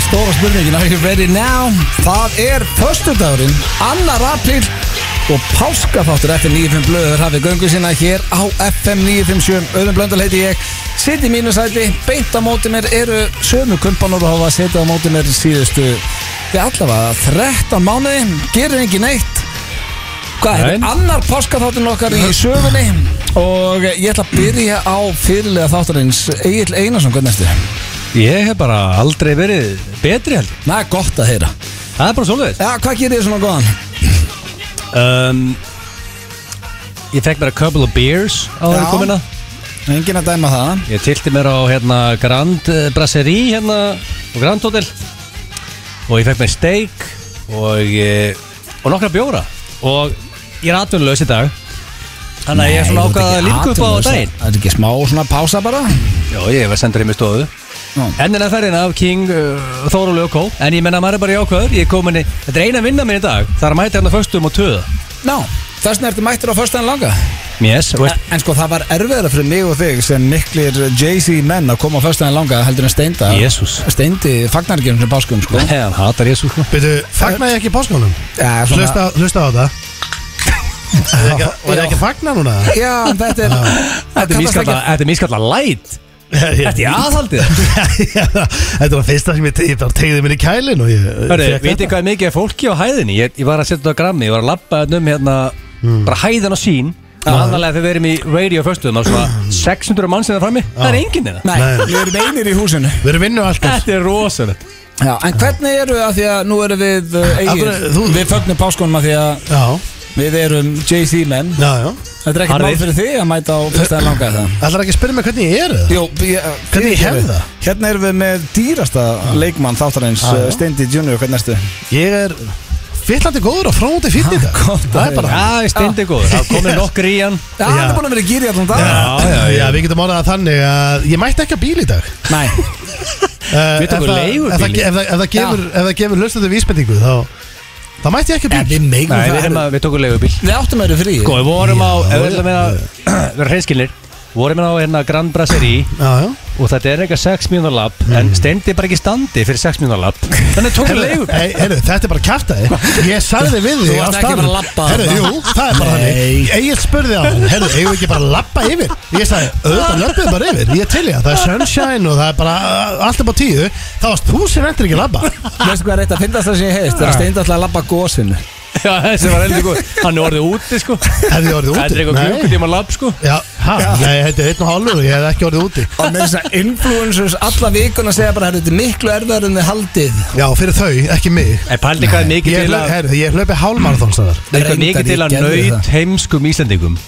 stóra spurningin Are you ready now? Það er föstudagurinn, annar apríl og páskaþáttur FM 95 blöður hafið göngu sína hér á FM 957 auðvun blöndal heiti ég sitt í mínu sæti, beint á móti mér eru sömu kumpanur og hafa setið á móti mér síðustu, við allavega 13 mánuði, gerir engin neitt Hvað er Nei. annar páskaþáttin okkar í sögunni og ég ætla að byrja á fyrirlega þáttarins Egil Einarsson, hvernig erstu? Ég hef bara aldrei verið betri held ég. Það er gott að heyra Það er bara svolítið Já, hvað gerir þið svona góðan? um, Ég fekk mér a couple of beers á Já. þeirri komina Engin að dæma það hérna. Ég tilti mér á hérna Grand eh, Brasserie hérna og Grand Hotel og ég fekk mér steak og, ég, og nokkra bjóra og ég er atvinnulegs í dag Þannig að ég er svona Nei, þú ert ákvað að ekki líka upp á atvinnulaus. daginn Það er ekki smá svona pása bara Já, ég var sendur í mig stofu Já. Ennina ferðin af King uh, Þórólu og Kó En ég menna maður er bara jákvæður Ég er komin í, þetta er eina vinna minn í dag Það er að mæta hérna föstum og töða Ná, þess vegna ertu mættur á föstaðin langa Yes, og veist, En sko, það var erfiðara fyrir mig og þig sem miklir Jay-Z menn að koma á föstaðin langa heldur en steinda Jesús. Steindi fagnargerum sem páskum, sko hann hatar ég svo sko. Veitu, fagna ég ekki páskunum? Já, svona Hlusta, hlusta á það Eh, Var ég ekki- Var ég ekki að fagna núna? Já, en þetta er Þetta er mískalla, þetta er mískalla light Þetta er aðhaldið Þetta var fyrsta sem ég, te- ég bara tegði mér í kælin og ég Hörru, fékk veitir þetta. hvað er mikið er fólki á hæðinni Ég, ég var að setja þetta á grammi, ég var að labba hérna um hérna Bara hæðan og sín Annalega þegar við erum í radio föstum Það er svona 600 mann sem er frammi Það er enginn hérna Nei, Nei. við erum einir í húsinu Við erum vinnu alltaf Þetta er rosalegt Já, en hvernig eru við að því að nú erum við uh, eigin, Af hverju- þú- Við fögnum páskunum að því að Já, við erum Jay-Z menn já, já Þetta er ekkert Harðir. mál fyrir þig að mæta á föstaðin langa er það Ætlar ekki að spyrja mig hvernig ég er það? Jó, ég, eh, Hvernig ég hef það? Hérna erum við með dýrasta leikmann þáttarins Ah, Já, já. uh, Steindi Junior, hvernig erstu? Ég er fyllandi góður og fróndi fyrir þetta Ha, gott að Það er heyra. bara Já, steindi góður, það komið nokkur í hann Já, hann er búin að vera í gýri allan dag Já, já, já. Já, við getum orðað það þannig að ég mætti ekki að bíl í dag Nei, Uh, Við tökum ef það- leigubíl. ef það ge- Ef það- ef það gefur, ef það gefur hlustandi vísbendingu þá, þá mætti ég ekki að bíl megum Nei, við, erum að, við tókum leigubíl Við áttum að eru frí Sko, við vorum á, Já. ef við ætlum að vera hreinskilnir Vorum við á hérna Grand Brasserie Já, já Og þetta er eitthvað 6 mínútur lab En steindi er bara ekki í standi fyrir 6 mínútur lab Þannig tókum við leigubíl Hey, heyrðu, þetta er bara kæftæði Ég sagði við Þú þig á varst ekki staðnum bara að labba Heyrðu, þarna. jú, það er bara Nei. þannig Egil spurði á hann, heyrðu, eigum við ekki bara að labba yfir Ég sagði, auðvitað löpum við bara yfir Ég er til ég, það er sunshine og það er bara uh, Allt upp á tíu, þá varst þú sem endur ekki að labba Veistu hvað er eitt að fyndast það sem ég heist? Það er Steindi alltaf að labba gósinu Já, þessi var heldur góð Hann er orðið úti, sko Þetta Hefði ég er orðið úti? eitthvað klukkutíma lab, sko Já, hæ, nei, þetta er einn og hálfur Ég hef ekki orðið úti Og með þess að influencers alla vikuna segja bara "Herru, Þetta er miklu erfiðar en þið haldið Já, fyrir þau, ekki mig En pældi hvað er mikið Ég til hla- að heyrðu, ég hlaupi hálfmarathon sannar Það er mikið til að Reyndar, ég gerði nöyt heimskum Íslandingum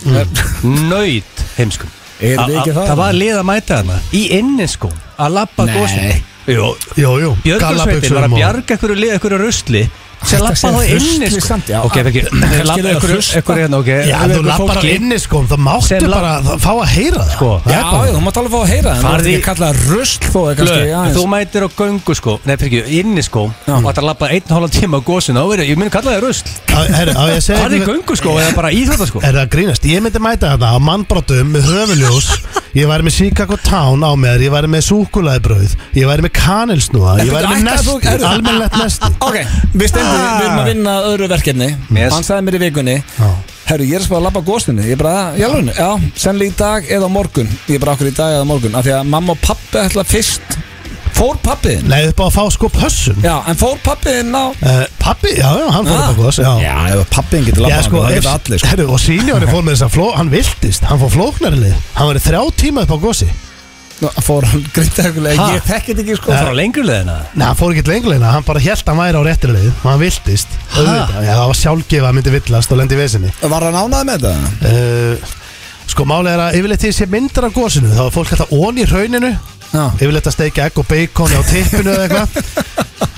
Mm. Nöyt heimskum Erum við A- a- ekki það? Það var lið að mæta hana Í inninskóm Að labba Nei. góðsum Jó, Jú, jú, Björgursveitin var að gallabuxum og- bjarga einhverju lið, einhverju rusli sem Þetta lappa þá segir inn rusli sko. samt, já. ok, ekki, Kannski lappa er það einhverju, rusl. einhverju hérna, ok Já, ef þú lappar á fólki- inni sko, þá máttu Sem lab- bara að fá að heyra það Sko, Ég Já, er já, bara- þú mátt alveg fá að heyra það Farðu Það er í- ekki kallað rusl þó er kannski Blöð, ef aðeins þú mætir á göngu sko Nei, fyrir ekki, inni sko Og þetta lappa einn og hálfan tíma á góðsuna Þá verður, ég mun kalla það rusl Á- herru, á ég að segja Farði í ykkur- göngu sko, eða bara íþrótta sko Er það að grínast? Ég myndi mæta þetta á mannbrotum með höfuljós Ég væri með Chicago Town á mér Ég væri með súkulæðbröð Ég væri með kanilsnúða Ég væri með Ætlaði þú- nesti, heyrðu. almennlegt nesti Ok, Ah. við stendum, við erum að vinna að öðru verkefni Yes. Hann sagði mér í vikunni Já. Herru, ég er að spá að labba góðstunni Ég bara, já, lúni, já, sennilega í dag eða á morgun Ég er bara okkur í dag eða á morgun Af því að mamma og pappi ætla fyrst Fór pappiðin? Nei, upp á að fá sko pössun Já, en fór pappiðin á uh, Pappi, já, já, hann fór Ah. upp á góðs Já, ef pappiðin getur Já, sko, ef, herru, og Sýnjóri fór með þess að fló, hann viltist, hann fór flóknarlið Hann var í þrjá tíma upp á gósi Nú, Fór hann grindaðugulega, Ha? ég þekki þetta ekki sko Það fara á lengri leðina Nei, hann fór ekki lengleina, hann bara held hann væri á réttilegð og hann viltist auðvitað, Já, það var sjálfgef að hann myndi villast og lendi í vesinni Var hann ánað með þetta? uh, Sko, málið er að yfirleitt því sé myndir af gósinu þá er fólk alltaf ón í hrauninu Já yfirleitt að steikja egg og bacon á tippinu eða eitthvað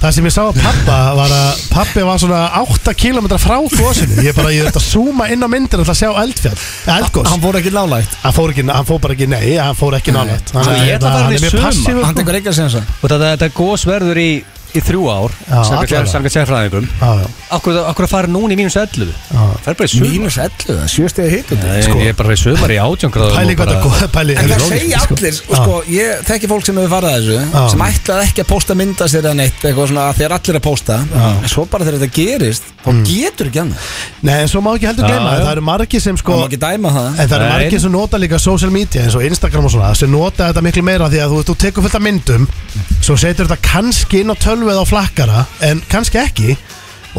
Það sem ég sá að pappa var að pappi var svona 8 km frá gósinu Ég bara, ég þurfti að zooma inn á myndir alltaf að sjá eldfjall, eldgós Hann fór ekki nálægt Hann fór, ekki, hann fór bara ekki, nei, hann fór ekki nálægt Hann- ég ætla að fara hann í er mjög sumar. passífur Hann tekur ekki að segja þess Og þetta, þetta góðs verður í í þrjú ár Já, allavega. Sangat sérfræðingum Já, já, Akkur að fara núna í mínus 11 já. Fer bara í sumar Mínus 11, sjöstegi hitandi Nei, sko. Ég er bara í sumar í átjöngrað Pæli hvað það góð Pæli En það segja allir, og sko, ég þekki fólk sem hefur farið að þessu Já. sem ætlaði ekki að posta mynda sér eða neitt eitthvað svona að þegar allir að posta en svo bara þegar þetta gerist, þá Mm. getur ekki annað Nei, en svo má ekki heldur Já, gleyma já. Það eru margir sem Það sko má ekki dæma það En það eru Nei. margir sem nota líka social media eins og Instagram og svona sem nota þetta miklu meira því að þú, þú tekur fullt af myndum svo setur þetta kannski inn á tölvu eða á flakkara en kannski ekki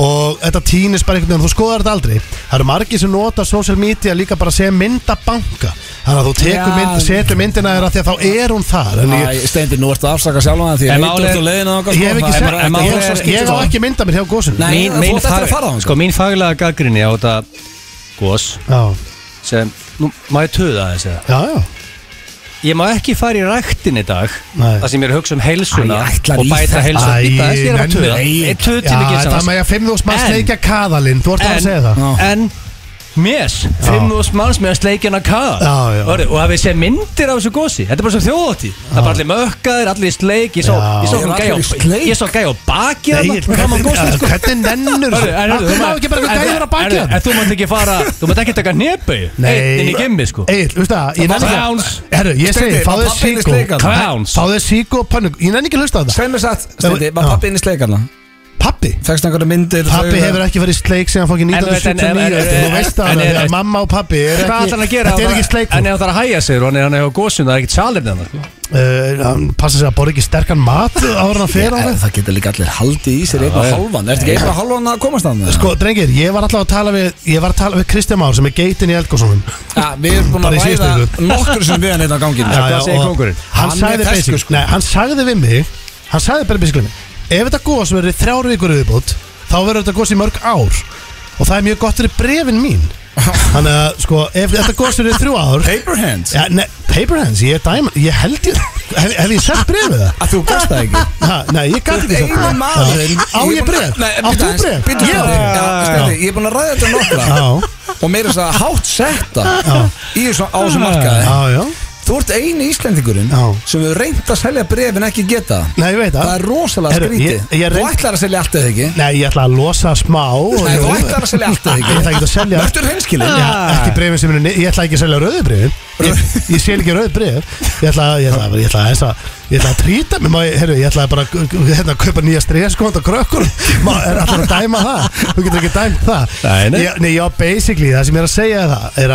og þetta týnist bara einhvern veginn þú skoðar þetta aldrei það eru margir sem nota social media líka bara sem myndabanka þannig að þú tekur Já. mynd, setur myndina þeirra því að þá er hún þar en ég, Æ, sko, Steindi, nú ertu að afsaka sjálfan það því En að málið- heitur þú leiðin að ég hef ekki sett en málið er- ég, ég á ekki mynda mér hjá góðsum sko- Nei, Mín, þú mín, átt eftir að fag, fara þangað. sko, mín faglega gaggrinni á þetta gos já, sem, nú má ég töða þess að já, já ég má ekki fara í ræktin í dag Nei. það sem ég er að hugsa um heilsuna Æ, ætlar og í bæta þetta. heilsuna Æ, í dag þess ég er að töða nenni. Ég töð til Já, ekki það með að 5.000 manns En- leikja kaðalinn þú ert að segja það Já. en Mér, 5.000 manns með að sleikja hana kaða Já, já. Orðið, Og hafið séð myndir af þessu gósi Þetta er bara svo þjóðati Það er bara allir mökkaðir, allir í sleik Ég sá, Já. ég sá, Þeir ég eru allir í gæja, sleik. ég sá gæja á baki Nei, þarna, fram á hvernig- gósinu, sko. Hvernig nennur Hörru, en hörru, Akkur má ekki bara en- eitthvað gæður að baki en- En hann þú mátt ekki fara, þú mátt ekki taka nebau Einn inn í gimmi sko Egil, veistu það, Það ég nenni var ekki clowns. Herru, ég segi, Steindi, fáðu var pabbi inn í síkó sleik þarna? Clowns. Fáðu síkó og pönnu Ég nenni ekki að hlusta á það Sveið mér satt, Steindi, var Já. pappi inn í sleikarna Pappi Fækst einhverja myndir Pappi þau- hefur ekki verið í sleik síðan fokkin En þú veit, en- en- 1979 en- eftir, Þú en- veist það en- alveg, en- að mamma og pappi er Hvað ekki- ætlar hann að gera? Þetta er ekki sleik En ef það er að hæja sig og hann er hann er á gósun Það er ekkit salirni hann sko Uh, Hann passa sig að borða ekki sterkan mat ára hann fer á Eh, það Það getur líka allir haldið í sér einn og já. halvan Ertu ekki einn og halvan að komast að það? Sko, drengir, ég var alltaf að tala við Ég var að tala við Kristján Már sem er geitin í Elgóssonum Ja, Við erum búin Bara að í síðustu ræða viku. nokkur sem við hann eitt á ganginu Já, hvað segir og kóngurinn? Hann, Hann sagði er ferskur, basic- sko. Nei, hann sagði við mig Hann sagði bara basically Ef þetta gos verður í þrjár vikur viðbútt Þá verður þetta gos í mörg ár Og það er mjög gott fyrir brefin mín Þannig að sko Ef þetta gos verður í þrjú ár Paper hands ja, ne, Paper hands, ég er dæma Ég held ég Hef, hef ég sett brefið það? Að þú gasta ekki Ha, nei, ég gæti ekki sett Einu bréfið. maðurinn Já. Á ég bref? Nei, Á býta þú aðeins, bref? býta Já. aðeins. Já, Steindi, Ég er búin að ræða þetta nokkra Já, Og meira þess að hátt setta Í þessu á þessu markaði já, já Þú ert eini Íslendingurinn Já. Sem hefur reynd að selja brefin ekki geta Nei, ég veit Það það er rosalega Herru, skrítið ég- ég Þú reynd- ætlar að selja allt eða ekki Nei, ég ætla að losa smá og- Nei, þú ætlar að selja allt eða Ég ætla ekki ekki að selja Verður hreinskilin Já, ekki brefin sem er, ég ætla ekki að selja rauðu brefin ég, ég sel ekki rauðu bref ég ætla, ég ætla, ég ætla, ég ætla, ég ætla að trýta mig, má ég, herru, ég ætla bara að hérna, kaupa nýja stresskont og krökkur má, er allir að dæma það, þú getur ekki dæmt það Nei, nei. Ég, nei, já, basically, það sem ég er að segja er það er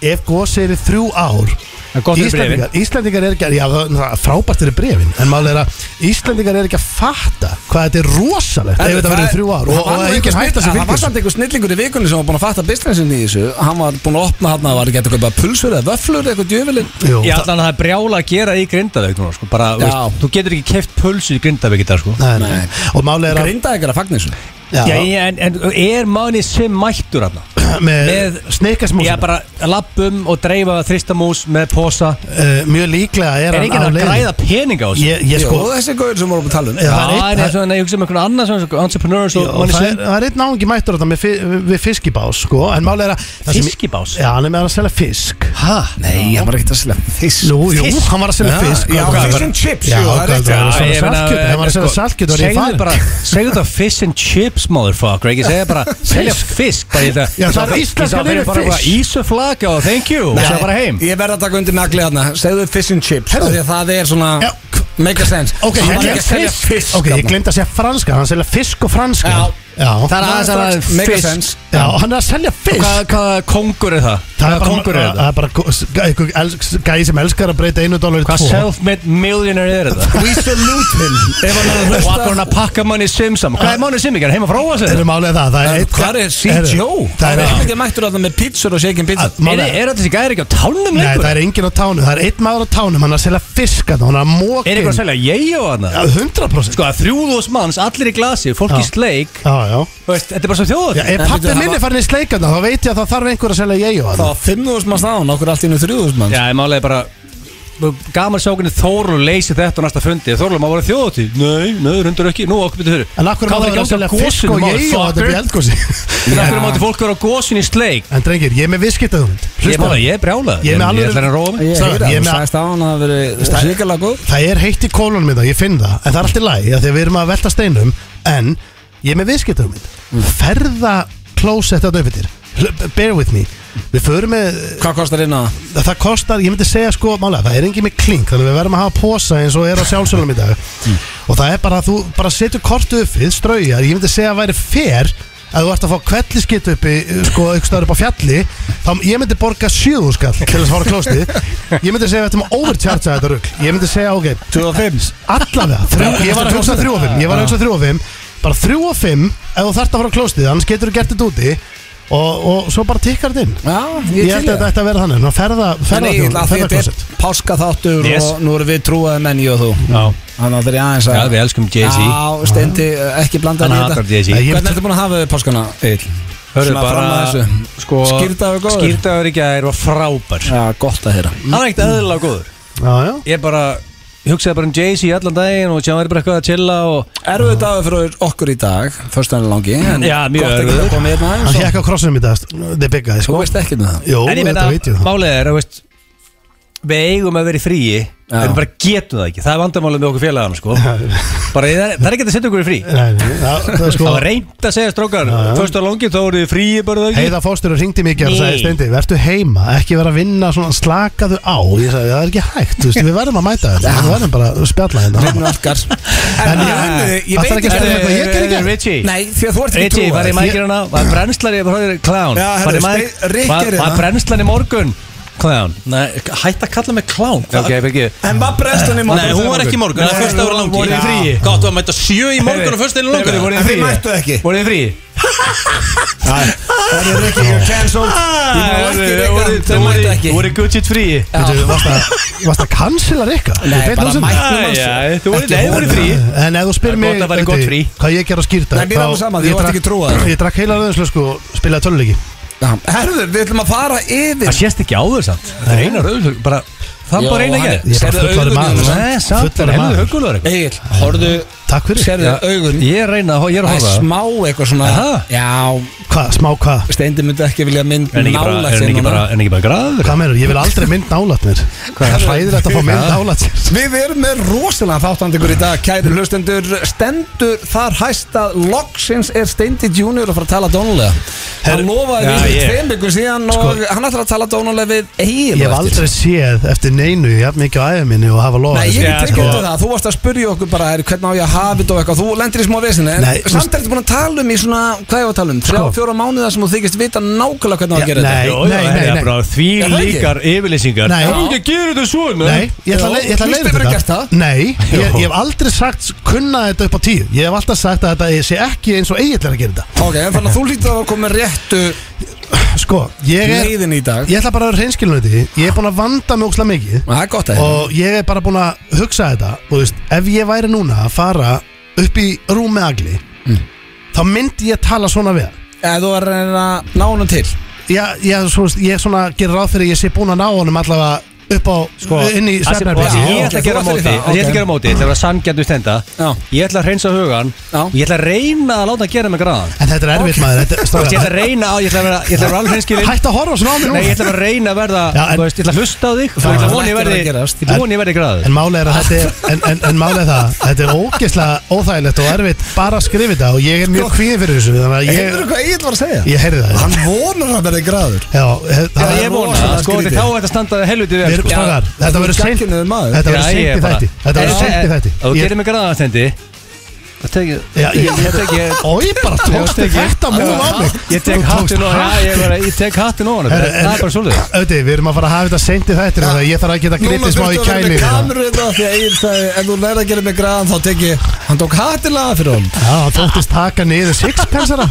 að ef gósi er í þrjú ár Það er gott fyrir bréfin. Íslendingar, Íslendingar er ekki að, já, það- það er frábært fyrir brefin en mál er að Íslendingar er ekki að fatta hvað þetta er rosalegt ef þetta verður í þrjú ár og, og, og engin hætta sem Það var fylgir samt einhver snillingur í vikunni sem var búin að fatta businessin í þessu Hann var búin að opna hann að var ekki að köpa pulsur eða vöflur eða eitthvað djöfilin Jú, Ég það- ætla að það er brjála að gera í grindaveik núna sko Bara, þú veist, þú getur ekki keft pulsu í grindaveik í dag sko Nei, nei. Og málið er að Grinda ekkert að fagna þessu Já, Já, ég- en, en er manni sem mættur hann með með- sneikasmús Ég er bara að lappum og dreifa þristamús með posa uh, Mjög líklega er, Er hann enginn á að leiðin græða peninga á þessu? Ég, ég Jó, sko þessi gauður sem vorum að tala um Já, Já, það er einn- en eins og þannig að ég hugsa um einhvern annan sem svona entrepreneur Jó, svo manni það er, sem það er einn áhengi mættur þetta með, fi- við fiskibás sko, en málið er að það sem- Fiskibás? Já, hann er með að selja fisk Hæ? Nei, hann var ekkert að selja fisk Jú, jú, Fisk? hann var að selja Já, fisk já, Hann var að- fish and chips, Já, jú, það er hvað rétt. heldur hann var að Já, selja ég meina, saltkjöt, hann var að selja sko, saltkjöt var ég segðu farin. bara, segðu það fish and chips motherfucker, ekki segja bara selja fisk, bara ég það Já, það er íslenska liðið fish. Ísuflaka og thank you, og segja bara heim Ég verð að taka undir nagli hann Segðu fish and chips Herðu. af því að Það er svona Já. Make a sense Ok, Hann ég- var ekki að selja fisk Ok, ég þarna. glemd að segja franska, hann selja fisk og franska Já. já sko. Það er Það er aðeins að það strax er Make a fisk. sense Já, hann er að selja fisk Hvað, hvað kongur er það? Það er Hvaða kongur bara, er það það? er bara gó- einhver els- gæi sem elskar að breyta einu dólar í Hvað tvo self-made millionaire er það? We salute him Ef hann er að Og akkur hann hlusta að pakka manni simsam Hvað er manni simikar? Heima frá að Það segja er málið það, það En er einn- Hvar er Herru, CJO? Það Hann er er ekki mættur að það með pizzur og shaking pizza Að- málið- Er þetta þessi gæri ekki á tánum Nei, lengur? það er enginn á tánum, það er einn maður á tánum Hann er að selja fisk að það, hann er að mókin Er eitthvað að selja ég á hana? Já, 100% Sko að þrjúðus manns, allir í glasi, fólk Já. í sleik Já, já Þú veist, Þetta er bara svo Já, þjóðatíð ef En pappi bíddu, minn það er farin í sleikana þá veit ég að það þarf einhver að selja ég og Það hann var 5.000 manns náðan Okkur allt í nú 3.000 manns Já, ég málega bara gaman sjókunni Þóru leysi þetta á næsta fundi Þóru, maður voru þjóðatíð Nei, nei, hundur ekki Nú, okkur betur En akkur Hvað var maður ekki ákveðlega á fisk gosinu, og ég og þetta motherfucker? er í eldgósi En akkur mátti fólk vera á gósun í sleik En drengir, ég er með visskiptaðum Ég er bara, ég er brjálað Ég er með Ég alveg- ætla henni að róa mig Ég Strákar, heyra, ég þú meina- sagðist á hann að það veri sérkjala góð Það er heitt í kólunum minna, ég finn það En það er allt í lagi, af því að við erum að velta steinum En ég er með viðskiptum minn Ferða klósett að döfittir Bear with me Við förum með, Hvað kostar inn á það? það kostar, ég myndi segja sko Málega, það er engin með klink, þannig að við verðum að hafa posa Eins og er á sjálfsölum í dag Og það er bara að þú bara setur kortu uppið Straujar, ég myndi segja að væri fer að þú ert að fá kvelliskitt uppi sko, einhvers staðar upp á fjalli þá ég myndi borga sjöðúskall til þess að fara á klóstið ég myndi segja að þetta maður overcharge þetta rugg ég myndi segja, ok, 25 Allavega, þrjú, ég var að hugsa 3 og 5 Ég var að hugsa 3 og 5 Bara 3 og 5 ef þú þarft að fara á klóstið Annars getur þú gert þetta úti og, og svo bara tikkar þetta inn Já, Ég ég til held að þetta ég ætti að vera þannig Ná ferða, En ferða, Egil, að því ferða þetta er páska þáttur Yes. og nú erum við trúaði menn, ég og þú Já. Þannig að það er aðeins að Já, við elskum Jay-Z. Já, steindi, eh, ekki blanda Hann þér í hatar þetta. Jay-Z. Hvernig ertu búin að hafa þau páskana, Egil? Hörðu Svona fram að bara þessu. sko, Skýrdagur góður? Skýrdagur í gær var frábær Já, gott að heyra Hann er ekkert eðlilega góður Já, já Ég bara hugsaði bara um Jay-Z allan daginn og tjáði bara eitthvað að chilla og Erfið dagur fyrir okkur í dag Förstan er langi en Já, mjög gott ekki erfiður. að koma hérna Hann aðeins og- hekk á krossinum í dag Þið byggaði, Þú sko veist ekki með það Jó, En ég meina, þetta veit ég það málið er, þú veist Við eigum að vera í fríi Já. En við bara getum það ekki, það er vandamálið með okkur félagana sko. bara, það er- það er ekki að setja okkur í frí Nei, nei, það- það er sko Það var reynd að segja strókar Fyrst og langi þá voru þið í fríi bara það ekki Heiða fóstur og ringdi mikið og sagði Nei. Steindi, vertu heima, ekki vera að vinna svona slakaðu á Ég sagði, það er ekki hægt, þú veist, við verðum að mæta þetta Við verðum bara að spjalla hérna." þetta Vinnur okkar En En ég, ég- ég Það veit þarf ekki að ekki stela eitthvað, ég gerði ekki. Richie Nei, því að þú ert ekki Regi, var í trúað mækirana, var brennslan í horfður, klán Já, Var herru, í mæk- Ste- Rikki var- er hérna. var brennslan í morgun, klán Nei, hætt að kalla mig klán Ok, fyrir ekki En var brestan í morgun? Nei, hún var ekki í morgun, það er fyrst ára langi Voru í fríi Gátt að mæta sjö í morgun og fyrst einu Heyrðu, langi voru í En þið fríi? mættuð ekki. Voru í fríi? Það er ekki, you're cancelled Ég er Ah, búin að lækka í Voru- reglan, Þau voru- mættu ekki Voru í Gucci fríi Þú varst að- varst að kansila Rikka Nei, bara mættum Æ, hans já, Þú voru Ekki nei, þú voru í frí En ef þú spyr Það er mig gott að fara í Öddi, gott frí. Hvað ég ger á skýrta Nei, mér er alveg sama, því ég varst ekki trúað. Ég drakk heila rauðinslösku og spilaði töluleiki Herður, við ætlum að fara yfir Það sést ekki áður samt Það er eina rauður bara Það er Jó, bara eina hann- ekki Ég er bara Sérðu fullari augun í maður honum? Nei, samt Fullari er henni maður. hugulvar eitthvað Egil, horfðu Takk fyrir Sérðu augun Ég er að reyna að, ég er að Það er horfa smá eitthvað svona Aha. Já, Hvað, smá hvað? Steindi myndi ekki vilja mynd En ekki bara, nálægt en sér ekki núna. bara, en ekki bara graður Hvað meður? Ég vil aldrei mynd nálat mér Hvað er hræðilegt að fá mynd nálat sér? Við erum með rosalega þáttandegur í dag Kæri hlustendur, stendur þar hæst að loksins er Steindi Junior að fara að tala dónulega Hann Herru, lofaði já, við ég- Sko- tveim vikum síðan og hann ætlar að tala dónulega við Ég Egil hef á eftir. aldrei séð eftir neinu Jafn mikið á æfum minni og hafa lofa Nei, ég Já, get ekki sko. undir það, þú varst að spyrja okkur bara er, hvernig á ég að hafa þetta og eitthvað, þú lendir í smá vesinni en Nei, samt er þetta búin að tala um í svona, hvað ég var að tala um, þrjá, Sko. fjóra mánuða sem þú þykist vita nákvæmlega hvernig á að Já, gera þetta nei, Jó, já, nei, það nei, er nei. bara Því Er það ekki? líkar yfirlýsingar Nei. Það er ekki að gera þetta svona Nei, ég ætla að Jó, le- ég ætla að þú leiða hefur gert þetta það. Nei, ég, Jó. ég hef aldrei sagt kunna þetta upp á tíu Ég hef alltaf sagt að þetta sé ekki eins og eiginlega að gera þetta Ok, en þannig að þú lítið að koma með réttu Sko, ég er leiðin í dag Ég ætla bara að vera reynskilinu þetta Ég er búin að vanda mig ókslega mikið Það er gott að hérna og ég er bara búin að hugsa þetta þú veist, ef ég væri núna að fara upp í rúm með agli Mm. þá myndi ég tala svona við hann. Ef þú er að reyna að ná honum til ég, ég, svo, veist, ég svona gerir ráð fyrir að ég sé búin að ná honum allavega upp á sko, inn í það sem- Já, Ég svefnherbergi ok, ætla að gera þú ætlar í móti það, Ég ætla ok. að gera móti, ég ætla að vera sanngjarnu stenda Já. Ég ætla að hreinsa hugan Já. Ég ætla að reyna að láta gera mig graðan en þetta er erfitt maður Þú þetta, veist, Ég ætla strákar, að reyna á, ég ætla að vera, ég ætla að vera alveg hreinskilin hætt að horfa svona á mig Nei, ég ætla núna bara að reyna að verða, Já, en- þú veist, ég ætla að hlusta á þig Og ég Það ætla er að voni ég ekki að verði, gerast. ég voni ég verði graður En málið er að þetta er, en, en, en málið er það, þetta er ógeðslega óþægilegt og erfitt bara að skrifa þetta og ég er mjög Sko- kvíðin fyrir þessu, þannig að Hefur ég, hvað Egil var að segja? ég heyrði það. Hann vonar að verði gráður Já, he- það Ég er vona, rosalega það, sko, skrítið. þetta þá er þetta standaði helviti Við vel erum sko. stakar, Já, þetta þú verður ert seint gagnrýninn maður. Þetta verður Já, seint ég í bara- þætti Þetta verður Ef- seint í ef- þætti ef Þú Ég- gerir mig graðan stendi Það tekið Já, ég- Ég tekið Ó, ég bara tókst tek- þetta múið á mig Ég tek hattin og já, ég bara- ég tek hattin og hann Það Herru, en- er bara svolítið Öti, við erum að fara að hafa þetta seint í þætti Þannig að ég þarf að geta gripið smá í hérna. kæli Já, kameru þetta Því að Egil sagði Ef þú lærði að gera mig gráðan Þá tek ég Hann tók hattilega fyrir honum hann tóktist taka niður sixpensara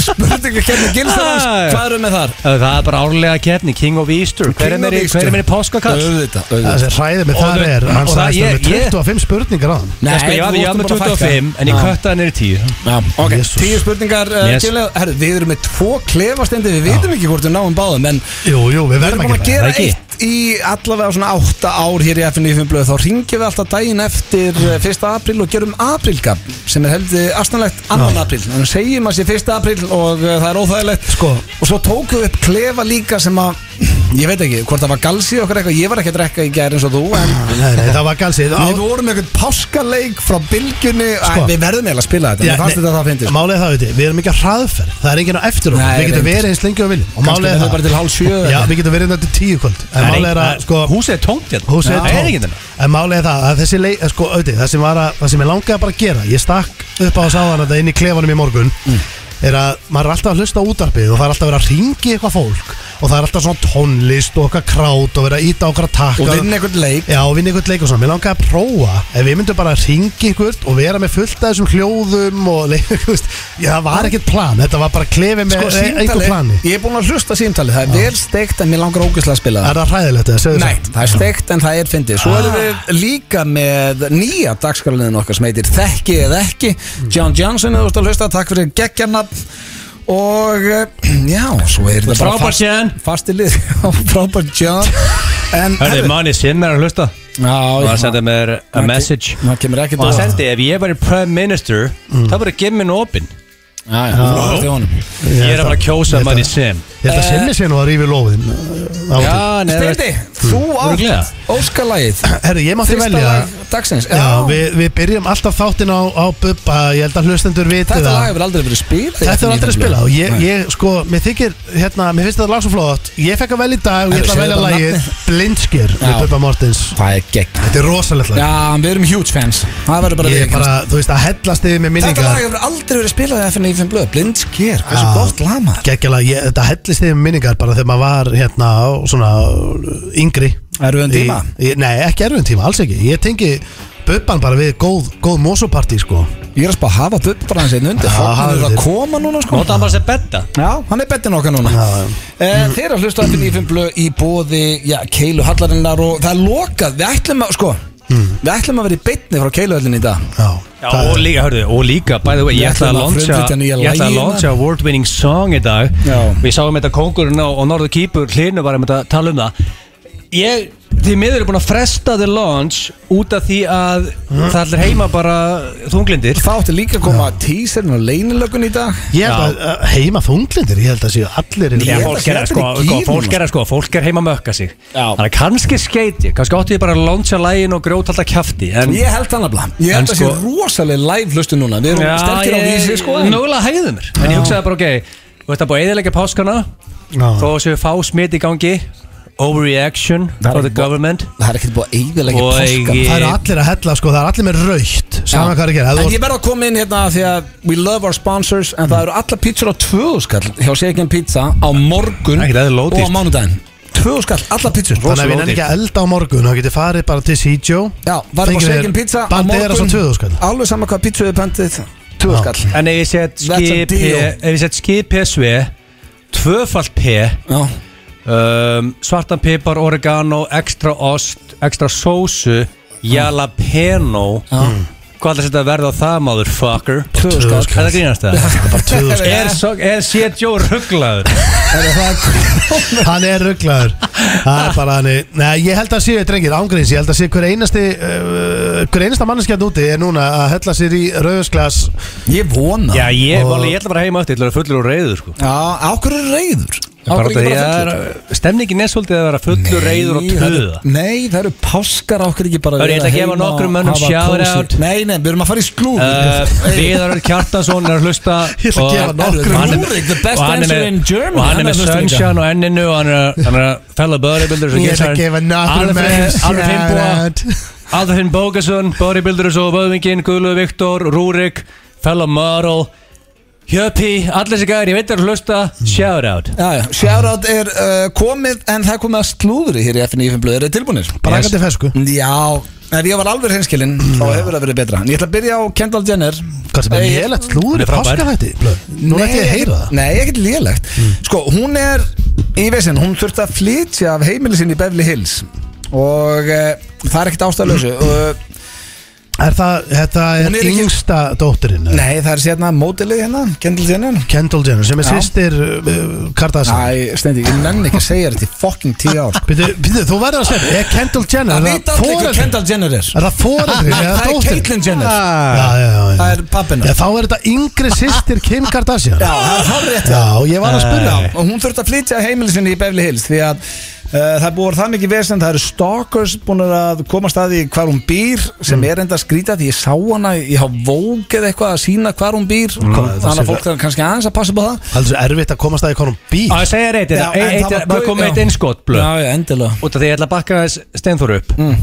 Spurningu kemur gilsar hans Ah. Hvað erum við þar? Það er bara árlega kefni, King of Easter Hver King er of mér í- Easter. hver er mér í páskakall? Auðvitað Það auðvitað. sem hræðið með Og það þau- er Hann og það- sagðist það ég- með ég- 25 spurningar á hann Nei, sko, ég var, þú ég var varst með bara að fækka. 25 en ég Já. köttaði niður í 10 Já, ok, Jesús. tíu spurningar uh, Yes. yes. Herru, við erum með tvo klefastendi Við vitum ekki hvort við náum báðum En Jú, jú, við við erum verðum búin að að gera gera ekki. eitt í allavega svona átta ár hér í FNF blöð þá ringjum við alltaf daginn eftir eh, 1. apríl og gerum aprílgab sem er heldur astanlegt 2. apríl þannig segjum að sé 1. apríl og eh, það er óþægilegt Sko. og svo tókum við upp klefa líka sem að ég veit ekki hvort það var galsi okkar eitthvað ég var ekki að drekka í gær eins og þú en Nei, nei, það var galsið Á- við vorum með eitthvað páskaleik frá bylgjunni Sko. Æ, við verðum eiginlega að spila þetta Já, mér fannst nei, þetta að það fyndi sko. Málið er það, veit ég, við erum ekki að hraðferð Það er enginn á eftir okkur, Nei, við getum reyndar. verið eins lengi og við viljum Og Kannski málið er er það bara til hálf sjö eða Já, eitthvað. við getum verið þetta til tíu kvöld En málið er að, sko Húsið er tómt hérna Húsið Nei, er er ekki tómt þetta En málið er það að þessi leik eh, Sko, auðvitað, það sem var að Það sem ég langaði bara að gera Ég stakk upp á þess aðan Þetta inn í klefanum í morgun Mm. Er að maður er alltaf að hlusta á útarpið Og það er alltaf að vera að ringi eitthvað fólk Og það er alltaf svona tónlist og okkar krát Og vera að íta okkar takka og vinna einhvern leik Já, og vinna einhvern leik og svona, mér langaði að prófa ef við myndum bara að ringi einhvern og vera með fullt af þessum hljóðum og leik, þú veist, já, það var ekkert plan þetta var bara klefið með sko, sko, einhver plani símtalið, ég er búin að hlusta símtalið það er vel steikt en mér langar ógeðslega að spila það Er það hræðilegt eða, segðu Nei, það er steikt en það er fyndið Svo Ah. erum við líka með nýja dagskarliðin okkar sem heitir Þekki eða ekki John Johnson eða þú ert að hlusta, takk fyrir geggjarnafn Og eh, já, svo er þetta bara Frábært Jan. fasti lið Frábær John En Hörðu, manni sinn er að hlusta Og hann sendi já, mér a message það kemur ekkert Og hann á- sendi, ef ég væri prime minister Mm. Það var að gefa mér opinn Já, já, þú varst í honum. Ég er að bara kjósa Ég held manni sinn Ég Eh, held að sinni sér nú að rífi lóðin Já, nei, það- Steindi, þú Örugglega. átt óskalagið Herru, ég mátti Fyrsta velja lag dagsins Já, við, við byrjum alltaf þáttinn á, á Bubba Ég held að hlustendur viti Þetta það lag hefur aldrei verið spilað í Þetta er aldrei FNÍ. spilað og ég, Nei. ég sko, mér þykir, hérna, mér finnst þetta lag svo flott Ég fekk að velja í dag og ég Herru, ætla að segðu velja bara lagið Blindskir Já. með Bubba Mortens Það er gegn Þetta er rosalegt lag Já, við erum huge fans Það verður bara Ég er viðurkennt. bara, þú veist, að hellast yfir Þetta með lag minningar hefur aldrei verið spilað í FNF en blöð Blind sker, hversu Já. gott lag maður Gekkjala, ég, þetta hellist yfir með minningar bara þegar maður var hérna á svona uh, yngri Erfiðum Í- tíma? í- Nei, ekki erfum tíma, alls ekki Ég tengi Bubban bara við góð, góð mosopartí sko Ég er að spá að hafa bubba bara hans einn undir Já, Hann er hafið að þið. koma núna sko Nóta hann bara sem betta Já, hann er bettin okkar núna Já, já. Eh, Þeir eru að hlusta FNF en blöð í bóði Já, Keilu Hallarinnar og það er lokað Við ætlum að, sko Hmm. Við ætlum að vera í beinni frá Keiluhöllin í dag Já, Já, það og er- líka, hörðu, og líka, by the way, Við ég ætla að ætlum að launcha, frumflytja nýja ég ætla að lagið hérna. launcha award winning song í dag Já. Við sáum þetta kongurinn á, og norðu kýpur, hlinu var einmitt að tala um það Ég, því miður er búin að fresta the launch út af því að Mm. það allir heima bara þunglindir Það átti líka að koma teaserinn og leinilögun í dag Ég held að að heima þunglindir, ég held að séu allir inni. Já, Ég held að fólk er, þetta sko, er í sko, gír fólk núna. er sko, fólk er heima að mökka sig Já. Þannig að kannski skeiti, kannski átti ég bara að launcha lægin og grjóta alltaf kjafti En Ég held hann að blá Ég En held að sé sko- rosaleg live hlustu núna Við erum sterkir á vísi sko en- Nógulega hægðu mér En ég hugsaði bara, ok, þú ert að búið að eðilega páskana Já. Þó að séu fá smit í gangi Overreaction Það er for the ekki búið- government Það er ekkert búið að eiginlega Og páskana ég- Það eru allir að hella sko, það eru allir með raukt Sama hvað er að gera Ef þú En ert- ég verð að koma inn hérna því að we love our sponsors en það eru alla pítsur á tvöðu skall hjá Shaken Pizza á morgun Ekkert eðlilega og á ódýrt. mánudaginn tvöðu skall, alla pítsur Þannig að við nefnum ekki að elda á morgun þá getið farið bara til Sítjó Já, var bara Shaken Pizza á Bandið er að svo tvöðu skall morgun alveg sama hvað pítsu við pöndið tvöðu Já. skall En ef ég set That's a skip deal. Ef ég set skip PSV Tvöfalt P Já, um, Svartan pipar, oregano Extra ost, extra sósu Jalapeno Hmm. Hvað ætlar þetta að verða á það, motherfucker? tvöðu skall Er það grínast það? Bara tvöðu skall Er, so- er sé Joe rugglaður? Er það Hann er rugglaður Það er bara hann er- Nei, ég held að séu, drengir, ángríns Ég held að séu hver einasti uh, Hver einasta manneskjarn úti er núna að hella sér í rauðsklas Ég vona Já, ég, Og- Valli, ég ætla bara heima eftir, ég ætla að vera fullur og reyður sko. Já, á hverju er reyður? Á Bara hverju því ekki að fullur? stemningin er svolítið að vera fullur, reyður og Nei, það eru- töða Nei, það eru páskar á hverju ekki bara Hörru, ég ætla að gefa nokkrum mönnum shout out. Nei, nei, við erum að fara í slúð Uh, Viðar Örn Kjartansson er að hlusta Ég ætla að og- gefa nokkrum. og hann er með- Rúrik, the best og hann er dancer með- in Germany, og hann hann er er með að hlusta líka. Sunshine og enninu og hann er- hann er að fella bodybuilders og Ég ætla að geta- gefa nokkrum Alfred- mönnum Alfred Finnboga shout out. Alfred Finn Bókesson, bodybuilders og Böðvingin, Guðlu Viktor, Rúrik Fella Mörl Hjöpi, allir þessi gæðir, ég veit að hlusta Hmm. shout out Já, já, shoutout er uh, komið en það er komið að slúðri hér í FNF blöð, eru þið tilbúinir? Bara Yes. yes. fesku Já, ef ég var alveg hinskilinn þá hefur það verið betra En ég ætla að byrja á Kendall Jenner Hvað sem er Nei, lélegt slúður Hann er í frábær. páskahætti Nú ætti ég að heyra ekkert- það Hmm. Nei, ekkert lélegt Sko, hún er í veginn, hún þurfti að flytja eh, Hmm. af heimili sinni í Beverly Hills Og uh, það er ekkert ástæðlausu uh, Er það, þetta er, Hún er ekki- yngsta dóttirinn eða? Nei, það er sérna mótilið hérna, Kendall Jenner Kendall Jenner sem er Já. sýstir uh, Kardashian Æ, Steindi, ég nenni ekki að segja þetta í fucking tíu ár sko. Býtu, býtu, þú verður að segja Er Kendall Jenner Það er veit allir foreldri- hver Kendall Jenner er Er það Nei, foreldri Ah, eða Það er dóttir? Caitlyn Jenner Já, já, já, já. Það er pappina Já, þá er þetta yngri sýstir Kim Kardashian Já, það er hárrétt Já, Eh. ég var að spyrja Já, og hún þurfti að flytja heimilisinni í Beverly Hills því að uh, það búið það mikið vesend það eru stalkers búin að komast að því hvar hún býr sem er enda að skrýta því ég sá hana, ég hafa vókið eitthvað að sína hvar hún býr þannig sé- að fólk þarf kannski aðeins að passa på það Það er svo erfitt að komast að í konum bíl Á, ég segja reitt, Já, en það var maður gau- kom með já. eitt einskott blöð Já, já, endilega Út af því ég ætla að bakka þess steinþór upp Mm.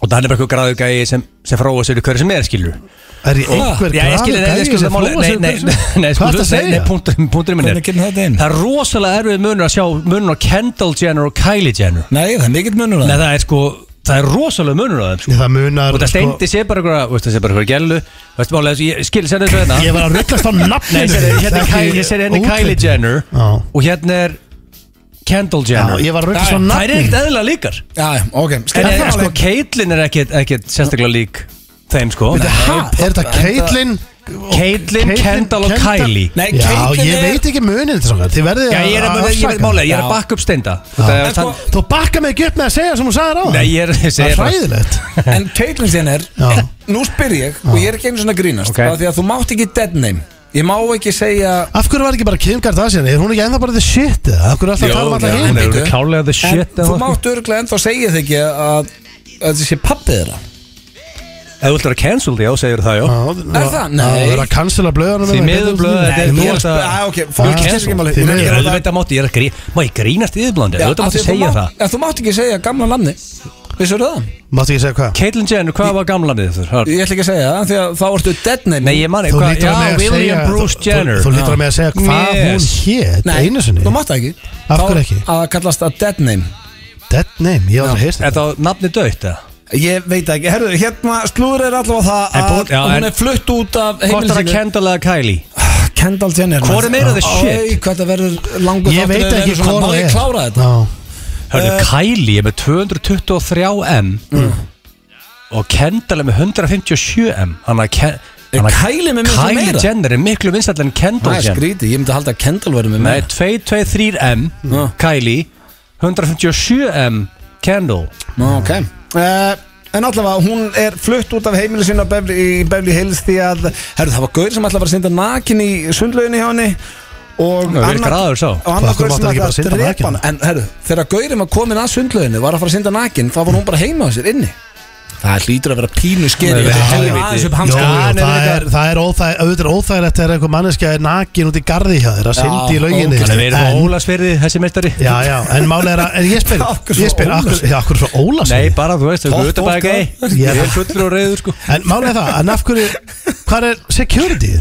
Og það er bara eitthvað græðu gæi sem, sem fróa sér í hverju sem er skilur Er ég einhver Já, ég skilur, nei, gæi ég skilur sem það máli fróa Nei, sér nei, nei, um hversu- nei, Hvað sko, er það að nei, nei, segja? punkturinn punkturinn minn er Hvernig kemur þetta inn? Það er rosalega erfið munur að sjá munur á Kendall Jenner og Kylie Jenner Nei, það er mikill munur Nei, það það er sko, það er rosalega munur á þeim sko Ég, Það munar Og það sko- steindi sé bara eitthvað, veist það sé bara eitthvað gælu Veist málega, ég skil, sem þessu hérna Ég var að rullast á nafninu Nei, ég segi- hérna er Ekki Kylie- ég segi hérna er Kylie útliti. Jenner Já. Og hérna er Kendall Já, Jenner ég var að rullast Það á er nafninu ekkert eðla líkar Já, ok, En skilja er, það sko, alveg Caitlyn er ekkert, ekkert sérstaklega lík þeim sko Bíddu, ha? Er þetta Caitlyn Caitlyn, Kendall og Kylie Nei, Já, Caitlyn ég er- veit ekki munin þetta svona Þið verðið Já, ég er að, ég er málega, ég er Já. að bakka upp steinda En sko- Þú bakka mig ekki upp með að segja sem hún sagði ráðan Nei, ég er ég Það segi er bara- hræðilegt En Caitlyn Jenner, Já. nú spyr ég og ég er ekki einu svona að grínast Ok. okay. því að þú mátt ekki dead name Ég má ekki segja Af hverju var ekki bara Kim Kardashian? Er hún ekki ennþá bara the shit eða? Af hverju er alltaf að tala um já, alltaf hún hinn? er- Hún er klálega the en, shit Þú mátt örglega ennþá segja þig ekki að að þetta sé pappið þeirra Ef þú ætlar að cancel þig, já, segir það, já Er það? Nei. Það er að cancela blöðunum Því miður blöð Nei, þetta- nú ég er- er þetta- Ah, ok, fólk Ah, skiptir cancel. ekki máli. Því Ég miður, er að- auðvitað mátti, ég er að grí- Má ég grínast í yðblandi, auðvitað af því mátti að þú segja mátt- það En þú mátt ekki segja gamla namni Vissur það? Máttu ekki segja hvað? Caitlyn Jenner, hvað var gamla niður þurr? Ég ætla ekki að segja það því að þá ertu dead name Nei, ég manni, Þú hvað, lítur já, að með að William segja Bruce þú- Jenner þú- Þú lítur að með að segja hvað hún Yes. hét Nei, Einu sinni Þú mátt það ekki Af Þá hverju ekki? Að kallast það dead name Dead name, ég var að heyrst Er það nafni döitt, eða? Ég veit ekki, herru, hérna slúður er allavega það En að bú- já, en- hún er flutt út af Hvort er það heimilisínu Kendall eða Kylie? Kendall Jenner Hvor er meira the Æ, shit? hvað það verður langur Ég veit ekki hvað hvað Má það ég er klára þetta? Já. Hörðu, Eh. Kylie er með 223M Mm. og Kendall er með 157M hann að Ken- Er hann að- Kylie með miklu Kylie meira? Jenner er miklu vinsall en Það Kendall er Jenner skrítið, ég myndi halda að Kendall verður með Nei, meira 223M Mm. Kylie 157M Kendall Nú, ok uh, En allavega, hún er flutt út af heimili sinna í Beverly Hills því að Herru, það var gaur sem ætlaði að vera að synda nakin í sundlauginni hjá henni Og Það er verið graður sá Og annar Hvað, gaur þú sem máttir ætlaði ekki bara að synda nakin? drepa hann En herru, þegar gaurinn var komin að sundlauginni Var að fara að synda nakin, þá var hún bara heima á sér inni Það hlýtur að vera pínu skeri Nei, Þetta já, helvíti. já, Aðeins upp Jó, hanska. Já, nei, það nei, er- það er óþæg- auðvitað er óþægilegt þegar einhver manneskja er nakin út í garði hjá þér að syndi í lauginni Þannig að við erum á En- Ólasverði þessi meistari Já, já, en máli er að, en ég spyr, Af hverju frá ég spyr, af hverju- Ólafsvík? já, af hverju frá Ólas Nei, bara þú veist, við Gott erum bara fólk, sko. gay já. Ég er fullur og reyður sko En máli er það, en af hverju, hvað er security?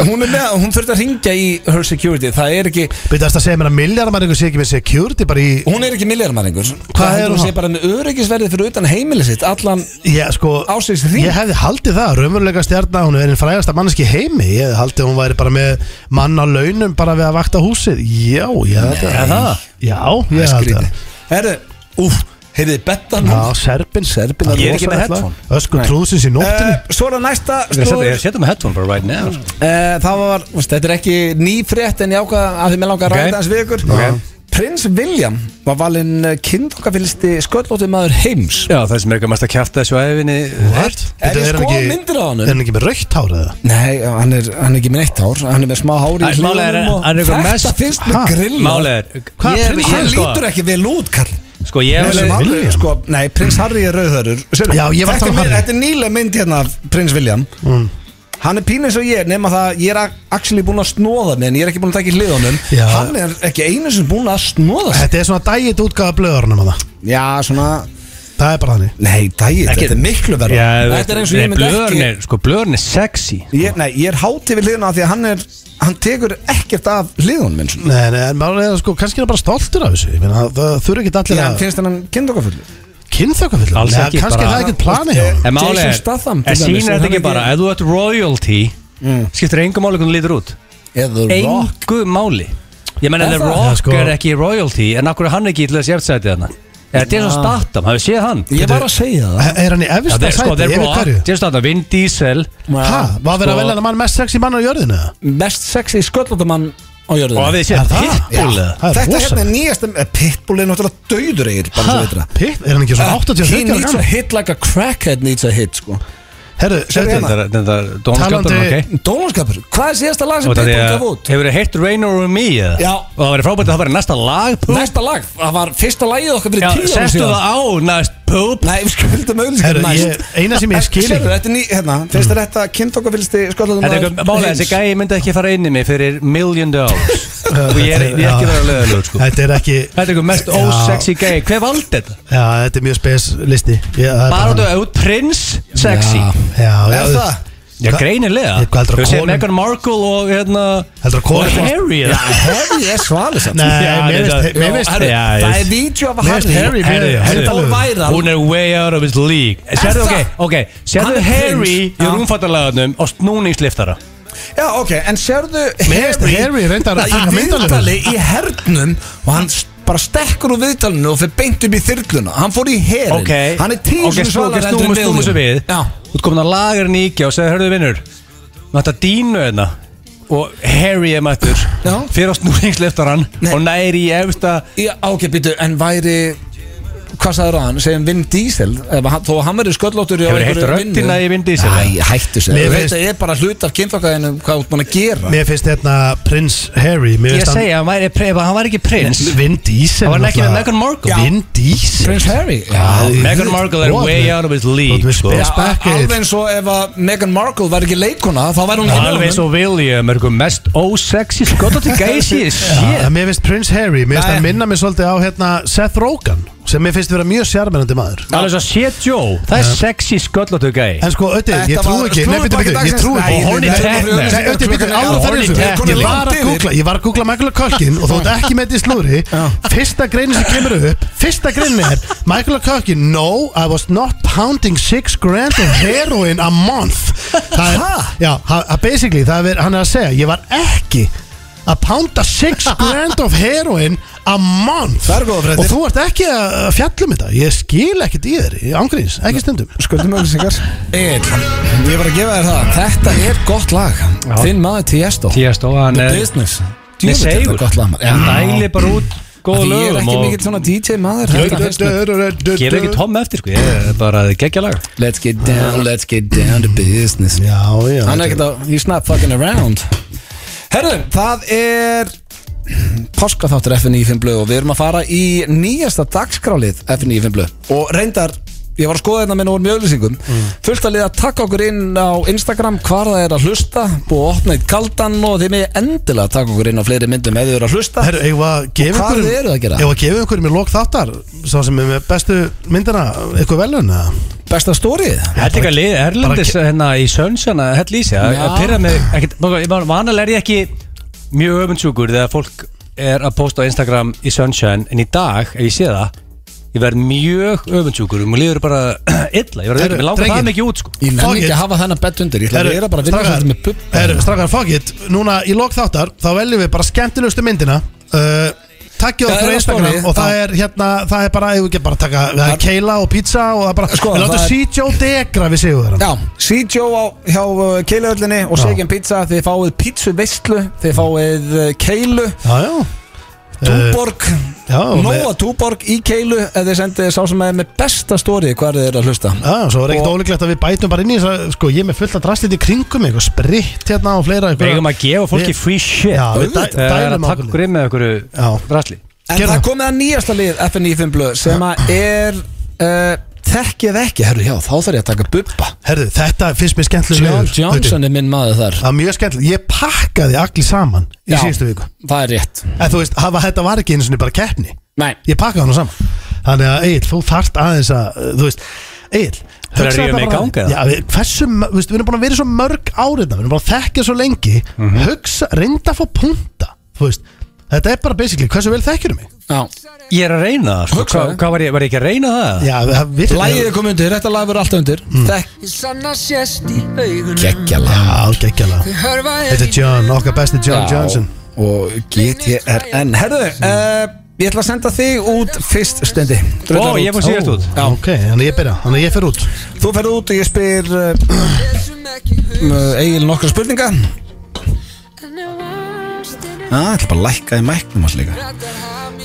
Hún er með, hún þurfti að ringja í her security Það er ekki, Byrðu að segja mér að milljarmæringur sé ekki með security bara í, hún er ekki milljarmæringur er Það er hún hún þá? sé bara með öryggisverði fyrir utan heimili sitt Allan já, sko, Ásins hring. ég hefði haldið það, raunveruleika stjarnar, hún er einn frægasta manneski í heimi, ég hefði haldið að hún væri bara með mann á launum bara við að vakta húsið, já, já, Er það, það? já, ég held það. skrítið Herðu, úf, heyrðið bettan Já, Serbin, Serbinn er Ég er ekki með headphone. Ösku Nei. trúðsins í nóttinu Eh, Svo er það næsta Ég slúður. setja- Ég setja með headphone bara right now sko. Eh, Það var, veist, þetta er ekki ný frétt en ég ákvað að því mér langar að Ok. ræða hans við ykkur Ok. Prins William var valinn kindokafylsti sköllóti maður heims Já, það sem er ekki mest að kjæfta þessu æfinni What? Ef Þetta ég er skoða ekki- myndir af honum. Er hann ekki með raukt hár eða? Nei, hann er, hann er ekki með neitt hár Hann er með smá hár í Æ, málið er- hliðunum og hann er Þetta eitthvað mest- finnst með Ha? grill Málið er Hvað ég- prins- ég- Hann sko- lítur ekki vel út, Karl Sko ég Nei, sem var alveg, William? sko, nei, prins Harry er rauðhörur Sérðu, Já, ég var að þetta, tala er um mynd- Harry. þetta er nýlega mynd hérna af prins William Mm. Hann er pínu eins og ég nema það ég er a- actually búin að snóða mig en ég er ekki búin að taka í hliðunum Já. Hann er ekki einu sem búin að snóða sig Þetta er svona dægit útgáða blöðurnum að það Já, svona, Það er bara þannig nei, dæið, þetta er miklu verra Þetta er eins og ég myndi blöðurinn ekki er, Sko blöðurinn er sexy ég, Nei, ég er hátíð við hliðuna af því að hann er hann tekur ekkert af hliðunum minn svona. Nei, nei, en maður er sko, kannski er hann bara stoltur af þessu Ég meina, það þurfi ekki allir Þegar hann að finnst hann kindokafullu kynþökkafill Alls ekki, Kannski bara- er það ekkert plani hjá hann En máli Jason er, Statham, til en dæmis, sýnir er þetta hann ekki ekki- bara Ef þú ert royalty Skiptir engu máli hvernig þú lítur út Eða rock Engu máli Ég menn Er að The það? Rock Já, sko. er ekki royalty En akkur er hann ekki í til þess jæftsæti þarna Þetta er svo Statham, hafið séð hann? Ah. Ég var að segja það Er hann í efsta Það er sko, sæti, þeir yfir blóða hverju? Jason Statham, Vin Diesel Hæ, var verið að Sko- velja hann mann mest sexy mann á jörðinu? eða? Mest sexy sköllóttamann á jörðinu Og hafið Er séð það? Pitbull Já. eða? Það er Þetta rosalegt. hérna er nýjast eh, Pitbull er náttúrulega döður eigir bara svo veitra Pitt, er hann ekki svona 80 He needs a gammal? hit like a crackhead needs a hit sko Herru, segðu hérna. þetta Þetta er- þetta er Donald Talandi- Gjöldurinn, ok? Dólanskapur, hvað er síðasta lag sem Og það Pitbull er, gaf út? hefur þið heitt Rain Over Me eða? Já. Og það væri frábært að það væri næsta lag pú. Næsta lag, það var fyrsta lagið okkar Já, fyrir tíu árum sestu síðan það á næst púp Nei, við skuldum auðvitað Herru, ég- eina sem ég skil ekki- Mm. Þetta er ný, hérna, fyrst er þetta kynntokafylsti sköllóttamann Þetta er eitthvað málega, þessi gæi myndi ekki fara inn í mig fyrir million dollars og ég er, ég er ekki Já. verið að löða lög sko Þetta er ekki, Þetta er eitthvað mest Já. ósexy gæi, hver valdi þetta? já, þetta er mjög spes listi Ég- það er Bara hann. þú út prins sexy Já, já, Er það? Já, greinilega Ég- hvað heldurðu að Þú séð konum- Meghan Markle og hérna Heldur að og konum Harry eða? Harry er svalið samt Nei, Já, mér þetta- veist- mér Já, veist herru, Já, Já, Það ég- er vídeo af Mér finnst Harry Harry fyrir- Herru, Harry herru, fór væral. Hún er way out of his league það? Sérðu, ok, ok Hann Sérðu er Harry prins. í Já. rúmfattalagunum á snúningsliftara Já, ok, en sérðu finnst Harry reyndar að í taka myndarlegur. viðtali í hernum og hann s- bara stekkur úr viðtalinu og fyrir beint upp í þyrluna hann fór í herin, Ok hann er tíu Ok, sem snú- ok, svalar snúum snúum þessu við Já, Þú ert komin að lagar nýkja og segðu, hörðu vinnur Þetta dínu hérna Og Harry er mættur Já. Fyrir á snúningsliftaran Nei. Og næri í efsta Já, ok, býtu, en væri hvað sagður hann, segjum Vin Diesel ef hann- þó að hann verið sköllóttur í á Hefurðu heyrt einhverju röddina vinnu. í Vin Diesel? Æ, hættu sér, Mér þetta finnst- er bara hlut af kynflokkaðinu hvað þú ert búin að gera Mér finnst hérna prins Harry Mér Ég finnst segja, hann væri, pre- hann væri ekki prins Vin Diesel Hann var ekki með náttúrulega. Meghan Markle. Já. Vin Diesel Prince Harry Já, ég- Meghan Markle er Þú ert way með- out of his Þú ert league með sko. spes Já, backið. alveg eins og ef að Meghan Markle væri ekki leikuna þá væri hún ekki með Alveg honum. svo William er eitthvað mest ósexy skottandi gæsi Já, Shit Mér finnst prins Harry Mér finnst Nei. hann minna mig svolítið á hérna Seth Rogen sem mér finnst vera mjög sjármennandi maður Alveg svo shit Joe Það er sexy skollóttu gæi En sko, Ötti, ég Þetta trú var ekki Nei, slúðurpakki bitur, bitur, ég dagsins. trú Nei, ekki Og Horny Nei, Techner. nei, nei, Ötti, bitur, áður Horny fyrir þessu Techner. Ég var að Langt googla, ég var að googla Michael Culkin og þú ert ekki með þetta í slúðri Fyrsta greinin sem kemur upp Fyrsta greinin er Michael Culkin No, I was not pounding six grand of heroin a month Það er, já, ha- ha- basically, það er, hann er að segja Ég var ekki að pounda six grand of heroin a month Það eru góðar fréttir. og þú ert ekki að fjalla um þetta ég skil ekkert í þér, ég ángríns, ekki stundum Skuldum auðvisingar Ég var að gefa þér það Þetta er gott lag Þinn maður Tiesto Tiesto, hann The er Business Nei, Djöfull er segur þetta gott lag maður. Hann dæli bara út góða Því Ég er lögum ekki og mikill svona DJ maður Þetta finnst mér- gef ekki Já, Tom eftir sko Ég er bara geggja lag Let's get down, let's get down to business já Hann er ekkert að He's not fucking around Herðu, það er Páskaþáttur FN95 blöð og við erum að fara í nýjasta dagskrálið FN95 blöð og reyndar, ég var að skoða þetta með nógur mjög auðlýsingum Mm. fullt að liða að taka okkur inn á Instagram hvar það er að hlusta búið að opna eitt kaldan og þið með endilega að taka okkur inn á fleiri myndum ef þið eru að hlusta Herru, eigum við að Og gefa hvað einhverjum- eru að gera? Eigum við að gefa einhverjum í lok þáttar Sá sem er með bestu myndina Eitthvað velun eða? besta stórið Þetta er eitthvað lið Erlendis hérna í Sönsjana Hell í sig að- Já. að pyrra mig ekkert- Bá, ég var- Vanalega er ég ekki mjög öfundsjúkur þegar fólk er að posta á Instagram í Sunshine en í dag, ef ég sé það ég verð mjög öfundsjúkur og mér líður bara illa, ég verð Heyrðu, öfundsjúkur, ég langar það drengir. mikið út sko Ég Fuck nenni ekki it. að hafa þennan bett undir Ég ætla að vera bara að vinna svolítið með bubba Herru, strakkar, fuck it Núna í lok þáttar Þá veljum við bara skemmtilegustu myndina uh, Já, Takkið okkur á eða Instagram story, Og það já. er hérna Það er bara, eigum við ekki bara að taka það er Keila og pizza og það er bara Sko, Við það látum er- CJ degra við sigur Já, CJO á, hjá uh, Keiluhöllinni og Já. Segen Pizza, þið fáið pizzu veistlu, þið fáið uh, Keilu, Já, já Uh, Túborg, já, og Nóa með- Túborg í Keilu eða þið sendið sá sem er með besta stóri hvað þið eru að hlusta. Já, svo er ekkert Og- ólíklegt að við bætum bara inn í þess að sko, ég er með fullt að drastlit í kringum mig og spritt hérna og fleira Við eigum að gefa fólki free shit Já, við dæ- Það er dælum að á taka okkur. okkur inn með okkur Já. drasli En Gerðu það það. komið að nýjasta lið FNÍ5 blöð sem að er uh, þekkið ekki, herru, já, þá þarf ég að taka bubba. Herðu, þetta finnst mér skemmtilega John Johnson er minn maður þar. Það er mjög skemmtilega, ég pakkaði allir saman í Já. síðustu viku Það er rétt. En þú veist, hafa, þetta var ekki einu sinni bara keppni Nei. Ég pakkaði hann saman Þannig að Egil, þú þarft aðeins að, uh, þú veist Egil, að rífa mig í gang, eða? Já, við, hversu, m- þú veist, við erum búin að vera í svo mörg árið Við erum búin að þekkja svo lengi Mhm. Hugsa, reynda að fá punta Þú veist, þetta er bara basically Hversu vel þekkjur mig? Já. Ég er að reyna það, sko. Hugsaðu. hvað hva var, ég- var ég ekki að reyna það? Já, það virkilega- Lægið er komið undir, þetta lag verður alltaf undir. Mm. Þekk, Ég sanna sést í augunum geggjala. Já, geggjala Þau hörfa Þetta er John, okkar besti John Já, Johnson og GTRN Herðu, uh, Ég ætla að senda þig út fyrst stundi Ó, ég fór síðast út Já. Ok, þannig ég byrja, þannig ég fer út Þú ferð út og ég spyr uh, uh, Egil nokkra spurninga Já, ah, ætla bara að lækka í mæknum hans líka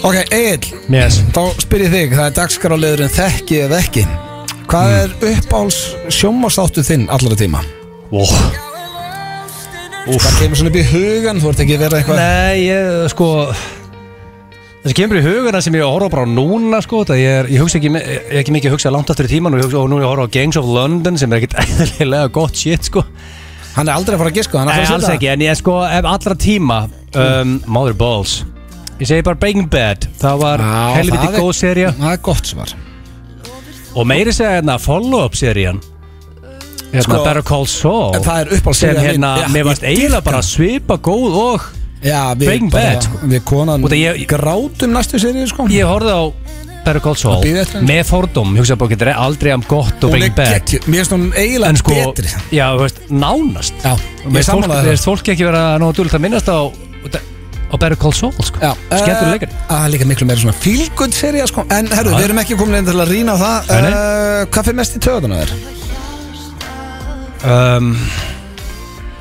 Ok, Egil, Yes þá spyr ég þig Það er dagskráliðurinn þekki eða ekki Hvað Hmm. er uppáls sjómasáttu þinn allra tíma? oh. Úf. Það kemur svona upp í hugan, þú ert ekki að vera eitthvað Nei, ég, sko Það sem kemur í huguna sem ég horfa bara á núna sko, það ég, er, ég hugsa ekki, me- ég er ekki mikið að hugsa langt aftur í tíman og, ég hugsa, og nú er ég að horfa á Gangs of London sem er ekkit eðlilega gott shit sko Hann er aldrei að fara að giska, hann er að Nei, fara að alls setja ekki, en ég sko ef allra tíma um, Mother Balls Ég segi bara Breaking Bad Það var Já, helviti það er- góð serja Það er gott svar Og meiri segja hérna follow-up serían Hérna Sko, Better Call Saul en það er uppáhaldsserían Sem mín. hérna, Já, mér ég varst eiginlega bara svipa góð og Já, við Breaking bara, Bad, sko. við konan Út af ég- grátum næstu serið, sko Ég horfði á Better Call Að bíða Saul eftir henni. Með fordóm, ég hugsaði bara getur aldrei um gott Hún og er Breaking Bad geggjuð. Mér finnst hún eiginlega En sko, betri já, þú veist, nánast Já, ég Mér finnst fólk- sammála mér þér. finnst fólk ekki vera nóg dúlult að minnast á á Better Call Saul, sko Skellur leikari Eh, Það er líka miklu meira svona fílgund serið, sko En herru, við erum ekki komin einn til að rýna á það Nei, nei. uh, Hvað fyrir mest í töðuna þér? um,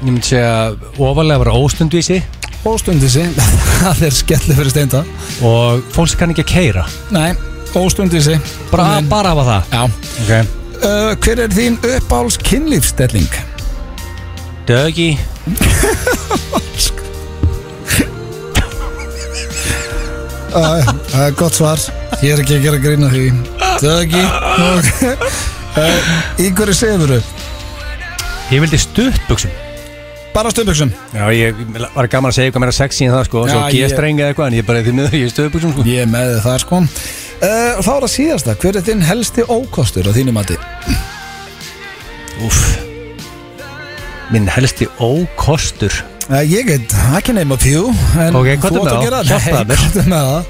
Ég myndi segja ofalega vera óstundvísi Óstundísi, það er skellu fyrir steinda og fólk sem kann ekki að keira Nei, óstundísi bara, bara hafa það Já okay. uh, Hver er þín uppáhalds kynlífstelling? Dögi Það er gott svar Ég er ekki að gera grína því Það er ekki uh, Í hverju sefur Ég vildi stuttbuksum Bara stöðböksum Já, ég var gaman að segja eitthvað meira sexy en það sko Já, Svo ég- G-streng eða eitthvað En ég bara því miður, ég stöðu buksum sko Ég er með það sko uh, Þá er það síðasta Hver er þinn helsti ókostur á þínu mati? Úff Minn helsti ókostur Uh, ég get, I can name a few en Ok, hvað þú átt er með að þá? gera það? Hjálpaðu Nei, mér. hvað er með það?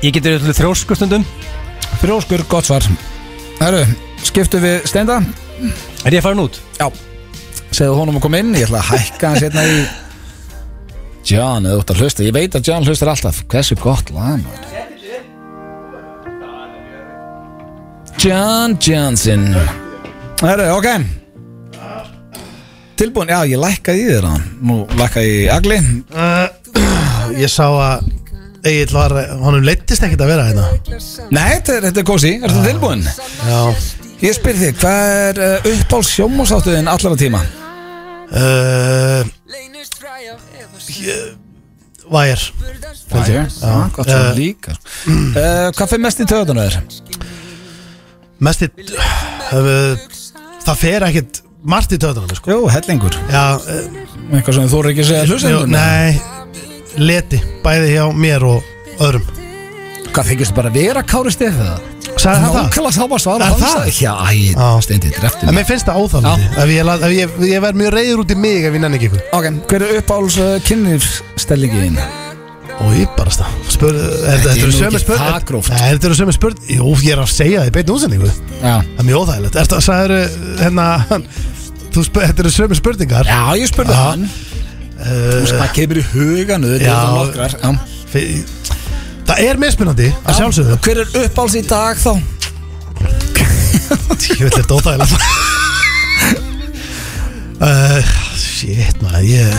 Ég getur öllu þrjóskustundum Frjóskur, gott svar Herru, skiptu við Steinda Er ég farin út? Já Segðu honum að koma inn, ég ætla að hækka hans hérna í John, eða þú ert að hlusta Ég veit að John hlustar alltaf Hversu gott lag maður. John Johnson Herru, ok Tilbúin, já, ég lækkaði í þér hann Nú lækkaði ég í agli Ég sá að Egil var, honum leittist ekkert að vera hérna Nei, þetta er, þetta er kósi, er þetta tilbúin? Já Ég spyr þig, hvað er uh, uppáls sjómúsáttuðin allara tíma? uh, Væjar Það er, já, gott svo Eh, líka uh, Hvað fyrir mest í töðunum þér? Mest í uh, Það fer ekkert margt í töðunum sko. Jú, hellingur Já, uh, Eitthvað sem þú eru ekki að segja jú, hlustendunum nei Leti, bæði hjá mér og öðrum Hvað þykist bara vera Kári Stefið það? Sæði það það? Nákvæmlega sama svar Er og hann það? sagði. Já, æ, Já. steindi, drefti En mig mér finnst það óþálandi ef ég, la- ef ég, ég verð mjög reyður út í mig ef ég nenni ekki ykkur Ok, hver er uppáhalds uh, kynlífsstellingin? Og ég bara stað Spur, er, Þetta er eru nú sömu ekki spurning það gróft. Nei, þetta eru sömu spurning Jú, ég er að segja þið beinu útsendingu Það Já er mjög óþægilegt Ertu að sagður hérna þú spur, Þetta eru sömu spurningar Já, ég spurði Já. hann Þú veist, það kemur í hugan Þetta Já. er það nokkrar Já. Fe- Það er mismunandi að sjálfsögðu Hver er uppáhalds í dag þá? Ég veit þetta óþægilega uh, Shit maður ég...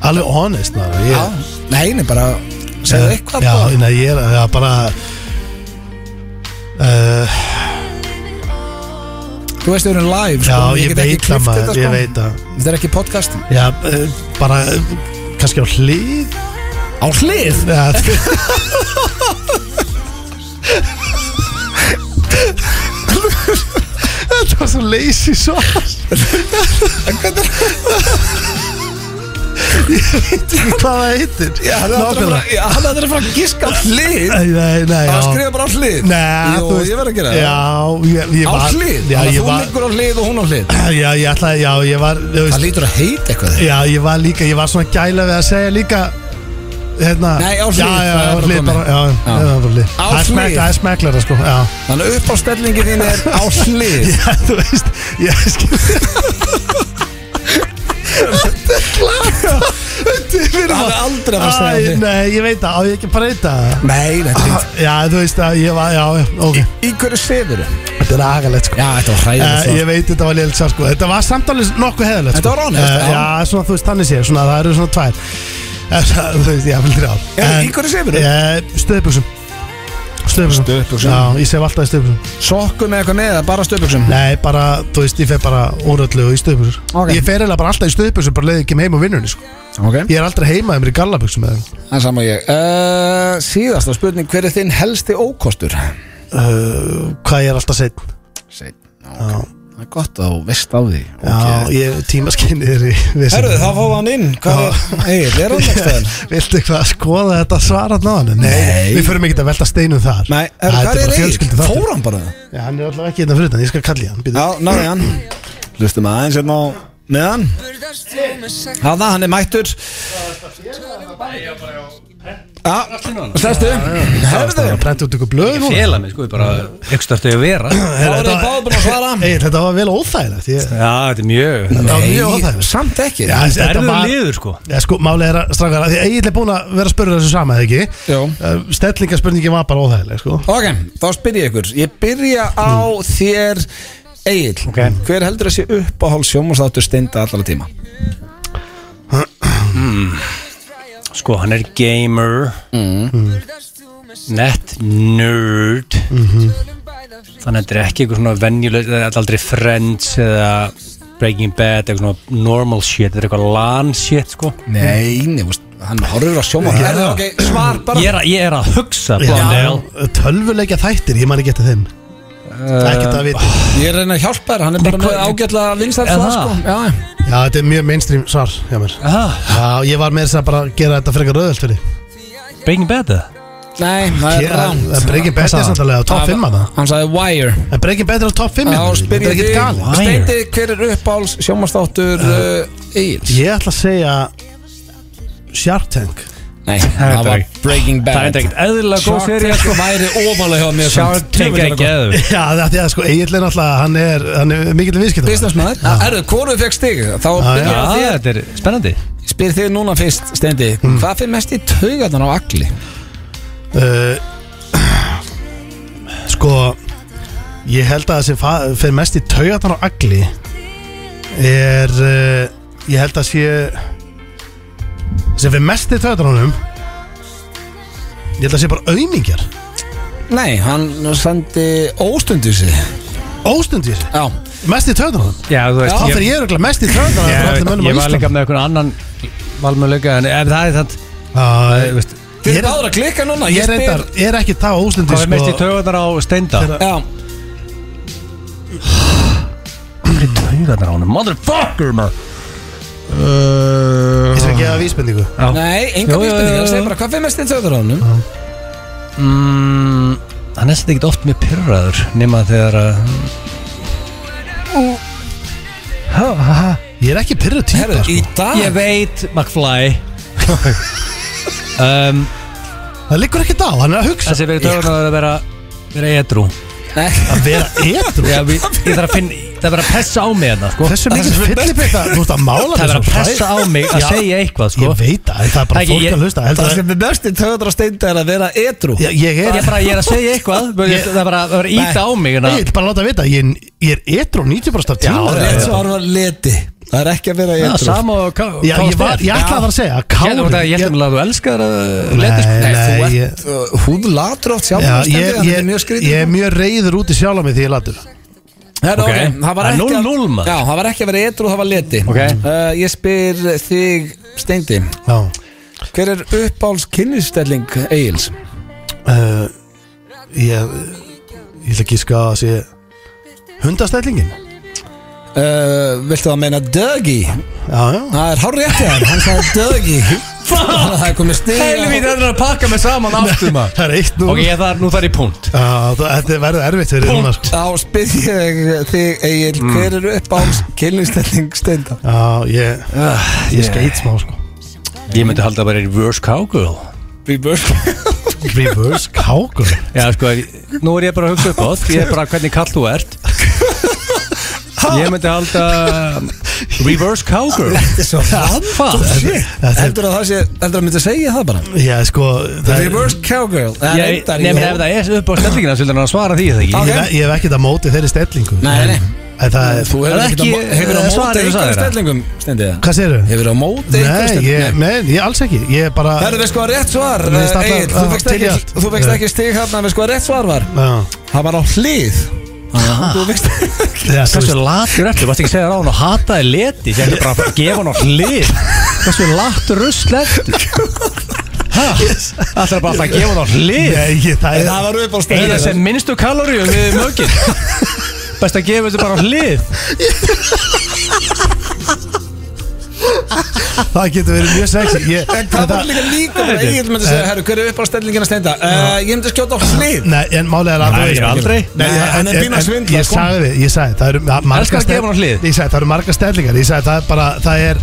Alveg honest maður ég... Já Nei, nei, bara Segðu eitthvað Já, bara. neina, ég er já, bara uh, Þú veist, við erum live Já, sko. ég, get ekki veit klippt það maður þetta, sko. Ég veit það Þetta er ekki podcast Já, uh, bara uh, kannski á hlið Á hlið Já, Þetta var svo leysi svar Ég veit ekki hvað það heitir Já, hann er að fara- já, hann er að fara að giska á hlið Nei, nei, nei Það já. skrifa bara á hlið Nei, Jú, þú veist- ég verð að gera það Já, ég, ég Á var hlið, Já, þannig að ég þú var liggur á hlið og hún á hlið Já, ég ætlaði, já, ég var þú Það veist, lítur að heita eitthvað þegar Já, ég var líka, ég var svona gæla við að segja líka Hérna Nei, á hlið, Já, já, það er á bara hlið komið. bara Já, Já. já, á hlið Á Það er hlið. smekk- Það er smeklar, sko Já Þannig að upp á stellingin þín er á hlið Já, þú veist, ég skil Þetta er klart Það Fyrir er maður. aldrei að fara að segja Æ, þig. Nei, ég veit það, á ég ekki að breyta það Nei, þetta er fínt. Já, þú veist að ég var, já, já, ok Í hverju seður Já, Þetta er agalegt, sko þetta var hræðilegt Uh, svar. ég veit þetta var lélitt svar sko Þetta var samt alveg nokkuð heðalegt Þetta var honest, já. já svona þú veist þannig sé svona, Það eru svona tvær Eh, Þú veist ég hafði þrjá Já, í hverju segirðu? Stöðbuxum Stöðbuxum Stöðbuxum. Eh, Já ég sef alltaf í stöðbuxum Sokkum eða eitthvað með eða bara stöpuksum Nei bara þú veist ég fer bara úröllu og í stöðbuxur Ok. Ég fer eiginlega bara alltaf í stöðbuxum bara leiði ekki heim á vinnunni sko Ok Ég er aldrei heima þegar mér í gallabuxum eða Það er sama og ég uh, Síðasta spurning, hver er þinn helsti ókostur? uh, Hvað ég er alltaf seitt Sein, ok Það er gott að þú veist á því Já ég tímaskynni er í Herðu, þá fáum við hann inn Hvað er, Egill, er hann ekki staðan? Viltu eitthvað að skoða þetta svara náðan? Nei, Nei. Við förum ekkert að velta steinum þar Nei, herðu, Það hvað bara er Egil? fjölskyldu Fór hann bara? Já, hann er alltaf ekki hérna fyrir þetta, ég skal kalli hann býtu. Já, náði hann Hlustum aðeins hérna á meðan Hanna, hann er mættur Já, sestu Herðu, Það er brent út ykkur blöð núna Fela mig, sko, ég bara Ykkur startu að vera þá er þið báðum búin að svara Ey, þetta var vel óþægilegt ég, Já, þetta er mjög Þetta var mjög Nei, óþægilegt samt ekki Já, Þetta er þetta erfiður var liður, sko Já, sko, málið er að strafgar Því Egil er búin að vera að spyrja þessu sama, eða ekki? Jó. Uh, Stellingaspurningin var bara óþægileg, sko Ok, þá spyr ég ykkur Ég byrja á þér Egil, Ok. hver heldur þessi uppáhál sjómasáttur steinda allara tíma? Sko, hann er gamer Net nerd Þannig að þetta er ekki eitthvað svona venjuleg Það er aldrei Friends eða Breaking Bad, eitthvað svona normal shit Þetta er eitthvað LAN shit, sko Nei, nefnst, hann horfur á sjómasáttur Herðu, ok, svar bara Ég er, að- ég er að hugsa sko. Blondel Já, Tölvuleikja þættir, ég man ekki eftir þeim Eh. Ekkert að vita Ég er að reyna að hjálpa þér, hann er bara Nei, með hvað- ágætla vinstar Er svar það? sko Já, Já, þetta er mjög mainstream svar, já mér ah, Já, ég var með þess að bara gera þetta frekar rauðvöld fyrir Breaking Bad eða? Nei, það er Ég- rámt Það breygin betri samtalega á top 5 að það Hann sagði Wire Það breygin betri á top 5 Þá Þetta spyr er ég ekkert þig, galið Wire. steindi hver er uppáhals sjómasáttur uh, Egil? Ég ætla að segja Shark Tank Nei, er það var ekki- Breaking Bad Það er ekkert eðlilega góð Shark serið Tank væri ofalega hjá mér Shark samt. Tank er Tjöfull er það geður Já, það er því að sko Egil er náttúrulega Hann er, hann er mikill viðskipt Businessmaður Erðu, hvoru fekk stig? Þá já. byrjar Já, þér þetta er spennandi Spyr þig núna fyrst, Steindi Hvað fyrir mest í taugarnar á agli? uh, Sko Ég held að það sem fa- fer mest í taugarnar á agli Er uh, Ég held að sé Sem fer mest í taugarnar á honum Ég held að sé bara auðmingjar Nei, hann sendi óstundu sig Óstundir Já, Mest í taugarnar á honum Já, þú veist Já, Þá ég- fer ég örugglega mest í taugarnar Já, á ég, allir mönnum á ég var Íslandi. líka með einhvern annan valmöðleika en ef það er það Já, þú veist, þið Ég er- er báður að klikka núna Ég reyndar, er ekki það sko. óstundir hvað er mest í taugarnar á steinda Þeirra- Já, taugarnar á hann, motherfucker maður. Ég skal gefa vísbendingu Já. nei, enga Jú, jú, jú, vísbendingar jú. Það segir bara hvað fyrir mest í taugarnar á hann mm, hann er svolítið ekkert oft með pyrraður nema þegar að Ég er ekki pyrru típa Herðu, sko. í dag ég veit McFly um, Það liggur ekki þá, hann er að hugsa þessi fyrir taugarnar er að vera vera edru Nei, Að vera edru Já, vi, ég þarf að finna, það er verið að pressa á mig hérna sko. Þessu mikið fyllipetta Þú ert að mála það er verið að pressa á mig að Já. segja eitthvað sko. Ég veit það, en það er bara Ekki, fólk ég- að hlusta það heldur að- sem er mest í taugarnar á Steindi er að vera edru Já, Ég ég, er bara, ég er að segja eitthvað Ég- það er bara það er að íta á mig hérna. Ég vil bara láta vita Ég ég er edru 90% af já, tíma Rétt svar var leti Það er ekki að vera Já, edru sama og ká- Já, ég, kást var, er. ég ætlaði að fara að segja að Ég held Kári að ég held að þú elskar að leta sko. Nei, Nei, nei þú ég- ert uh, húðlatur oft sjálf Já, Steindi, ég- þannig ég- er mjög skrítið Ég er mjög reyður út í sjálf á mig því ég latur Herra, Ok. okay. Það var Það er ekki að- 0-0 maður. Já, það var ekki að vera etru og það var leti Ok. uh, Ég spyr þig Steindi Já Hver er uppáhalds kynningsstelling Egil's? uh, Ég Ég ætla að gíska að sé Hundastællingin Uh, viltu það meina Dögi? Já, já Það er hár rétt hjá hann, hann sagði Dögi Það er komið stig Helvíð er að pakka mig saman aftur maður Það er eitt nú Ok, ég þar, nú þar í punkt Já, það- Þetta er verið erfitt fyrir hérna sko. Þá spyr ég þig Egil Mm. Hver er uppáhalds kynningsstelling Steinda? Já, ég, ég skeit smá sko. Ég myndi halda bara í reverse cowgirl Reverse Reverse kákur Já, sko, nú er ég bara að hugsa upp átt Ég er bara hvernig kall þú ert Ég myndi halda Reverse cowgirl Þetta er svo Fuck, Shit. Heldur að það sé Heldur að myndi segja það bara Já, sko það er- Reverse cowgirl Eða Ég reyndar, nefnir jú. ef það er upp á stellingina Svildur hann að svara því Já, eða ekki Ég hef- Ég hef ekkert að móti þeirri stellingu Nei, nei. En það er Þú hefur Það er ekki ekki, Hefur á eh, móti svarið þú sagðir einhverjum það. stellingum Stendi það Hvað segirðu? Hefur á móti einhverjum Nei, ég, stellingum nei, ég alls ekki Ég er bara Það er við sko að rétt svar Mér finnst alltaf- Egil, þú að- vext til í allt. ekki Þú vext Nei. ekki stig hérna Við sko að rétt svar var Já, Það var á hlið Þú vext ekki Já, Hversu þú veist, latur ertu, varst ekki að segja það á hann og hataði leti Ég ætla bara að gefa hann á hlið Hversu latur rusl ertu Hæ? Það er bara alltaf að gefa hann á hlið Nei, ég, það Það er var upp á Eða stellingum sem minnstu kaloríu við mögin Best að gefa þetta bara á hlið Það getur verið mjög sexy ég, En hvað var líka líka bara Egil myndi segja Herru, hver er upp á stellingina Stenda Eh, Ég myndi skjóta á hlið Nei, en málega er að Nei, ég aldrei. Nei, Nei, en- hann er en- bína en- svindla, Ég sko. sagði við, ég sagði Það eru ma- margar Elskar að gefa hann á hlið. stell- Ég sagði, það eru margar stellingar Ég sagði, það er bara, það er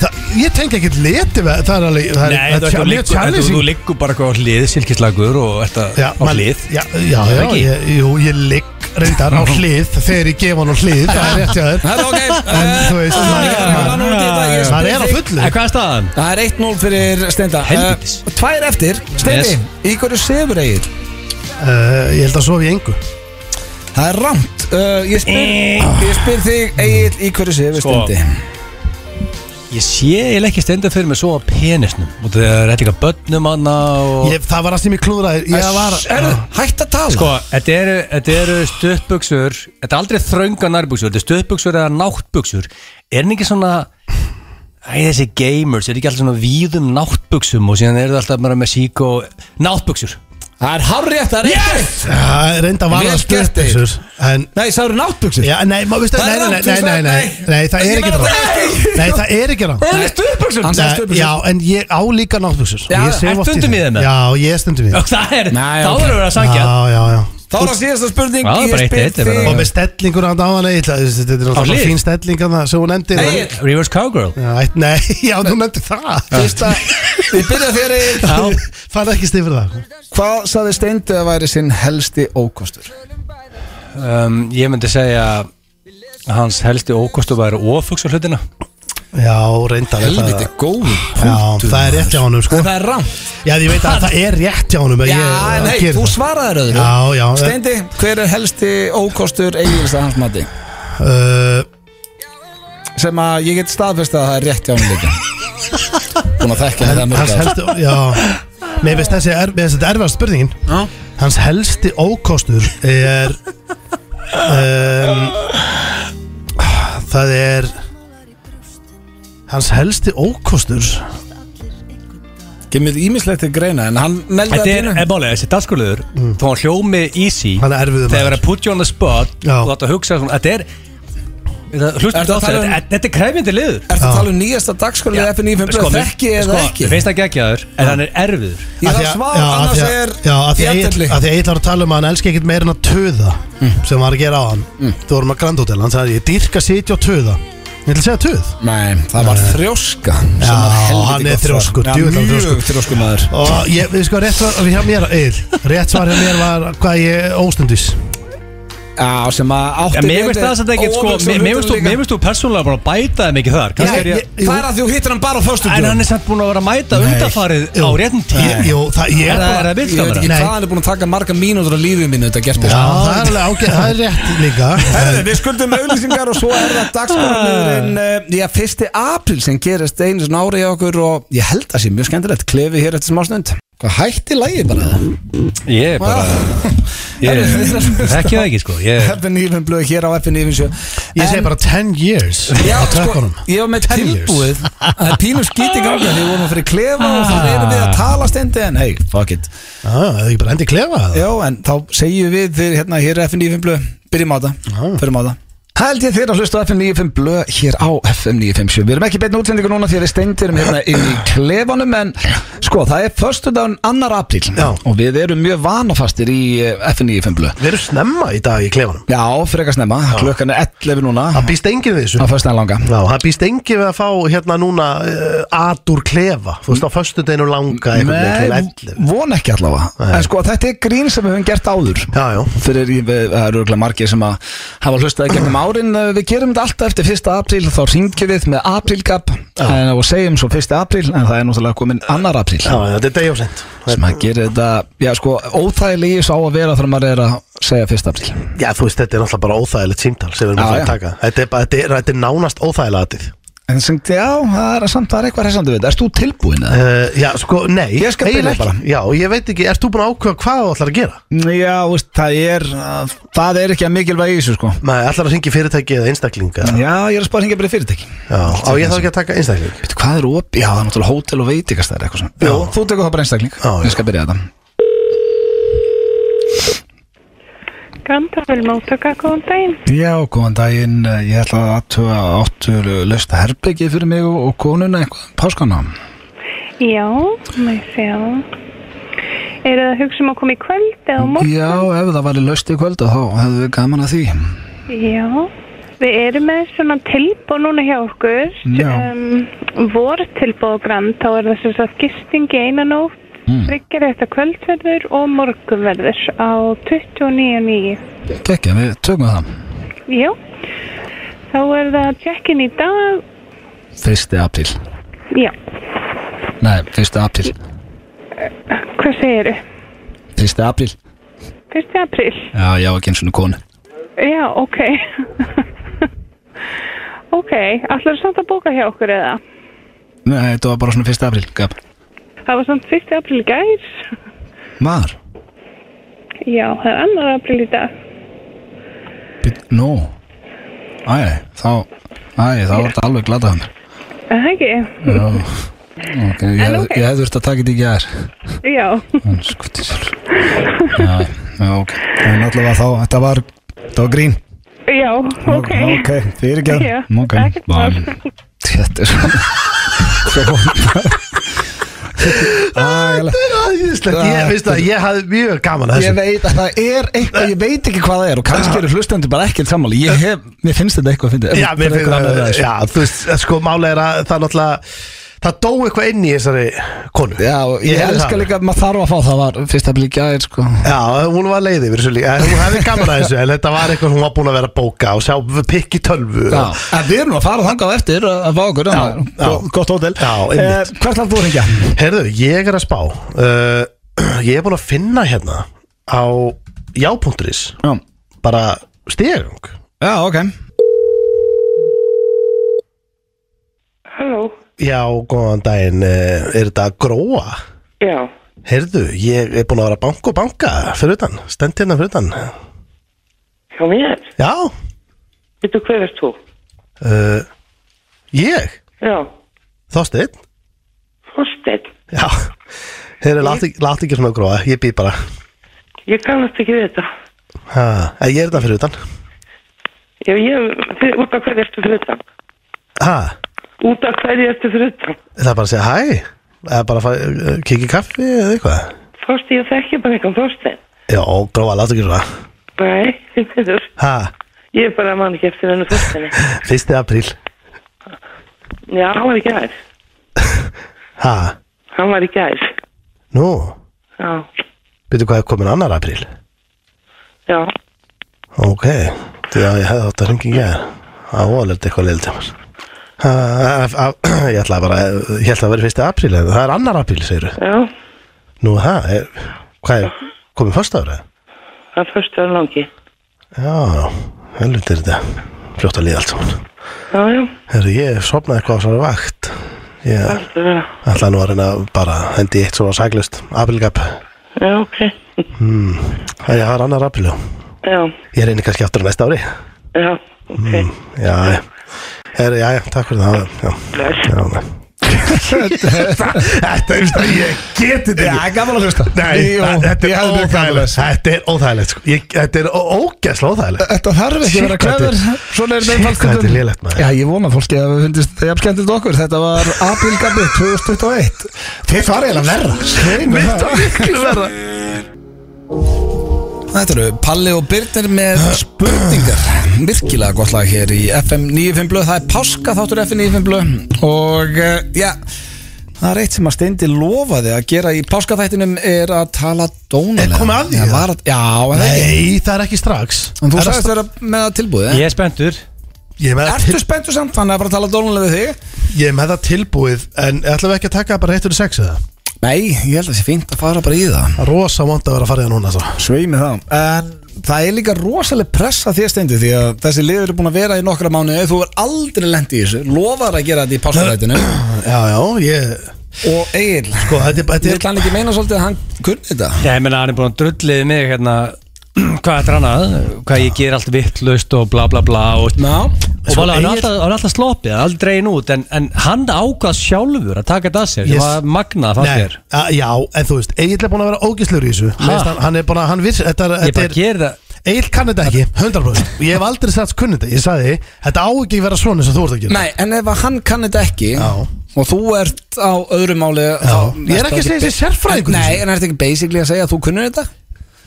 það, Ég tengi ekkert leti við Það er alveg, það Nei, er þetta tja- er ekki mjög að liggur Þú challenging liggur bara eitthvað á hlið, silkislagur og þetta Já, á man- hlið Já, já, já, Ekki? ég, jú, ég ligg reyndar á hlið Þegar ég gef hann á hlið Það er rétt hjá þér Það er ok Eh, En þú veist, maður- veist Það er á fullu En hvað er staðan? Það er 1-0 fyrir Steinda Helvítis. Eh, Tvær eftir Steindi, í hverju sefur eigið? Uh, Ég held að sofi í engu Það er rámt uh, ég, spyr, ég spyr þig eigið í hverju sefur Sko. Steindi Ég sé eiginlega ekki stenda fyrir mig svo á penisnum og það er eitthvað börnum hana og ég, Það var að sem ég klúðraði Ég var Er hægt að tala? Sko, þetta eru, þetta eru stuttbuksur Þetta er aldrei þrönga nærbuksur Þetta er stuttbuksur eða náttbuksur Er hann ekki svona Æ, þessi gamers, er ekki alltaf svona víðum náttbuksum og síðan eru það alltaf bara með sík og náttbuksur Það er hárrétt, það er eitt yes! Já, reynda eh, var Vel það gert, Egill. stuttbuksur En Nei, það eru náttbuksur Já, nei, maður veistu, Það nei, er nei, rangt, nei, þú nei, sagði nei, nei. nei, það Ég er ekki meina, rann nei. Nei, það er ekki rann Það eru stuttbuksur Hann sagði Já, stuttbuksur en ég á líka náttbuksur Já, Ég sef ert oft stundum í þeim, eða? Já, ég er stundum í þeim Það er, Nei, þá ok. verður við að Já, sangja já, já Þá er það síðasta spurning Já, bara Ég eitt, eitt, spyr þetta er þig bara- Og með stellingur hann á hann Þetta þetta er hlið? náttúrulega fín stelling hann sem hún nefndi Egill. Reverse Cowgirl Já, ætt- Nei, já, þú nefndi það Fyrsta Við byrja þér eigið Fann ekki stifur það sko. Hvað saði Steindi að væri sinn helsti ókostur? um, Ég myndi segja að hans helsti ókostu væri ofugsa hlutina Já, reynda Helviti góð Já, það er rétt hjá honum, sko Það er rangt Já, ég veit að það er rétt hjá honum Já, en hei, þú svaraðir öðru Já, eh, já. Steindi, hver er helsti ókostur eigins að hans mati? svart Sem að ég get staðfest að það er rétt hjá hann líka Búin að þekka þetta mörg hans ár. helstu, já mér finnst þessi er, mér finnst þetta erfast spurningin Já. hans helsti ókostur er um, það er hans helsti ókostur Kemur ímislegt til greina En hann meldi að Þetta er, pínu er málega, þessi danskurliður Þó hann hljómi easy Hann er erfiður Þegar maður. verið að put you on the spot Já. Og þetta hugsa svona, þetta er þetta- Ertu Hlustu að á tala þetta, um- Sko, þetta- þetta er Sko, krefjandi liður Ertu að tala um nýjasta dagskorlega FNÍ 5 blöð Þekki eða ekki? Finnst það geggjaður, en hann er erfiður Ég Af þarf því að- svar, já, af annars því að- er já, af því að jafntefli. Egill- af því að Egil var að tala um að hann elski ekkit meira en að töða sem var að gera á hann þú vorum að Grand Hotel, hann sagði ég dyrka sitja og töða ég ætla að segja töð Nei, það var þrjóska sem Já, var helviti hann er gott svar. þrjóskur, Já, djöfull er hann Mjög þrjóskur. þrjósku maður og ég, við sko rétt svar hjá mér, Egil rétt svar hjá mér var hvað ég óstundis Já, sem að átti En mér finnst það sem þetta ekkert sko óvöxum mér- hlutum Mér finnst þú- líka. mér finnst þú persónulega bara að bæta þeim ekki þar Kannski Ég- er ég- ég- Það er að þú hittir hann bara á föstudag En hann er samt búin að vera að mæta undarfarið á réttum tíma Jú, það, ég Er það- er Ég veit það bildkamera? ekki Nei. hvað hann er búin að taka marga mínútur á lífið mínu þetta gert Já, það er alveg ágæð, það er rétt líka Herðu, við skuldum auðlýsingar og svo er það Ah. dagskorðanurinn Já, fyrsti april sem gerist einu svona ári í okkur og ég held að sé mjög skemmtilegt klefið hér eftir smásnund Hvað hætti lægið bara það? Ég er bara Ég Herðu, þið er að hlusta þekki það ekki sko Ég Heppin Ífinn blöð hér á Heppin Ífinn sjö Ég segi bara 10 years Já, á sko, tökkunum ég var með Ten years. tilbúið að það er pínum skýti gangi því við vorum að fyrir klefa og Ah. það erum við að tala stendi en hey, fuck it Já, það er ekki bara endi klefa það Jó, en þá segjum við þér hérna hér er FM 95 blöð, byrjum á þetta, förum á það Það held ég þér að hlusta á FM 95 blöð hér á FM 95 Við erum ekki beinn útsendingu núna því að við steindirum hérna inn í klefanum en sko, það er förstudagun 2. apríl Já. og við erum mjög vanafastir í eh, FM 95 blöð Við erum snemma í dag í klefanum Já, frekar snemma, klukkan er 11 núna Það býst enginn á við þessu förstudagun langa Já, það býst enginn við að fá hérna núna uh, atur klefa Þú veist á föstudeginu langa einhvern veginn til 11. von ekki allavega En sko þetta er grín sem við höfum gert áður Já, já Fyrir, í- við- það eru örugglega margir sem að hafa hlustað í gegnum árin eh, við gerum þetta alltaf eftir 1. apríl þá ringjum við með aprílgap en, og segjum svo 1. apríl en það er náttúrulega komin 2. apríl Já, þetta er degjofsend sem að gera þetta, já sko, óþægilegi sá að vera þegar maður er að segja 1. apríl Já, þú veist, þetta er náttúrulega bara óþægilegt símtal sem við erum Já, að fara já. að taka Þetta er, bara, þetta er, þetta er nánast óþægilega aðið En sem, já, það er samt, það er eitthvað hressandi við þetta Erst þú tilbúin að? uh, Já, sko, nei Ég skal eiginlega byrja bara. ekki. Já, og ég veit ekki, ert þú búin að ákveða hvað þú ætlar að gera? Já, þú veist, það er, uh, það er ekki að mikilvæg í þessu sko Nei, ætlar að ringi fyrirtæki eða einstaklinga Já, Já, ég er að spara hingja bara í fyrirtæki á ég þá ekki að taka einstakling Veitu, hvað er opið? Já, það er náttúrulega hótel og veitikastæðir eitthvað svona Já, þú tekur það bara einstakling Já, já. Ég skal byrja þetta Gandalf, móttaka, góðan daginn. Já, góðan daginn, eh, ég ætla að aðtuga áttu lösta herbyggi fyrir mig og, og konuna eitthvað, um páskana Já, maður sjá. Eru það að hugsa um að koma í kvöld eða á morgun? Já, ef það væri löst í kvöldu þá hefðu við gaman að því Já. Við erum með svona tilbúð núna hjá okkur. Já. Um, vor tilbúð og grand, þá er það sem sagt gisting í einan nótt, Mm. tryggir þetta kvöldverður og morgunverður á 29.9. Gekki, við tökum það Já. Þá er það check-in í dag. Fyrsti apríl Já. Nei, fyrsti apríl Hvað segir þau? Fyrsti apríl 1. apríl. Já, já, ekki eins og konu Já, ok. ok, allar samt að bóka hjá okkur eða? Nei, þetta var bara svona 1. apríl gap. Það var samt 1. apríl í gær. Maður, Já, það er annar apríl í dag. být, nú Æ, þá Æ, þá var þetta alveg glatað mér Er Það ekki? Já Ok, ég En hefði ok. okay. hef þurft að taka þetta í gær Já, En skutti sér Já, já, ok En allavega þá, þetta var, þetta var grín já, ok. Ok, fyrir gæð Já, Ok, ekkert mál. Þetta er svona Ægælega Það er æðislegt, ég veist að ég hafði mjög gaman að Ég þessu veit að það er eitthvað, ég veit ekki hvað það er og kannski eru hlustendur bara ekkert sammáli Ég hef, mér finnst þetta eitthvað að finna Já, mér finnst það, já, þú veist, sko, málega er að það er náttúrulega Það dó eitthvað inn í þessari konu Já, og ég, ég Ég heyrði elska það. líka að maður þarf að fá það var fyrst að bli gæðir sko Já, hún var leiði yfir þessu líka En Hún hefði gaman að þessu, en þetta var eitthvað sem hún var búin að vera að bóka og sjá pikk í tölvu Já, og- en við erum að fara þangað eftir að að fá okkur annað. já. Gott- Gott hótel Já, eh, einmitt. Hvert langt þú að ringja? Herðu, ég er að spá uh, Ég er búin að finna hérna á já.is Já, bara stegang já ok Halló, Já, góðan daginn, uh, er þetta gróa? já. Herðu, ég er búin að vera að banka og banka fyrir utan, stend hérna fyrir utan Hjá mér? Já, Veitu hver er þú? uh, ég, Já, Þorsteinn Þorsteinn. Já, herðu, látt ekki, lát ekki svona gróa, ég býð bara Ég kannast ekki við þetta. ha, en Ég er þetta fyrir utan Ég, ég, þið, út af hverju ertu fyrir utan? ha, Út af hverju ertu fyrir utan? Það er bara að segja hæ eða bara að fara, uh, kikið kaffi eða eitthvað Þorsteinn, ég þekki bara eitthvað Þorsteinn. Já, gróa, látt ekki svona Nei, þið finnur. ha, Ég er bara mann ekki eftir hennu Þorsteinni. 1. apríl Já, hann var í gær. ha, Hann var í gær. Nú, Já, byrju hvað er komin annar apríl já. Ok, já ég hefði átt að ringi í gæðir Það var alveg eitthvað leiltímar Ég ætlaði bara Ég ætlaði að vera fyrsti apríl en Það er annar apríl, segir Já, Nú það, er, hvað er, komið fyrst ára? það er fyrstu að langi. Já, helviti er þetta Fljótt að líða allt saman Já, já, Herru, ég sopnaði eitthvað á svona vakt Ég alltaf vera. ætlaði nú að reyna að bara hendi í eitt svona sæklust aprílgap Já, ok. Það er- það er annar apríl, já Já, Ég reyni kannski aftur á næsta ári já, ok. Já, já, Herru, já, já, takk fyrir það Já, Bless. já, nei Þetta er umstæð, ég geti þetta Já, ekki gaman að hlusta Nei, Jú, þetta ég hefði er verið óþægilegt gaman. Þetta er óþægilegt sko. Ég- Þetta er ó- ógeðslega óþægilegt Þetta þarf ekki að vera Shit, hvað klæður þetta- Svona er shit, nefn hvað þetta er lélegt, maður. Já, ég vona fólki að við fundist það jafn skemmtilegt og okkur Þetta var Abil Gabi 2021 Þið farið eiginlega verra Mitt að miklu verra Þetta eru Palli og Birnir með spurningar Virkilega gott lag hér í FM 95 blöð Það er páska þáttur FM 95 blöð Og eh, já Það er eitt sem að Steindi lofaði að gera í páskaþættinum er að tala dónulega Er komið að því, Það ja? var að- Já, en það ekki Nei, það er ekki strax En þú Er það sagðist vera með það tilbúið eh? Ég er spenntur Ég er með það Ertu spenntur samt þannig að bara tala dónulega við þig? til- ég er með það tilbúið En ætlum við ekki að taka það bara réttur í sex eða? Nei, ég held að það sé fínt að fara bara í það Það er Rosa vond að vera að fara í það núna svo. Sveimi það En það er líka rosaleg pressa þér Steindi Því að þessi liður er búin að vera í nokkra mánu Þú er aldrei lent í þessu Lofar að gera þetta í páskaþættinum Já, já, ég Og Egil Sko, þetta er, Ég þetta er kann ekki meina svolítið að hann kunni þetta Já, ég meina, hann er búin að drullið mig hérna hvað þetta er annað, hvað ég ger allt vittlaust og bla bla bla og, Ná, og Sko, sko, hann er Egill- alltaf, hann er alltaf sloppið, hann er aldrei dregin út en, en hann ákvað sjálfur að taka þetta að sér Yes. sem var magnað fannst Nei, þér að, já, en þú veist, Egil er búin að vera ógislur í þessu Mér finnst hann, hann er búin að, hann viss þetta er, Ég þetta bara er, ger það Egil kann þetta ekki, 100% Ég hef aldrei sagt kunni þetta, ég sagði Þetta á ekki að vera svona sem þú ert að gera Nei, en ef að hann kann þetta ekki Já. og þú ert á öðru máli þá Ég er ertu ekki að segja ba- þessi sérfræðingur í Nei, þessu. en ertu ekki basically að segja að þú kunnir þetta?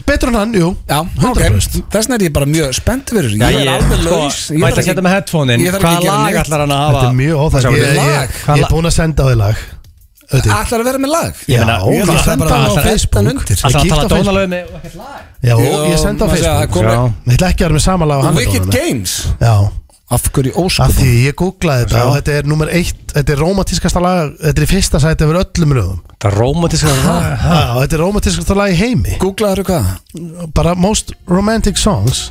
Betur en hann, jú, Já, ok, 100% þessna er ég bara mjög spennt fyrir þessu. Já, Ég er ég- alveg sko, laus Ég mætti þarf að setja með headphone-in. Ég þarf Hvaða ekki að lag gera ætlar hann að hafa? Þetta er mjög óþægt Sjá, ég, ég, lag. ég, ég er búin að senda á því lag Öti. neitt Ætlar að vera með lag? Já, ég ég ætla bara senda að ætlar hann á að elta hann Facebook undir. Ég Alltaf að kíkti tala á Facebook dónalega með og ekkert lag Já, Jú, ég senda á maður segja, það Facebook kom- Já. Ég ætla ekki að vera með sama lag á hann Wicked Games Já, Af hverju Af því óskum? ég googlaði þetta og þetta er nummer eitt Þetta er romantískasta lag Þetta er í fyrsta sæti yfir öllum röðum Það er rómatísk að það Já, Þetta er romantískasta lag í heimi Googlaður hvað? Bara most romantic songs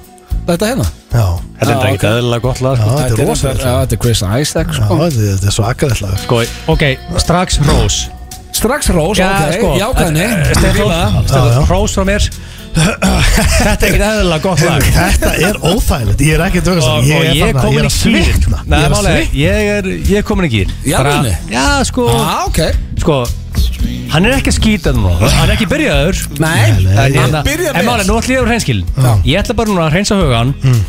Þetta hérna? Já, Þetta er Já, ekki eðlilega gott lag já sko. þetta er rosalegt Já, lag. Þetta er Chris Isaac Já, sko. Þetta þetta er svakalegt lag Sko, ok, strax hrós Strax Rós, ok, sko. sko, jákvæðni Stefán, Já, já. Stefán, hrós frá mér Þetta er ekki eðlilega gott lag Þetta er óþægilegt, ég er ekki að dögast og, og ég er komin í kýr Nei, Nei, málega, ég er, ég er komin í kýr Já, Bara- meni. Já, sko, Já, ok sko Hann er ekki að skýta núna Hann er ekki byrjaður Nei, En, hann hérna, byrjar en vel. málega, nú ætlum ég að vera hreinskilin Ég ætla bara núna að hreinsa hugan Hmm.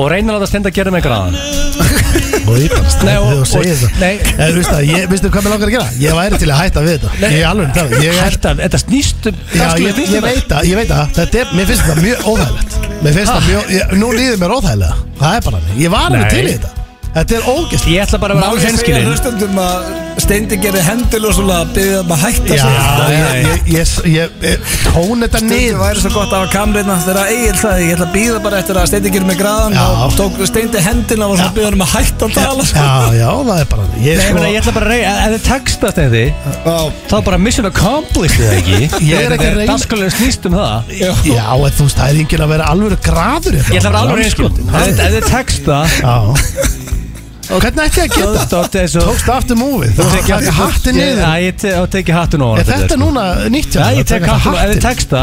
Og reyna að láta stenda að gera mig gráðan Og ég bara hérna- Nei, stæði og- og segja og- þetta nei. En þú veist það, ég- veistu hvað mér langar að gera? Ég væri til að hætta við þetta Ég er alveg það, ég er Þetta, þetta snýst um- Já, það skilur ég, snýst ég um- veit það, ég veit það Þetta er, mér finnst þetta mjög óþægilegt Mér finnst það mjög, ég, nú líður mér óþægilega Það er bara hann, ég var Ah. alveg Nei. til í þetta Þetta er ógæst Ég ætla bara að vera Má alveg ég segja hreinskilin hlustandum að Steindi gerir hendil og svona að byggja um að hætta Já, sig ég, ég, ég, ég, ég tón þetta Steindi niður væri svo gott að hafa kamreina þegar Egil sagði ég ætla að býða bara eftir að Steindi gerir mig graðan Já. og tók Steindi hendina og var svona að byggja um að hætta að tala sko. Já, já, það er bara hann Ég, Nei, ég meina, sko, ég ætla bara að reyna Ef þið textast eða Þá bara mission accomplished eða ekki Ég er ekki að reyna- Daskulega snýst um það já, en þú veist, það er enginn að vera alveg graður Ég ætla að vera sko. alveg Rammskotin, reynskilin Ef ef þið texta Já Og hvernig ætti ég að geta? Tókst þessu Tókst aftur múfið Þú tekið ekki hattin niður Já, ég te- og teki hattin ofan á Er þetta sko. núna nýtt hjá Já, þér, ég að tek taka hattin ofan Ef þið hattinn? texta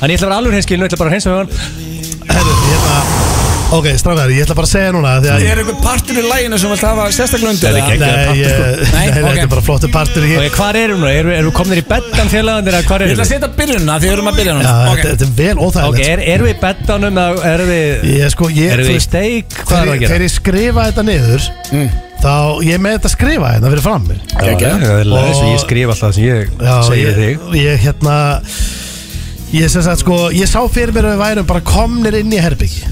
Þannig ég ætla að vera alveg reynskilin Ég ætla bara að reynsa hugan Herru, hérna Ok, strákar, ég ætla bara að segja núna því að Er einhver partur í læginu sem vilt hafa sérstaklega undir Það er ekki það? ekki. Nei, Nei, ég, nei, ok. þetta er bara flottu partur ekki Ok, hvar erum nú? Eru eru komnir í beddan félagandir eða hvar Ég erum ætla að við? setja byrjunna því við erum að byrja Já, núna þetta, Ok. þetta er vel Ok, óþægilegt er- erum við í beddanum eða erum við Ég sko, ég Erum þú við í veist, steik? Hvað Þegar er það að ég- gera? þegar ég skrifa þetta niður Þá, ég er með þetta skrifa hérna fyrir fram mig Já, Ekki, ekki. það er leið sem Og- ég skrif alltaf sem ég Já, segi við ég, þig ég hérna Ég sem sagt sko, ég sá fyrir mér að við værum bara komnir inn í herbyggi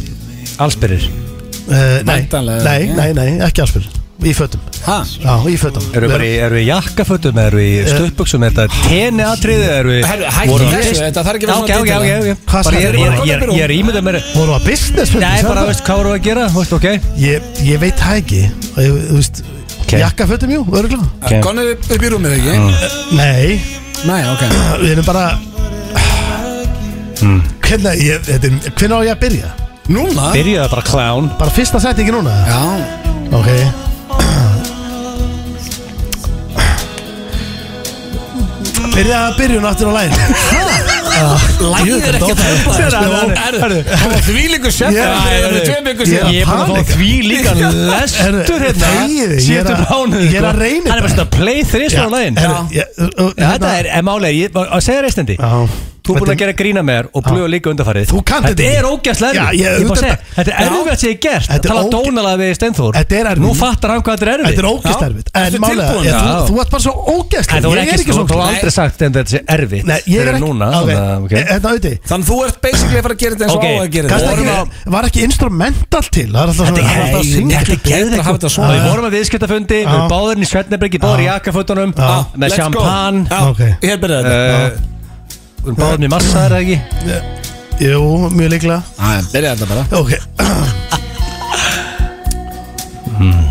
Allsbyrðir uh, nei, Væntanlega, nei, já. nei, nei, ekki alls fyrir Í fötum, Ha? já, í fötum Eru við bara í, eru við í jakkafötum, eru við Eh. í stöpbuksum, er þetta tenni atriði, eru við Herru, hættu voru- þessu, þetta þarf ekki að Já, vera svona Ok, ok, ok, detail. ok Hvað Bara sagði ég, þú? ég, ég, ég er ímyndað mér Vorum við að business fundi, Nei, sagði bara, það? veist, hvað voru að gera, veist, ok ég, ég veit það ekki Og ég- Þú veist, Ok. jakkafötum, jú, örgulega Konur upp í rúmið Mm. ekki? Nei, Nei, ok við erum bara Hmm. Hvernig, ég, þetta er- hvenær á ég að byrja? Núna? Byrjaði bara klán Bara fyrsta settingi núna? Já Ok Byrja að byrjun aftur á Ah, lægin Lægið er ekki að Sko, Herru, tala herru, Það var því líku sett Já, Það er herru. tvei byggur Ég- síðan Ég er búin að fá Panika. því líka lestur hérna þegiðu, ég er Sýttu að- bránuð ég er að reyna Hann er bara þetta. svona að play þrið svona lægin Herru, ég- uh, uh, Þetta hérna- er er málega, ég var að segja reistandi Já Þú er búin að gera grína með þér og blöða líka undarfarið Þú kannt þetta þetta er ekki. ógæslega Já, erfið Ég ég- er bara að auðvitað- segja, þetta er Já. erfið að segja gert Að Þetta er tala óge- dónalega við Steinþór Þetta er erfið. Nú fattar hann hvað þetta er erfið Þetta er ógæst erfitt En Ertu málega, tilbúin? ég, Já. þú, þú ert bara svo ógæst Þetta var ekki, þú var aldrei sagt en þetta sé erfitt Nei, ég er fyrir ekki núna ok, þannig að, ok. e- Þetta auði Þannig þú ert basically að fara að gera þetta eins og Ok, á að gera Gast þetta ekki, var ekki instrumental til Það er alltaf svona það er alltaf að syngja. þetta er geðveikt að hafa þetta Og svona. Við vorum að viðskiptafundi, við Já. erum báðurinn í Svetnebryggi, báður í jakkafutunum Já. Með sjampan Já, Ok. Hér byrjaði þetta Við erum báðurinn í massaðar eða ekki Jú, mjög líklega Æ, Byrjaði þetta bara Ok, Hmm.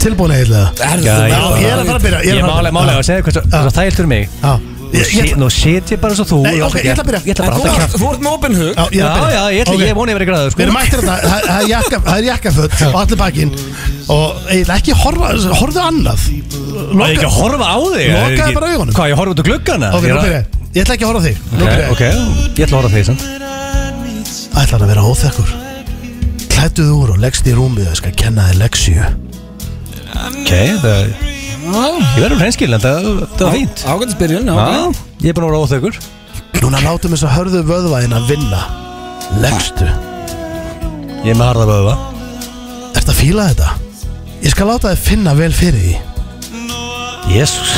tilbúin eitthvað Herðu, Já, þú- Já, ég er að fara að byrja, ég er að Ég fara að málega, byrja. málega, segðu hvað það er þægilt fyrir um mig Já, Nú ég- ég sit- Nú sit ég bara eins og þú Nei, ég ok, ætla- ég ætla að byrja. Ég ætla En bara þú að halda kjátt ert- Þú ert með opinn hug Já, ég er að Já, byrja já, ég ætla, Ok. ég voni að vera græður Við sko erum mættir þetta, það- það er jakka- það er jakkaföld og allir bakinn og ég ætla ekki að horfa, horfðu annað Má ég ekki að horfa á þig? Lokaðu Er ekki- bara augunum. Hvað, ég horfa út úr gluggana? Ok, nú byrja ég. Ég ætla ekki að horfa á þig Nú byrja ég. Ok, ég ætla að horfa á þig samt Ætlar að vera óþekkur Klættuð úr og leggst í rúmið og ég skal kenna þér leksíu Ok, það Ég verður hreinskil, en það það var fínt Ágætis byrjun, já, Já, ok. Ég er búin að vera óþökkur Núna látum þess að hörðu vöðvæðin að vinna Leggstu Ég er með harða vöðva Ertu að fíla þetta? Ég skal láta þér finna vel fyrir því Jésús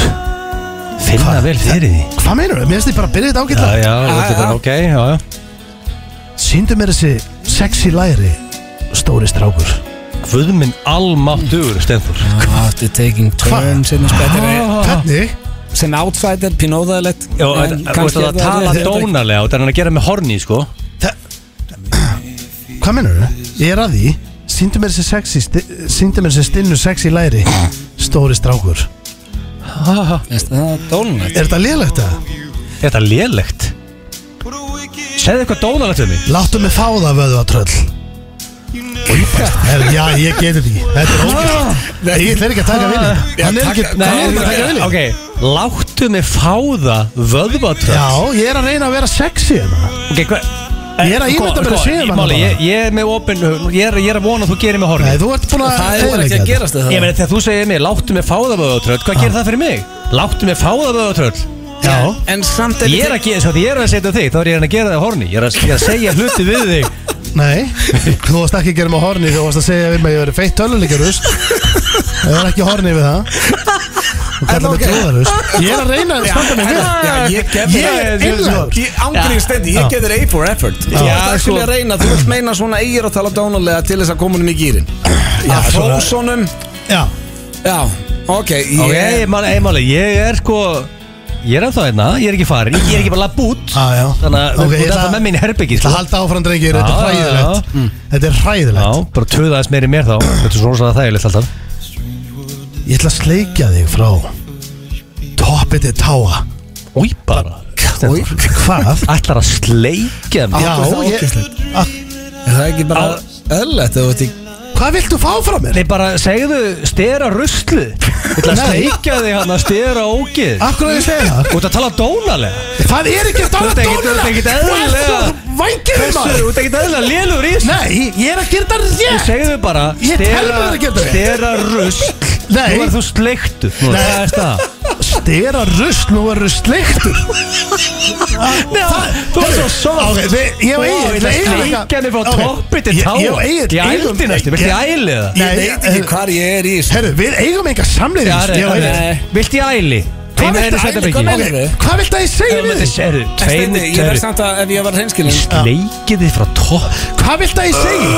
Finna Hvað? vel fyrir því Hvað meinur Mér finnst ég bara að byrja þetta Já, ágætlega já, þetta er ok, já, já Sýndu mér þessi sexy læri Stóri strákur Guðminn almáttugur, Stenþór After taking turns in a better Ah. Hvernig? Sem outsider, pinóðaðilegt Já, þetta- þú veist að það tala dónarlega og það er hann að gera með horni, sko Þa- Hvað mennur þau? Ég er að því Sýndu mér þessi sexy sti- Sýndu mér þessi stinnu sexy læri Stóri strákur Það er dónalegt Er þetta lélegt það? Er þetta lélegt? Segðu eitthvað dónarlegt um mig Láttu mig fá það vöðu að tröll Her, Já, ég geti þetta ekki Þetta er ógæst Ég ætla ekki að taka vilja þetta Hann er ekki taka- hann er ekki að taka vilja Ok, láttu mig fáða vöðvatröð Já, ég er að reyna að vera sexy hérna. Ok, hvað Sko, Ég er að ímynda mér að séu hana Máli, bara. ég, ég er með opin ég er, ég er að vona að þú gerir mig Nei, horni þú ert búin að Það er ekki eyðileggja að gerast Ég þetta meina þegar þú segir mig, láttu mig fáða vöðvatröð Hvað gerir það fyrir mig? Láttu mig fáða vöðvatröð þetta. Já En samt Ég er að gera þess að ég er að setja þig Þá er ég að gera það horni Ég er að, ég er að segja hluti við þig Nei, þú varst ekki að gera mig horni Þú varst að segja við mig að ég veri feitt töluleikarust Það er ekki horni við það Þú kallar mig trúðarust Ég er að reyna að standa mig vel Já, ég gef Ég er einlægur. Ég ángrið stendi, ég gef þér A for effort Þú Já, ert ekki sko- að reyna, þú ert meina svona eigir að tala dónalega til þess að koma honum í gýrin Að svona- hrósunum Já, Já, ok Ok, ég, máli, ég, máli, ég er sko Ég er ennþá hérna, ég er ekki farin Ég er ekki bara lapp út já, já Þannig að þú Ah. Ok, okay, ég ert ætla- alltaf með mín herbyggi Ég ætla að halda áfram drengir, þetta er sko. Já, já, já. hræðilegt Þetta er Já, hræðilegt bara töða aðeins meiri mér þá Þetta er svona svona þægilegt alltaf Ég ætla að sleikja þig frá Toppið til táa Új bara Új. Stendur. Hvað? Ætlar að sleikja mig Já, er það ég Ah. að- Er það ekki bara öllett Þú ert í Hvað viltu fá frá mér? Nei bara segðu stera ruslu Ætlar að Nei. Ah. sleikja þig hann að stera ógið Akkur að ég segja það? Þú ert að tala dónalega Það er ert ekki að dóna ekkert- þú ert ekkert eðlilega- Vængir þig Þessu, maður þú ert ekki dæðilega lélur í þessu Nei, ég er að gera þetta Þú rétt segðu bara Ég tel mér það ekki þetta. stera rusl Nei. Nú er þú sleiktu Nú Nei. er það það Stera rusl, nú verður sleiktur Þú er svo soft Ok, þið- ég Það og Egill, við eigum sleikja eitthvað- mig frá Ok, toppi til ég- tá ég og Ég Egill eigum- ældi næstu, viltu ég æli það? Ég Nei, veit ekki eh, hvar ég er í þessu Herru, við eigum enga samleið Já, það er- það er- Viltu ég æli? Hvað Einu- viltu einu að setjabrekki. hvað meinar- Ok, Hvað viltu að ég segja við þig? Serðu, En Steindi, tveinu, Ég verð tveinu samt að ef ég var hreinskilin Leikið þið frá topp Hvað viltu að ég segja?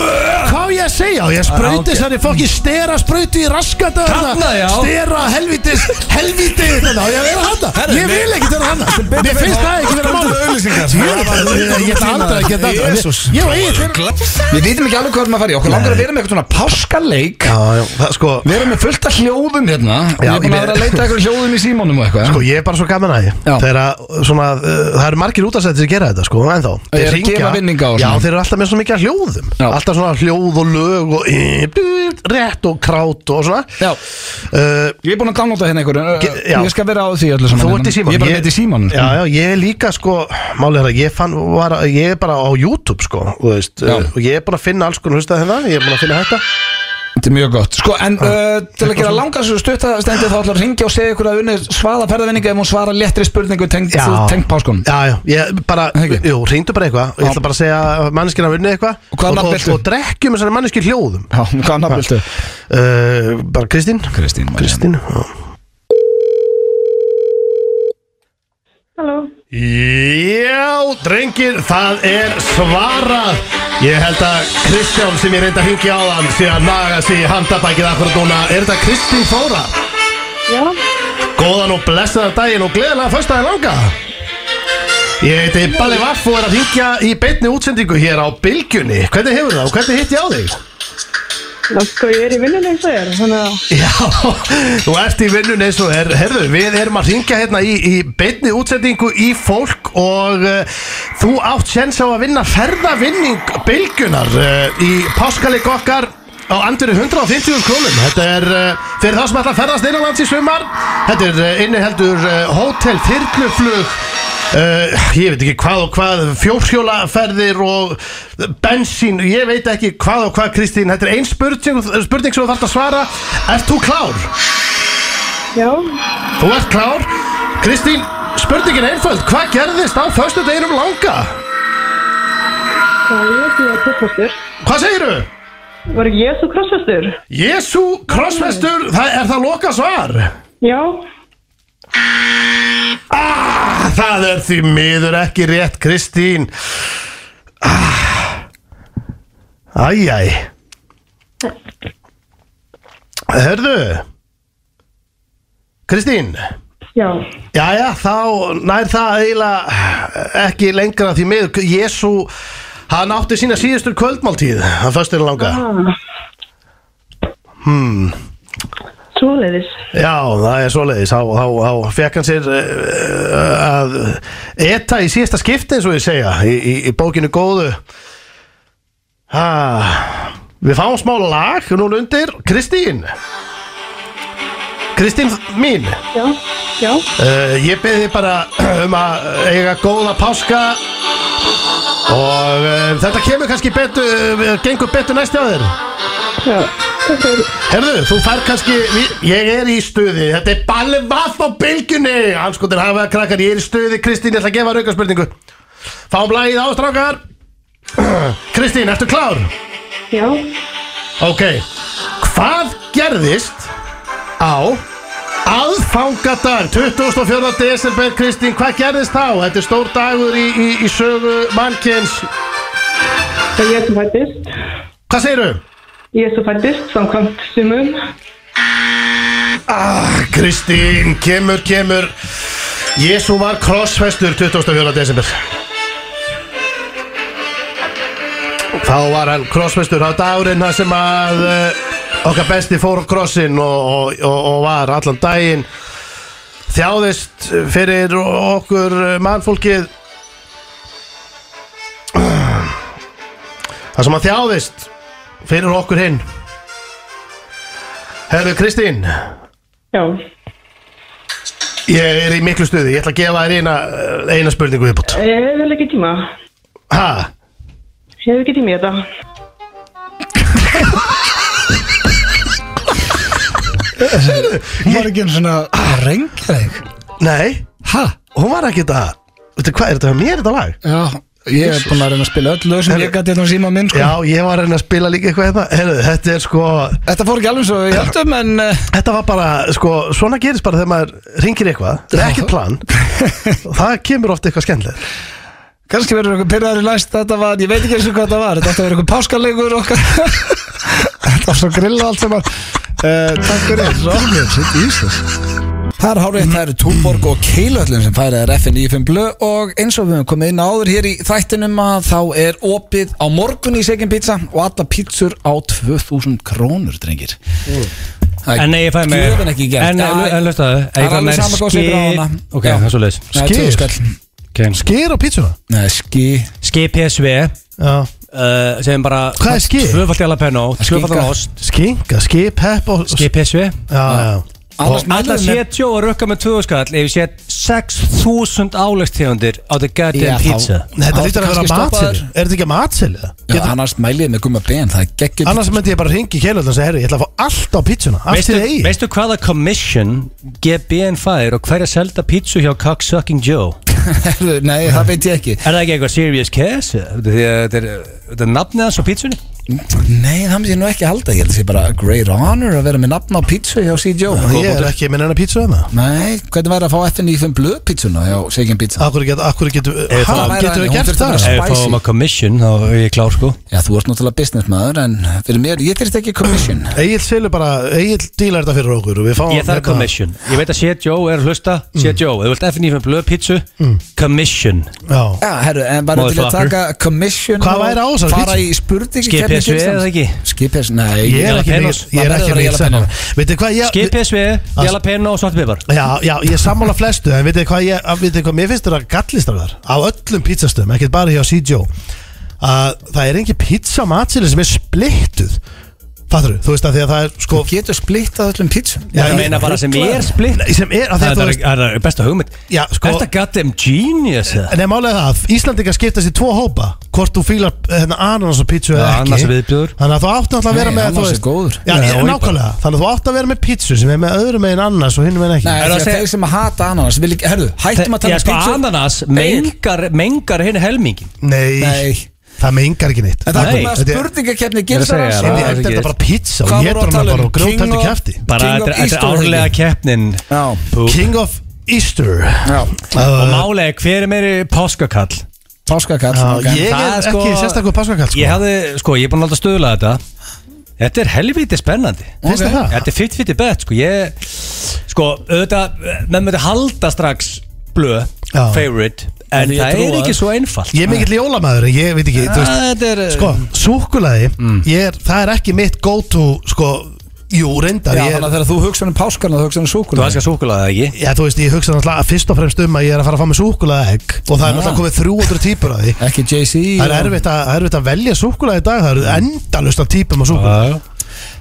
Hvað á ég að segja? Á Ég Ah, ok. sprauti þessari fokki stera sprauti í raskata Þarna, já. Stera helvitis Helviti Þannig á ég að vera hana Herru, Ég við- vil ekki vera hana Mér finnst það ekki vera Komdu með auglýsingar. máli Ég get aldrei að geta Jesús. Ég og ég Við vitum ekki alveg hvað maður farið Okkur langar að vera með eitthvað svona páskaleik Já, já, það sko Við erum með fullt af hljóðum hérna Og Já, ég er búin ég að vera veit. að leita eitthvað hljóðum í símónum og eitthvað Sko ég er bara svo gaman að ég Já. Þegar að, svona, uh, það eru margir útastættir sem gera þetta sko En þá Þeir eru að gefa vinninga og Já svona. þeir eru alltaf með svona mikið af hljóðum Já. Alltaf svona hljóð og lög og eh, bú, Rétt og krát og svona Já. uh, Ég er búin að downloada hérna einhverju já. Ég skal vera á því öllu saman Þú ert í hérna. símanum Ég er bara neitt í símónum Já já ég er líka sko Málið er að ég fann var, að- Ég er bara á YouTube sko þú veist, Já. hérna, uh, Og ég er búin að finna alls konar Hlusta þetta Ég er búin að finna þetta Þetta er mjög gott Sko, en uh, til að gera langar svo stuttastendur þá ætlar að ringja og segja ykkur að unni svaða ferðavinninga ef hún svarar léttri spurningu tengd tengd páskunum Já, já, ég bara, Ekki? jú, reyndu bara eitthvað Ég Já. ætla bara að segja að manneskinn hafa unnið eitthvað Og hvaða nafn og, og, viltu? og drekkjum þessari manneskinn hljóðum Já, hvaða nafn viltu? uh, Bara Kristín Kristín María. Kristín, já Halló Já, drengir, það er svarað Ég held að Kristján sem ég reyndi að hingja á hann sé að naga sig í handabækið akkurat núna Er þetta Kristín Þóra? Já, Góðan og blessaðan daginn og gleðilega föstaði langa Ég heiti Balli Vaff og er að hingja í beinni útsendingu hér á Bylgjunni Hvernig hefur það og hvernig hitt ég á þig? ná sko ég er í vinnunni eins og ég er Þannig að Já, þú ert í vinnun eins og er Herðu, við erum að ringja hérna í, í beinni útsendingu í fólk og uh, þú átt séns á að vinna ferðavinning bylgunar uh, í páskaleg okkar á andri 150 krónum Þetta er uh, fyrir þá sem ætla að ferðast innanlands í sumar Þetta er uh, inniheldur uh, hótel, þyrluflug Uh, ég veit ekki hvað og hvað fjórhjólaferðir og bensín, ég veit ekki hvað og hvað Kristín, þetta er ein spurning, spurning sem þú þarf að svara, ert þú klár? já, Þú ert klár, Kristín spurningin er einföld, hvað gerðist á föstu deginum langa? það er ég sem er krossfestur Hvað segiru? Var ekki ég svo krossfestur? Jésu krossvestur, það er það loka svar? Já, Ah, það er því miður ekki rétt Kristín ah. Æjæ Hörðu Kristín já, Jæja, þá nær það eiginlega ekki lengra því miður Jésu, hann átti sína síðustur kvöldmáltíð Hann föstur langa svoleiðis Já, það er svoleiðis Þá, þá, þá fekk hann sér uh, að eta í síðasta skipti eins og ég segja í, í, í bókinu góðu ha, Við fáum smá lag núna undir Kristín Kristín mín Já, já, uh, Ég beði bara um að eiga góða páska og uh, þetta kemur kannski betur gengur betur næsti á þér já Takk fyrir Herðu, þú fær kannski, við- ég er í stuði, þetta er balli vaff á bylgjunni Anskotir hafaða krakkar, ég er í stuði, Kristín, ég ætla að gefa rauka spurningu Fáum lagið á, strákar Kristín, ertu klár? Já, Ok, hvað gerðist á aðfangadag 24. desember, Kristín, hvað gerðist þá? Þetta er stór dagur í, í, í sögu mannkins það er ég sem fættist Hvað segirðu? Ég er sem fættist, samkvæmt sumum Ah, Kristín, kemur, kemur Jésu var krossfestur 24. desember Þá var hann krossfestur á dagurinn þar sem að uh, okkar besti fór á krossin og, og, og, og var allan daginn þjáðist fyrir okkur eh, mannfólkið þar sem að þjáðist fyrir okkur hinn Herðu Kristín Já, Ég er í miklu stuði, ég ætla að gefa þér eina, eina spurningu viðbútt ég hef vel Eh, ekki tíma Ha? Ég hef ekki tíma í þetta Hún var ekki einu svona Ah. að rengja þig Nei, Hæ? hún var ekki þetta Veitu hvað, er þetta hjá mér þetta lag? Já, ég er búin að reyna að spila öll lög sem ég gæti hérna á síma minn sko. Já, ég var að reyna að spila líka eitthvað hérna Heyrðu, þetta er sko Þetta fór ekki alveg svo við hjáttum en uh, Þetta var bara, sko, svona gerist bara þegar maður ringir eitthvað Það er ekkert plan Og Það kemur oft eitthvað skemmtileg kannski verður eitthvað pyrraður í læst þetta var, ég veit ekki eins og hvað þetta var þetta átti að vera eitthvað páskalegur okkar þetta var svo grill og allt sem að uh, takk fyrir Ráðum, sitt í Íslands Það er hárið, það eru Túborg og Keilöllin sem færaðir FN95 Blö og eins og við höfum komið inn áður hér í þættinum að þá er opið á morgun í Sekin Pizza og alla pizzur á 2000 krónur, drengir Það En nei, ég fæ mér gjöfin ekki gert En, en, en lösta það Það er alveg sama hvað sem þetta á hana. Ok, Já. það er svo leiðis Nei, Skyr. tvö skall. okay. Skýr á pítsuna? Nei, ski Ski PSV Já uh, Segum bara Hvað er ski? Tvöfalt jalapeno Skinka. Tvöfalt ost Skinka, skip, hepp og Ski PSV Já, já Annars og alltaf mælum við- sé Joe að rukka með 2000 skall ef ég sé 6000 álegstegundir á the Já, goddamn þá- pizza Nei, þetta Þá lítur ertu að vera kannski matseil stoppaður. Er þetta ekki matseil eða? Já, annars mæliði með gumma ben, það er geggjum Annars myndi ég bara ringi í keilöld og segja, herri, ég ætla að fá allt á pítsuna Allt Veistu, til eigi veistu hvaða commission GBN fær og hverja selda pítsu hjá Cocksucking Joe? Nei, það veit ég ekki Er það ekki eitthvað serious case? eða? Því að Þetta er, þetta er nafnið hans á pítsunni? Nei, það myndi ég nú ekki halda, ég held að sé bara great honor að vera með nafn á pítsu hjá C. Joe Ég er ekki með neina pítsu hérna. hana Nei, hvernig væri að fá FN í þeim blöð pítsuna hjá Seikin Pizza? Akkur getur, akkur getur, ha, það væri- getur við hún gert þurfti að það? vera- Ef við Spicy. fáum að commission þá er ég klár sko Já, þú ert náttúrulega businessmaður en fyrir mér, ég þyrst ekki commission Egil selur bara, Egil dílar þetta fyrir okkur og við fáum Ég þarf hérna- commission Ég veit að Sér Joe er að hlusta Sér Joe, ef þú vilt FNF með blöð pítsu Commission Já, Já, herru, en bara til að Motherfucker. taka commission Hvað og væri á þessari Fara pítsu? í spurningi Skipið SV eða ekki? Skipes, nei ég er Jala ekki Penos. mikill- Maður ég er verður ekki að mikill jala sennar Penos. Veitir hvað ég Skipið SV, jalapeno og svartbibar Já, já, ég er sammála flestu en veitir hvað ég, veitir hvað, mér finnst þetta gallistrar á öllum pizzastöðum, ekkert bara hjá CJO að það er engin pizza matsilir sem er splittuð Fattur, þú veist að því að það er sko Þú getur splittað öllum pítsum Já, Ég meina bara sem ég er splitt Nei, sem er, að því að Það þú er- veist það er besta hugmynd Já, sko- Þetta goddamn genius eða? En ég málega það, að Íslandingar skiptast í tvo hópa Hvort þú fílar eh, hérna ananas og pítsu eða Já, ekki ananas viðbjóður. Þannig að þú átt náttúrulega að vera Nei, með ananas þú er veist- góður. Já, Já, ég, og í- nákvæmlega, þannig að þú átt að vera með pítsu sem er með öðrum megin ananas og hinum megin ekki Nei, því Er það að að segja- þeir sem að hata ananas vil ekki, herru, hættum að tala Já, um sko, pítsu ananas Nei, mengar, mengar henni helmingin Nei, Nei. það mengar ekki neitt en það Nei. kom að Þetta er- spurningakefni Ég er að segja Gilsarans það. Inn í Ah, eld er ekki. þetta bara pizza og Hvað voru ég að hann tala bara um? og grjótældu King of- kæfti Bara King þetta of er- þetta er Easter, árlega ekki? keppnin Já. Pú. King of Easter Já. Og uh, málega, hver er meiri páskakall? Páskakall já, ok. Ég Það er er sko- ekki sérstakur páskakall Ég sko. hefði, sko, ég er búin að láta stöðla þetta Þetta er helviti spennandi Finnst þér það? Þetta er 50-50 bet, sko Ég, sko, auðvitað Menn möttu halda strax blöð Já. Favorite En En ég það er trúa ekki þér. svo einfalt Ég er mikill jólamaður, en ég veit ekki þú veist, Þetta er Sko, súkulaði Mm. Það er ekki mitt go to sko, Jú, reyndar Já, ég, þannig að er, þegar þú hugsa um páskarna, þú hugsa um Þú súkulega elskar súkulaði, eða ekki? já, þú veist, ég hugsa náttúrulega fyrst og fremst um að ég er að fara að fá mig súkulaði egg Og það er náttúrulega komið 300 típur að því Ekki Jay-Z Það er og- erfitt að, erfitt að velja súkulaði í dag Það eru endalust af típum á súkulaði Já,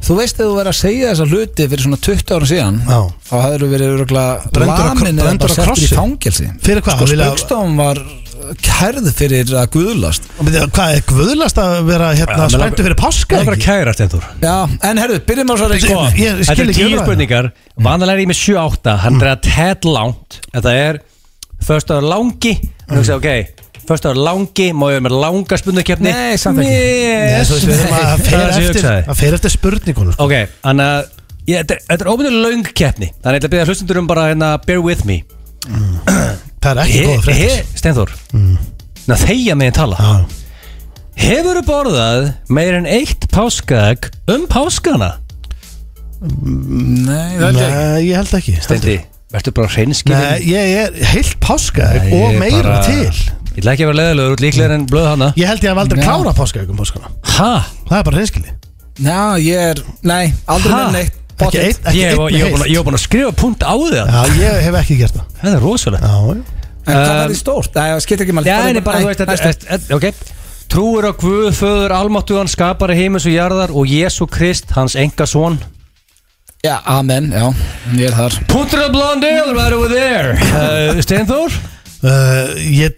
Þú veist að þú verið að segja þessa hluti fyrir svona 20 ára síðan Já. þá hefur þú verið öruglega Brenndur á kro- lamin eða brenndur bara á settur í krossi. fangelsi Fyrir hvað? Sko Vilja- spökstofum var uh, kærð fyrir að guðlast Hvað er guðlast að vera hérna, mig langar- spenntu fyrir páska? Það er bara ekki? kæra, Stendur Já, en herðu, byrjum á svo Sko, reyngu ég skil Þetta er ekki tíu umræðuna. spurningar Vanalega er ég með 7-8 Hann er að tæt langt Þetta er Först ára langi Hann hugsa, ok Först ára langi Má ég vera með langa spurningakefni Nei, samt ekki. Yes. Nei, þú veist, við erum að- Það er að fer það sem ég eftir, hugsaði. að fer eftir spurningunum sko. Ok, þannig að ég- Þetta er- þetta er óbundur löng keppni Þannig að ég ætla að byrja hlustendur um bara hérna, Bear with me Það er ekki góða fréttis Stenþór Ná þeia meginn tala Hefur þú borðað meir en eitt páskaegg um páskana? Nei, það er ekki Nei, ég held ekki Stendi, verður bara Nei, hreinskilin ég er heilt páskaegg Nei, og ég meira bara- til Ég ætla ekki að vera leðilegur út líklega en blöð hana Ég held ég að aldrei Já. klára páskaegg um páskana Ha? Það er bara reynskili Já, ég er, nei, aldrei Ha? með neitt Ekki Pottet. eitt, ekki Ég eitt var- ég var búinn að- ég var heilt búin að skrifa punkt á því að- Já, ég hef ekki gert það Þetta er rosalegt Já, já. En hvað var Um, því stórt? Nei, það skipt ekki máli Já, Farðu en ég bara, þú nei, veist, þetta næstu. er- þetta- ok Trúir á Guð, föður, almáttuðan, skapari heimis og jarðar og Jésu Krist, hans enga son Já, amen, já, ég er þar Puntur að blondel, right over there uh, Steinþór, Uh, Ég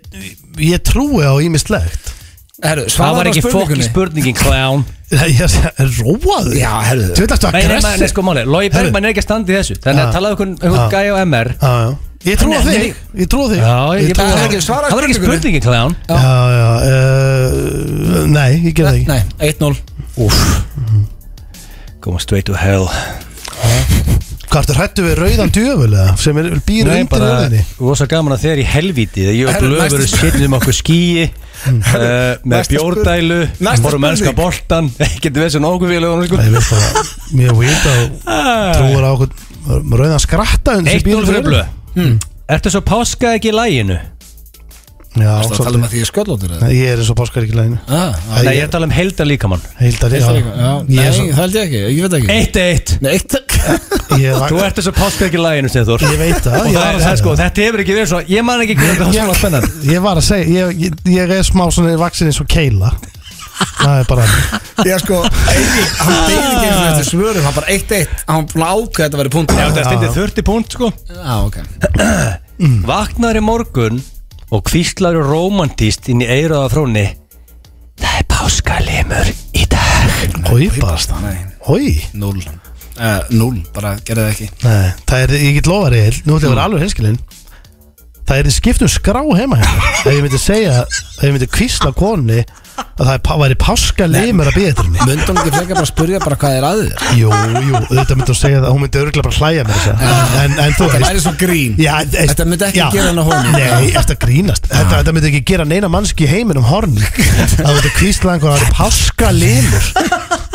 ég trúi á ímislegt Herru, það var svaraðu á ekki spurningunni fokki spurningin, clown Ég er róaður Já, herðu. Þú veit aftur Nei, nei, að nei, nei, gressi sko máli, Lói Bergman er ekki að standa í þessu Þannig Ah. að talaðu okkur einhvern Ah. gæja á MR Já, já. Ég trúi á Nei, þig Ég trúi á þig Já, ég Ég bara- Það var ekki- svaraðu Það var ekki spurningunni. spurningin, clown Já, já uh, Nei, ég gerði það ekki Nei, 1-0 Úff Going straight to hell Hvað ertu hrættu við rauðan djöfulega sem er býr Nei, undir bara rauðinni? rosa gaman að þegar í helvíti þegar ég og Herru, Blöð næsta verður spurning. skilnið um okkur skýi uh, með næsta bjórdælu Næsta vorum spurning. ennska boltan getur við þessu nokkuð félagunum sko Ah, Nei, mér finnst það mjög vít að trúar á okkur rauðan skratta undir Eitt sem býr úr undir fyrir Blöð Hmm. Ertu svo páska ekki í læginu? rauðinni. Já, Það tala um svolítið að því ég er sköllóttur Nei, Ég er eins og páskar ekki læginu ah, ah, Nei, ég er að tala um heilda líkamann Heilt að Já, ég nei, það held ég ekki, ég veit ekki Eitt eitt Nei, eitt Ég Þú er ertu svo páska ekki í læginu, Steður Ég veit það, Og ég það var að er það segja sko, það. þetta hefur ekki verið svo Ég man ekki hvernig það var svona spennandi Ég var að segja, ég, ég, ég er smá svona vaksin eins og keila það er bara Já sko, Eirík, hann deyði ekki einu sinni eftir svörum Hann bara eitt eitt, hann búin að ákveða þetta að vera punkt Já, þetta er stundið 30 punkt sko Já, ok Vaknar í morgun og kvíslar romantíst inn í eiraða fróni Það er páskalimur í dag Hói bara Nei, Hói núl uh, Núl, bara gerði það ekki Nei, það er, ég get lofa reyðil, nú ætlum ég að vera alveg hinskilinn Það er í skiptum skrá heima hérna Ef ég myndi segja, ef ég myndi kvísla konni Að það er, pá- væri páska limur að býja eftir henni Myndi hann ekki frekar bara að spurja bara hvað er að þér Jú, jú, auðvitað myndi hún segja það Hún myndi örgulega bara hlæja mér þess að en, en þú Þetta væri svo grín Já, eist, Þetta myndi ekki gera hana honum. Nei, eftir að grínast þetta, þetta myndi ekki gera neina mannski í heiminum horn Það myndi kvísla einhvern að það er páska limur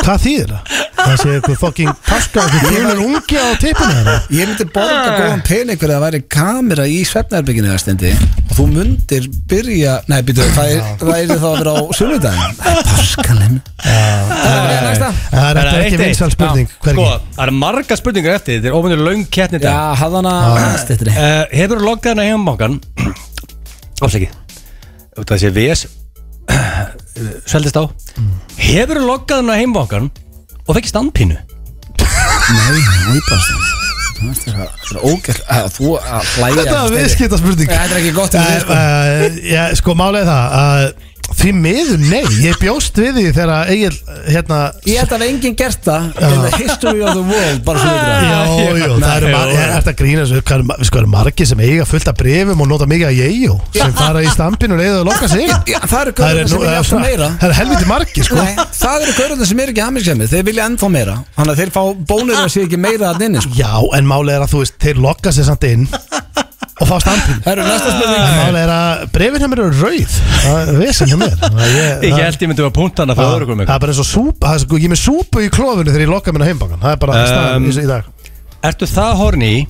Hvað þýðir það? Það sé eitthvað fucking páska Þú fjónur ungi á tippinu þeirra Ég myndi borga góðan pening fyrir að það væri kamera í svefnarbygginu eða stendi og þú myndir byrja, nei býtu það er það er þá að vera á sunnudagin Páskalinn Það er næsta Það er ekki vinsal spurning Sko, Hvergi? það er marga spurningar eftir Þetta er óvinnur löng kettni Já, dag hafði hana stittri uh, Hefur loggað hennar heimabankan Afsækið Það sé VS Sveldist á Hefur loggað hennar heimabankan og fekk standpínu Nei, nei Páskalinn Það er ógætt að þú að hlæja Þetta var Steini. viðskipta spurning Nei, Þetta er ekki gott fyrir þig, sko. Já, sko málið er það að Því miður nei, ég bjóst við því þegar að Egil, hérna Ég held að hafi enginn gert það in the history of the world bara svo Jó, yfir jó, það eru mar- er þetta grínast við hvað eru- sko eru margir sem eiga fullt af brefum og nota mikið að jeigjó sem fara í stampinu og leiðu að lokka sig Já, það eru Það eru gaurðarna sem nú- eh, vilja alltaf það meira eru helviti margir sko Nei, það eru gaurðarna sem er ekki hamingsæmið þeir vilja ennþá meira þannig að þeir fá bónir og sé ekki meira að nynni sko. Já, en málið er að þú veist, þeir lokka sig samt inn og fá stampinu Það eru næsta spurning Málið er að brefin hjá mér eru rauð Það er vesen hjá mér Þannig að Ég það- held ég myndi að punta hana fyrir Það öðrukum það er bara eins og súpa það er sko- Ég er með súpu í klófinu þegar ég lokka minna heimbangan Það er bara Um, staðan í, í dag Ertu það horni í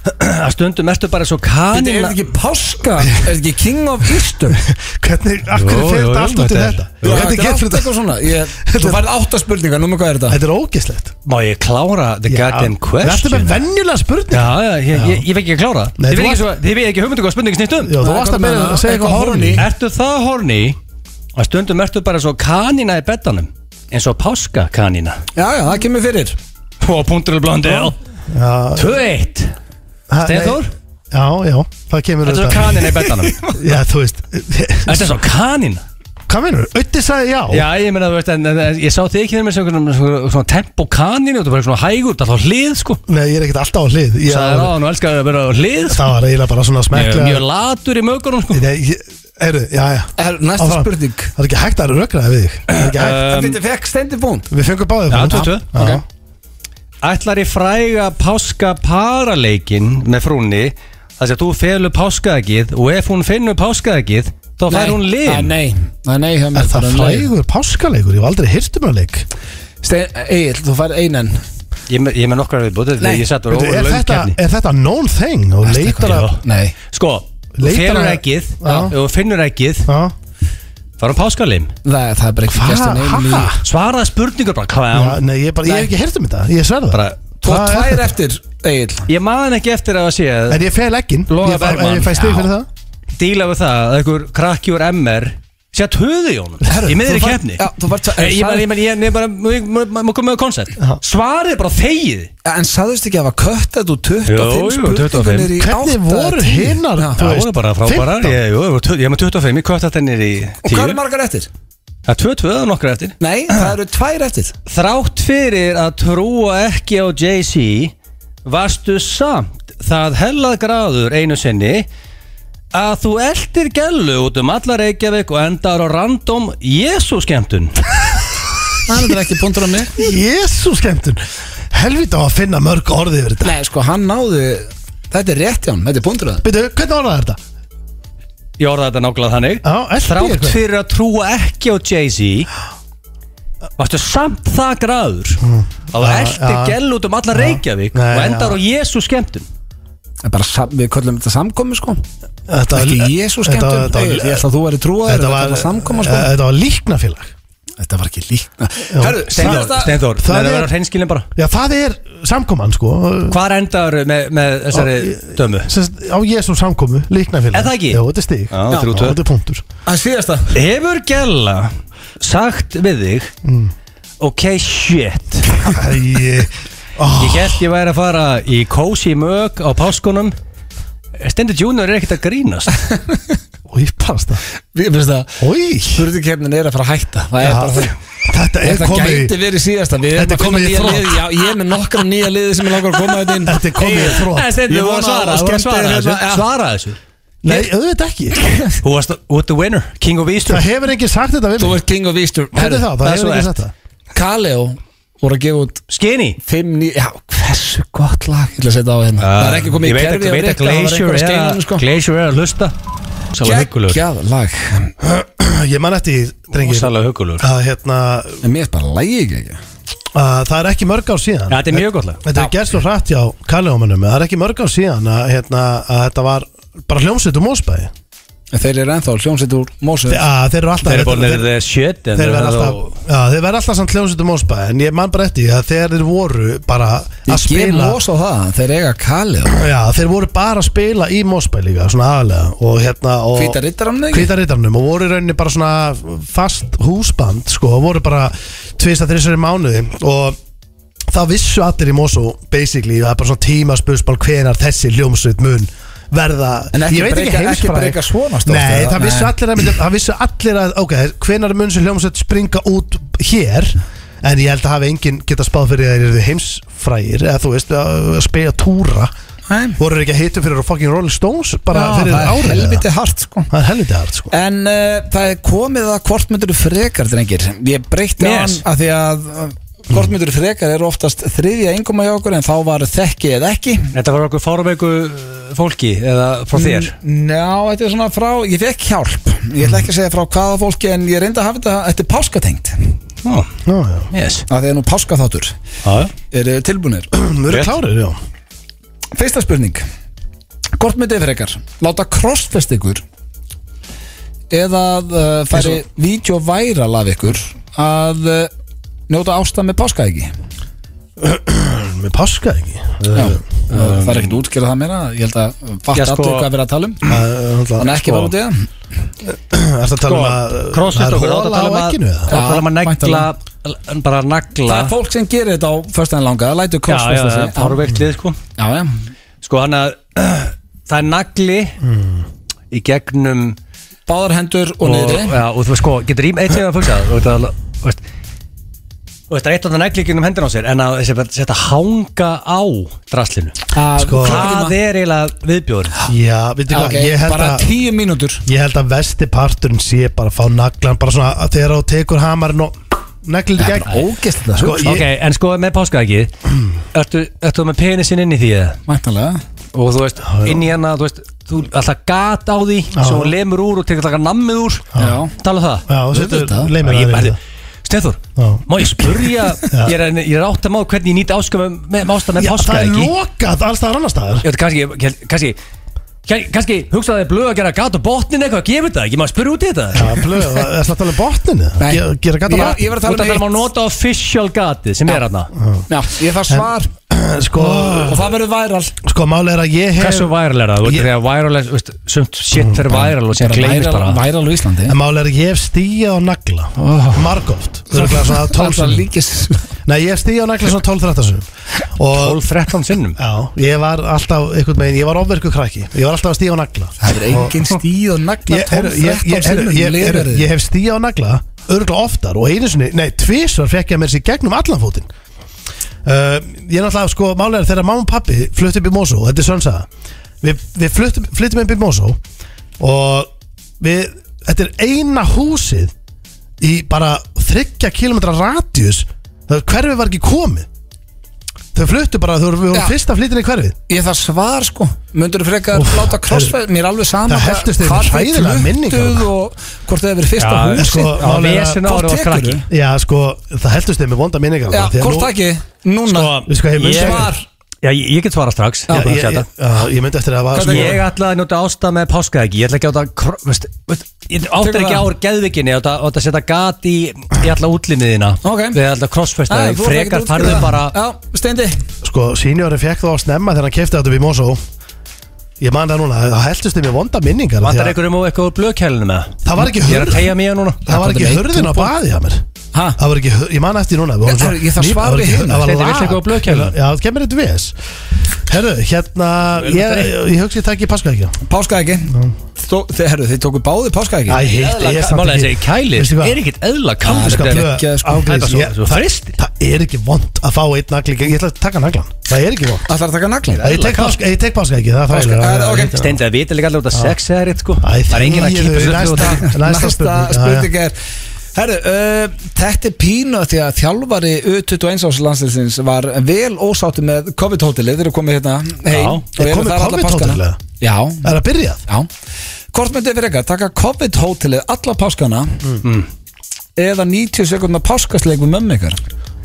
að stundum ertu bara svo Þetta er kanina þetta ekki páska, er þetta ekki king of Easter Hvernig, akkur Jú, fer jú, þetta jú, allt út í þetta er- þetta? Já, Hvernig Þetta er getur allt þetta? eitthvað svona Ég- Þú færið átta spurningar, númer hvað er þetta? Þetta er ógislegt Má ég klára the goddamn Þetta er question með venjulega spurning Já, já, ég, ég, ég veit ekki að klára Nei, Þið þú veit ekki, varst- svo- þið veit ekki hugmyndu hvað spurningi snýst um Já, þú varst að byrja að segja eitthvað horni Ertu það horni að stundum ertu bara svo kanina í betanum eins og páska kanina Já, já, það kemur fyrir Og punkturil blóndi Já, 2-1 ha, nei. Steinþór, Já, já, það kemur ertu svo auðvitað. kanina í betanum Já, þú veist Ertu svo kanina Hvað minnur? Ötti sagði já Já, ég meina, þú veist, en, en, en ég sá þig ekki þegar með sem einhvern- svona, svona tempo kaninu og þú bara svona hægur, það þá hlið, sko Nei, ég er ekkert alltaf á hlið Ég- Það er á hann og elskar að vera á hlið, sko Það var eiginlega bara svona Ég er smekklega Mjög latur í mögurum, sko Nei, ég- heyrðu, já, já Er Næsta Áfram. spurning Það er ekki hægt að rökraða við þig Það er ekki hægt Þetta fekk stendi búnd Við fengum báðið Já, 22, Já. Ætlar í fræga páska paraleikin með frúnni þar sem þú felur páskaðegið og ef hún finnur páskaðegið þá fær hún lim Nei, nei, nei hjá mér, Er það bara nei. frægur páskaleikur? Ég hef aldrei hýrt um að leik Stein- Egill, þú færið einan Ég er með- ég er með nokkrar viðbúti Nei. ég satt og Veitu, róla er, löng þetta, kefni er þetta known thing? Og leitar að Nei Sko, þú Leitar felur að- ekkið Já. og þú finnur ekkið Já. fær hún páskalim Það, það er bara ekki Hva? gæst í neinum Ha? lífi. Svaraði spurningur bara Já, hvað Nei, ég, bara, ég hef Nei. ekki hýrt um þetta Ég sverða Bara- Þú Hvað átt er tvær þetta? eftir, Egill Ég maður ekki eftir að það sé að En ég fer legginn Loga Ég fæ- Bergmann, Ég fæ stig já. fyrir það díla við það að einhver krakki úr MR sé að töðu í honum í miðri Þú fær- kefni Já, þú færð tvær- Ég meina, ég meina, ég er bara, maður komið með koncept Svarið bara þegið Ja, En sagðist ekki að hafa köttað úr 25 Jú, jú, 25. spurningunir í 8 Hvernig voru hinnar? Já. Þú Það veist, voru bara frábærar 15. ég, jú, ég var tö- ég er með 25, ég kvötta þennir í Og 10 hvað eru margar eftir? Það er 22 og nokkra eftir Nei, það eru tvær eftir Þrátt fyrir að trúa ekki á Jay-Z Varstu samt það hellað gráður einu sinni Að þú eldir gellu út um alla Reykjavík Og endar á random Jésúskemtun Það er ekki punktur á mig Jésu skemmtun Helvita á að finna mörg orði yfir þetta Nei, sko, hann náði Þetta er rétt hjá hann, þetta er punktur á það Byrju, hvernig orða er þetta? Ég orðaði þetta nákvæmlega þannig Já, elti Þrátt eitthvað. fyrir að trúa ekki á Jay-Z Varstu samt það gráður Að þú Hmm. Já, eldir já. gellu út um alla Reykjavík Nei, Og endar já. á Jésúskemtun Það er bara, sam- Við köllum þetta samkomi, sko Þetta Ekki Jésu skemmtum Ég ætla að þú væri trúaður Þetta Þetta var var samkoma, sko Þetta var líknafélag Þetta var ekki líkt Herru, Steinþór, síðasta- Steinþór, Það það er að er- vera hreinskilin bara Já, það er samkoman sko Hvar endar með, með þessari dömu? Sest, Á Jésu samkomu, líknafélag Er það ekki? Jó, þetta er stig Já, þrjú, tvö. þetta er punktur Að síðasta Hefur Gjalla sagt við þig Hmm. Ok, shit Æ, Oh. Ég held ég væri að fara í Cozy Mög á páskunum Stendur Junior er ekkert að grínast Í pasta Við finnst það Í Spurningarnin er að fara að hætta Það er bara það Þetta er Þetta komið gæti verið síðasta Við erum Þetta að finna komið í nýja þrótt. liði Já, ég er með nokkra nýja liði sem ég langar að koma þetta inn Þetta er komið í þrótt. Nei, Ég Stendur, þú vona var að svara, að þú var að svara skemmtir þessu hérna- Svara þessu Nei, auðvitað ekki Þú varst út the winner, king of Easter Það hefur enginn sagt þetta við Þú mig ert king of Easter Þetta er það, það það er hefur svo enginn ert. sagt það Kaleo voru að gefa út Skinny Fimm ný Já, hversu gott lag Ég ætla að setja á hérna Það er ekki komið Ég í veit að- kerfi Ég veit að Glacier er að- sko. Glacier er að hlusta Sálega huggulegur Gægjað lag Ég man eftir, drengi Sálega huggulegur að, hérna, En mér er bara lægi ekki ekki að það er ekki mörg ár síðan Ja, Þetta er mjög gott lag Þetta er gerst og hrætt hjá Kalljómanum Það er ekki mörg ár síðan að, hérna, að þetta var bara hljómsveit um Mósbæði En þeir eru ennþá hljómsveit úr Mósu Þeir eru alltaf Þeir eru þetta- búinir the shit en Þeir verða það- alltaf, já, þeir verða alltaf samt hljómsveitum Mósbæ En ég man bara eftir því að þegar þeir voru bara að Ég gef spila Mósu á það Þeir eiga Kaleo Já, þeir voru bara að spila í Mósbæ líka, svona aðalega Og hérna og Hvíta riddarann ekki Hvítarittarnum Og voru í rauninni bara svona fast húsband Sko, og voru bara tvist að þrissar í mánuði Og það vissu allir í Mósó Basically, það er bara svona tíma spusmál Hvenar þessi hljómsveit mun verða En ekki Ég veit breyka- ekki heimsfræg. breyka svona stórt, Nei, eða? það vissu Nei. allir að, myndi, það vissu allir að ok, hvenar mun sem hljómsveit springa út hér en ég held að hafi enginn geta spáð fyrir að þeir eru heimsfrægir eða þú veist að að spila túra Nei. voru þeir ekki að hitu fyrir fucking Rolling Stones bara Já, fyrir það er árið eða? helviti hart sko það er helviti hart sko En uh, það er komið að hvort myndur frekar drengir Ég breytti á hann Yes. að því að uh, hvort myndur frekar eru oftast þriðja yngoma hjá okkur en þá var þekki eða ekki Þetta var okkur fárveiku eh, fólki eða Mm. frá þér Njá, þetta er svona frá, ég fekk hjálp Ég ætla ekki að segja frá hvaða fólki en ég reyndi að hafa þetta, þetta er páskatengt Ó, Ná, já. Yes að því að nú páskaþáttur Já, já. eru tilbúinir við erum Rétt. klárið, já Fyrsta spurning Hvort myndið frekar, láta crossfest ykkur eða uh, færi vídeo-væral af ykkur að uh, njóta ástæð með páska ekki með páska ekki Já, það er ekkert útskýra það meira Ég held að fatta Já, sko- allir hvað við erum að tala um Þannig þannig sko, ekki Sko, var út í það er þetta að tala um að Crossfit það er okkur, þá hola á að ekkinu eða? þá tala um að Já, negla bara Það nagla er fólk sem gerir þetta á föstudaginn langa Það lætur Já, já, crossfesta það er sig fárveikt lið sko Já, já Sko hann að það er nagli Mm. í gegnum Báðar hendur og niðri Já, og þú veist sko, getur rým eitt sem að fugsa og þetta er alveg- þú veist og þetta er eitt af það neglíkinum hendina á sér en að þessi þetta hanga á draslinu Að- Sko- Það er eiginlega viðbjórn já, veitir hvað, Ok, ég held Bara að tíu mínútur Ég held að vesti parturinn sé bara að fá naglan bara svona að þegar þú tekur hamarinn og neglir þetta gegn Ógist þetta Sko, Ok, ég, en sko með páskaæki ertu, ertu með penisinn inn í því eða? Mæntanlega Og þú veist, inn í hana, þú veist Þú alltaf gat á því, svo hún lemur úr og tekur alltaf nammið úr Já. Tala um það Já, þú setur Auðvitað. leimir Ég það bara, við Steinþór, Já. má ég spurja ég er, ég er átt að má hvernig ég nýt ásköfum með ástæð með Já, það er páskaæki lokað alls staðar annar staðar Ég veit, kannski, kannski, kannski kannski hugsaði þið blöð að gera gat á botnin eitthvað, gefur það ekki, maður spurði út í þetta Já, blöð, það er það að tala um botninu Nei. Ge- Gera gata Já, vatn ég var að Þú tala ert um að það má eitt nota official gatið sem er hérna Já, ég þarf svar Sko, Og það verður væral sko máli er að ég hef Hversu viral er það? Þú veit Ég- þegar viral er, veist, sumt shit er viral og sem gleymist bara Væral á Íslandi En máli er að ég hef stíjað á nagla Margóft Þú erum glæð svona Það er það 12 líkis Nei, ég hef stíjað á nagla svona 12-13 sinnum. Og 12-13 sinnum Já, ég var alltaf, einhvern veginn, ég var ofverku krakki Ég var alltaf að stíða á nagla Það er engin stíð og nagla Ég- heyrðu, ég- 12-13 ég- heyrðu, sinnum ég- heyrðu, liðverðið. Ég hef stíð á nagla örgulega oftar og einu sinni, nei, tvisvar fekk ég að mér sér gegnum allan fótinn uh, Ég er náttúrulega, sko, málega þegar mamma og pappi flutti upp í Mosó, þetta er sönsaga Við, við fluttum, fluttum upp í Mosó og við, þetta er eina húsið í bara þryggja kilometra radius það hverfi var ekki komið Þau fluttu bara, þau voru, við vorum Já. fyrsta flytin í hverfið Ég þarf svar sko Möndur þú frekar Úff, láta crossfit Mér er alveg sama það helltist yfir hræðilega minningar. minningar og hvort það hefur verið fyrsta Já, húsi sko, Já, málega- vesen Hvort árið og tekur krakki þú? Já, sko, það heldust þið með vonda minningar Já, hvort það ekki Núna Sko, veistu hvað ég mun ég, segja? Já, ég, ég get svara strax Já, Ég- ég, ég, já, ég myndi eftir að það var Sko, ég ætlaði að njóta ásta með páska ekki Ég ætla ekki að átta kr- veist, veist, Ég átta Tekur ekki það. ár geðvikinni Ég átta átta að setja gat í Ég ætla útlimiðina Ok. Við ætla crossfesta Æ, þig þú ert ekkert Frekar útskýrð farðu það. bara Já, steindi Sko, seniorinn fekk það á snemma þegar hann kefti þetta við Mosó Ég man það núna, það heldust þið mér vonda minningar af því Vantar að ykkur um og eitthvað úr blökjælinu með það? Það var ekki Ég er að hurð- tegja mér núna það var ekki Þetta er hurðin á eitt baði að mér Ha? Það var ekki, hurð- ég man eftir núna við vorum Ég- svona- ég þarf ný- svar það var við ekki- hinu. Það var Þetta er lag. Hérna, vilt eitthvað á blöðkerfinu. Já, það kemur eitthvað ves Herru, hérna, ég, ég, ég hugsi að takk í paska ekki Páska ekki Þið, herru, þið tóku báði páska ekki Æ, hitt, ég er samt Málega þessi kæli Veistu hvað? Er ekkit eðla Ah, kaldur sko, þetta er- blöð. Blöð, geggjað, sko. ángríns, Þetta er svo- ég- svo það- fristir. Það er ekki vond að fá einn nagli Ég ætla að taka naglan, það er ekki vond Ætlar það að taka naglin? Ég tek páska- ég tek páska ekki, það er Páska- þægilega. eh, ok. Ég- Steindi að vita líka allir út að sex eða rétt sko Æ, Það er enginn að þegið kýpa þið, sér öllu út næsta- af- Næsta Næsta spurning, já, spurning er Herru, uh, þetta er pínu af því að þjálfari U21 ás landsliðsins var vel ósáttu með COVID-hótelið þeir eru komið hérna Já. heim Er komið COVID-hótelið? Já, Það er að byrjað já Hvort myndið fyrir eitthvað, taka COVID-hótelið alla páskana Mm. eða 90 sekund með páskasleik við mömmu ykkar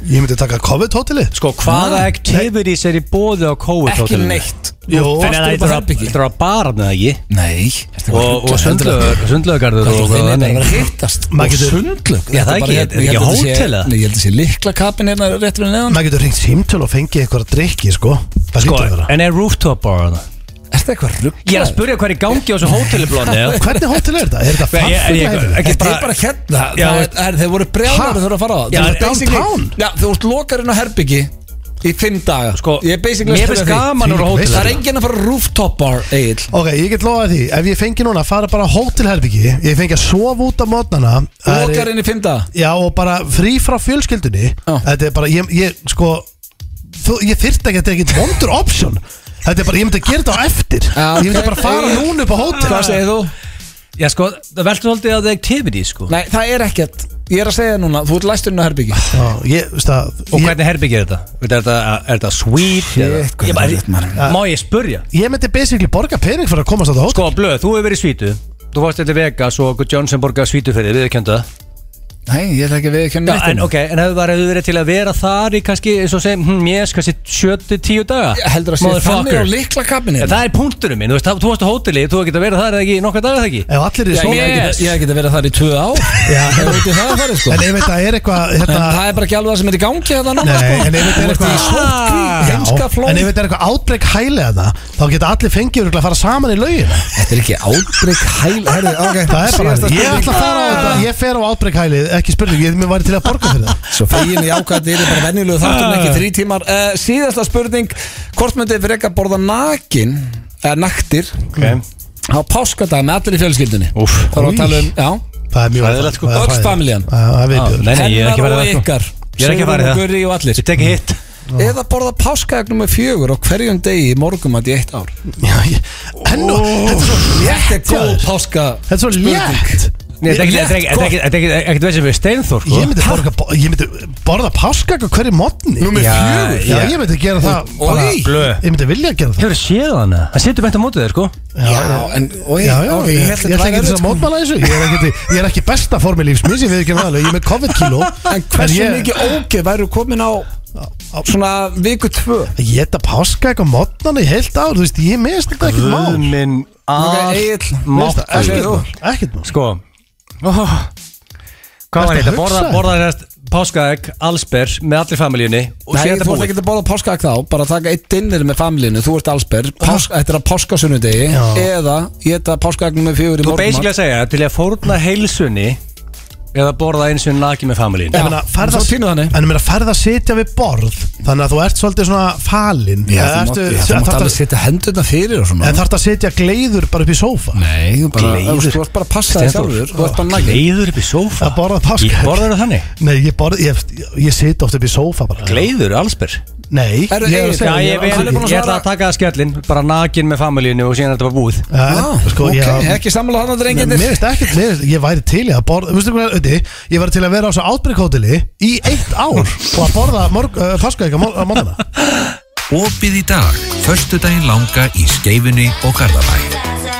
Ég myndi taka COVID-hóteli Sko, hvaða activities er í bóði á COVID Ekki neitt Jó, Þannig Varstu að það bara er að- herbergi? þetta er að bara með það ekki Nei Og og sundlaugar- sundlaugargarður og Þeim er bara þannig. að hittast Maður Og getur- sundlug Já, það er ekki- er ekki hótel eða? Ég held að sé líkla kapin hérna rétt fyrir neðan maður getur hringt símtöl og fengið eitthvað að drikki sko. Það Sko, hlýtur að vera en er rooftop bar það? Er þetta eitthvað rugg? Ég er að spurja hvað er í gangi á þessu hóteliblóni Hvernig hótel er þetta? Er þetta Ég- ég- ég- farfugla ekki- hefði? Þetta er bara hérna Já, það veist- er, er, Þeir voru Ha? brjálar að þurfa að fara á það Já, Þú ert downtown? basically- Já, þú ert lokarinn á herbyggi Í fimm daga Sko, Ég er basically mér að finnst spyrja því. gaman að vera á hóteli. Það er enginn að fara á rooftop bar, Egil Ok, ég get lofað því Ef ég fengi núna að fara bara á hótelherbyggi Ég fengi að sofa út á mótnana Lokarinn í fimm daga Já og bara frí frá fjölskyldunni Já. Þetta er bara, ég, ég sko þú, Ég þyrfti ekki að þetta er ekkert vondur option Þetta er bara, ég myndi að gera þetta á eftir Já, Ég ok. myndi bara fara núna upp á hótel Hvað segir þú? Já, sko, það veltur svolítið að það er activity, sko Nei, það er ekkert Ég er að segja núna, þú ert læsturinn á herbyggi Já, ég, veist það Og ég- hvernig herbyggir þetta? Er þetta, er þetta sweet? eða- hvað Ég er bara- þetta, maður? Má ég spurja? Ég myndi basically borga pening fyrir að komast á þetta hótel Sko, blöð, þú hefur verið í svítu Þú fórst til Vegas og Johnson borgaði svítu fyrir þig, viðurkenndu það. Nei, ég ætla ekki að við ekki Já, en ok, en hefur verið, hefur verið til að vera þar í kannski, eins og segjum, hm, yes, kannski 7-10 daga Heldur að sé þannig á Motherfucker. líkla En kapinni Það er punkturinn minn, þú veist, það- þú varst á hóteli, þú hefur getað verið þar eða ekki í nokkra daga eða ekki Ef allir eru Ég í svona ég- ég hef ekki að vera þar í tvö á Ég veit ég það að fara sko En ef þetta er eitthvað En hérna, það er bara ekki alveg það sem er í gangi þetta núna Nei, sko en ef Þú ert í þetta er eitthvað sótkví, Já, heimskaflóð. En ef þetta er eitthvað átbreyk hæli að það Þá geta allir fengið örugglega að fara saman í laugin Þetta er ekki átbreyk hæl Herðu, ok, Það er bara síðasta Ég spurning. ætla að fara á þetta Ég fer á átbreyk hæli Ekki spurning Ég mér væri til að borga fyrir það Svo fegin í ákvæði er bara venjulegu þáttum ekki þrý tímar uh, Síðasta spurning Hvort myndið fyrir ekki að borða nakin eða naktir okay. á páskadag með allir í fjölskyldinni Úff. Það er að tala um, já Það er mjög Hræðilegt, sko. það er Öll hræðilegt. familjan. Já, Það er Ah, viðbjörn Nei, nei, ég er ekki Hennar farið og það, sko. ykkar Ég er ekki Sigrún farið og það. Gurri og allir Ég tek hitt Eða borða páskadag nummer fjögur á hverjum degi í morgum að í eitt ár Já, ég- En nú Þetta er svo Þetta er létt góð maður. páska Þetta er svo létt Nei, þetta er ekki- Létt, þetta er ekki- þetta er ekki- þetta er ekki- ekkert veist sem við Steinþór, sko Ég myndi borga bo- Ég myndi borða páskak á hverju modni Númer fjögur? Já, ég myndi gera það Oj. bara- Blöð. Ég myndi vilja gera það Hefur séð hann eða? Hann situr beint á mótið þér, sko Já, en, oi, Já, já, ok, ég ég, ég, held að ég ætla þetta ekki væri sko. til að mótmála þessu Ég er ekki, ég er ekki besta formi lífsmins Ég veit ekki alveg, ég er með COVID-kíló En hversu ég, mikið ógeð væru komin á svona viku tvö Að geta páska eitthvað mótnana í heilt ár Þú veist, ég meðist þetta ekkert mál Mér minn Egill, finnst það máttur Ekkert þú? mál, ekkert mál Sko oh. Hvað var Ertu að þetta? Borða, hugsa? borða hérst páskaegg, allsber með allir familíunni og Nei, sé þetta þú ert búið ekki að bóla páskaak þá bara taka eitt dinnir með famlinu, þú ert allsberg páska, þetta er að páskasunudegi Já. eða geta páskaaknum með fjögur í Þú er morgum basically að segja til ég að fórna heilsunni eða borða eins og naki með familíunni Já, Ég meina, farð svo að- pínu þannig. En ég meina, farð að sitja við borð Þannig að þú ert svolítið svona falin Já, þú mátt- já, þú mátt alveg setja hendurna fyrir og svona En þarf það að setja gleiður bara upp í sófa Nei, þú bara, Gleiður. þú veist, þú ert bara að passa þig Steindór. sjálfur Þú ert bara nagið Gleiður upp í sófa Að borða páskaegg. Ég- Borðarðu þannig? Nei, ég, borð, ég, ég sit oft upp í sófa bara Gleiður, allsber Nei, Herru, ég er að Egill, Já, segja ég, ég- vel, hann er búinn að ég ætla svara- að taka að skellin bara nakin með familíunni og síðan er þetta bara búið Já, Já, sko, ok, ég- ekki sammála hann að Mér drenginir finnst ekkert, mér finnst, ég væri til í að borða Vistu hvað er auði? Ég væri til að vera á svo átbreykhóteli í eitt ár og að borða morg, uh, páskaðika á móðana Opið í dag, förstu daginn langa í Skeifunni og Garðabæ.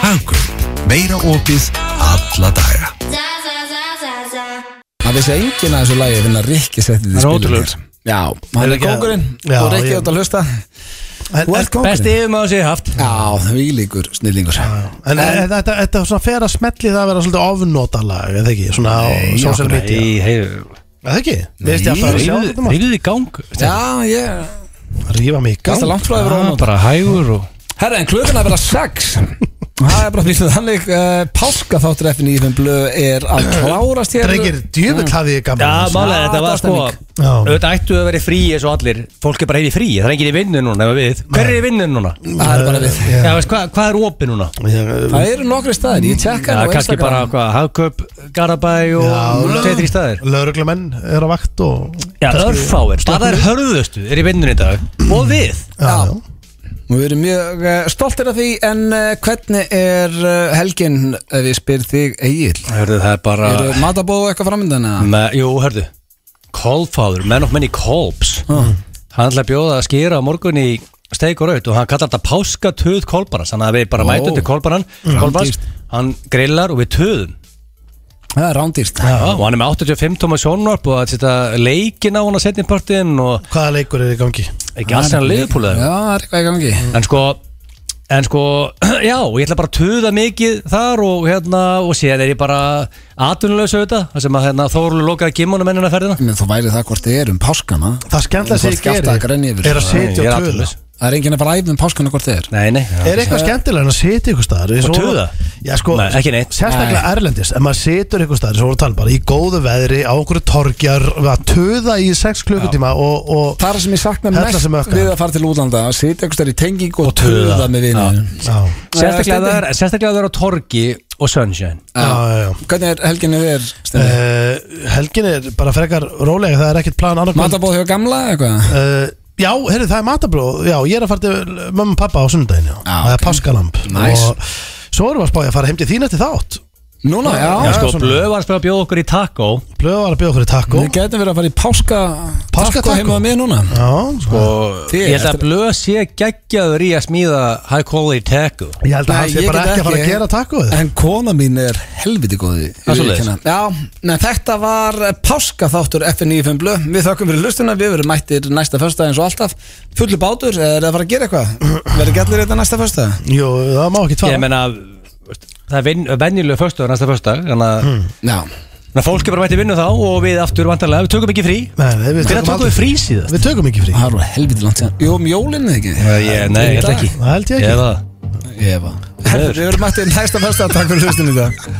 Hagkaup, meira opið alla daga. Það vissi enginn að þessu lagi finna Rikki setti því er ótrúlegur. Já, hann er kókurinn Já, og Rikki ég- átt að hlusta En, Þú en, ert kóngurinn. Besti yfirmaður sem ég hef haft Já, því líkur snillingur en, en þetta, þetta svona fer að smelli það að vera svolítið ofnotalag, eða ekki, svona á social media, Nei, hei, eða ekki? Mér finnst ég alltaf að sjá þetta rífið í gang Já, ég maður, rífa mig í Gasta gang. langt frá yfir Ah, ónum Bara hægur og Herra, en klukkan er að vera sex Það er bara býtluð þannig uh, Páska þáttur F95 blöð er að klárast hér Drengir, djöfull hafði ég gaman. Já, að þessu. málega, þetta var sko Datastemning. Já. Auðvitað ættu að vera í fríi eins og allir Fólk er bara hefði fríi, það er enginn í vinnu núna ef við. Hver er í vinnu núna? Það er bara við Já, veist, hvað, hvað er opið núna? Ég- Það eru nokkri staðir, ég tekka Já, kannski bara hvað, Hagköp, Garabæ og Já, Tveitri staðir Lögreglumenn er á vakt og Já, örfáir, bara er hörðustu er í vinnunni í dag og við Já. Nú erum mjög uh, stoltir af því En uh, hvernig er uh, helgin Ef ég spyr þig Egil Hörðu, það er bara Eru matabóð eitthvað framöndan eða? Me, Jú, hörðu, Kolfáður, menn of menni Kolbs Hann ætla að bjóða að skýra á morgun í steik og raut og hann kallar þetta páskatöð Kolbarans þannig að við bara Ó. mætum til Kolbaran Kolbarans, hann grillar og við töðum Það er rándýrt Já, og hann er með 85 tóma sjónvarp og að setja leikin á hann að setja í partin og hvaða leikur er í gangi? ekki alls hérna hann liðupúlega Já, það er eitthvað í gangi En sko En sko, já, ég ætla bara að tuða mikið þar og hérna, og séðan er ég bara atvinnulegs auðvitað, það sem að hérna, Þórlu lokaði gimmunum ennina ferðina. Men þú væri það hvort þið er um páskana Það Þú skemmtilega ert sem ég ekki alltaf að grenja gerir yfir er að þessu. Ég sitja er og tuða atvinnulaus. Það er enginn að fara æfð um páskana hvort þið er Nei, nei. Er eitthvað skemmtilega en að sitja ykkur staðar eins Og voru- tuða? Já sko, Nei, ekki neitt. sérstaklega erlendis En maður situr ykkur staðar, svo voru að tala um bara Í góðu veðri, á okkur torgjar Að tuða í 6 klukkutíma og, og Það er sem ég sakna Hella mest sem ökkar. við að fara til útlanda að sitja einhvers þar í tenging og, töða með vinnu Já, Sérstaklega Eh, það er, sérstaklega það er á Torgi og Sunshine. já, já, já. Hvernig er helginu þér? Uh, Uh, Helgin er bara frekar rólega Það er ekkert plan annarkvöld Matabóð hjá gamla eitthvað? uh, Já, heyrðu, það er matabróð Já, ég er að fara til eh, mömmu og pappa á sundaginn já. Já, Það Ah, ok. er páskalamb Nice. Og svo erum við að spája að fara heim til þín eftir þátt Núna, já, Já, já sko, svona. Blöð var að spila að bjóða okkur í taco Blöð var að bjóða okkur í takko Við getum verið að fara í páska Páska taco heima taco. með núna Já, sko og Þið, ég held að eftir- Blöð sé geggjaður í að smíða high quality taco. Ég held að Nei, hann sé ég bara get ekki að fara að gera takkoð En kona mín er helviti góði Það er svoleiðis. Já, en þetta var páska þáttur FN95 Blö Við þökkum fyrir lustuna, við verum mættir næsta fösta eins og alltaf Fullu bátur, er það að fara að gera eitthvað? Verður gællir þetta næsta fösta? Jú, það má ekki Ég tvara meina, veist, það er vin- venjulega föstudag, næsta föstudag, þannig að Hmm. Já, þannig að fólk er bara mætti vinnu þá og við aftur vantarlega, við tökum ekki frí. Nei, nei, við Hvenær tökum tókum aldrei við frí síðast? Við tökum ekki frí það er nú helviti langt sér Jú, um jólinn eða ekki? Nei, ég- nei, ég held ekki Það held ég ekki Ég held það Eva Við verum mættið næsta fyrsta Takk fyrir hlustin í dag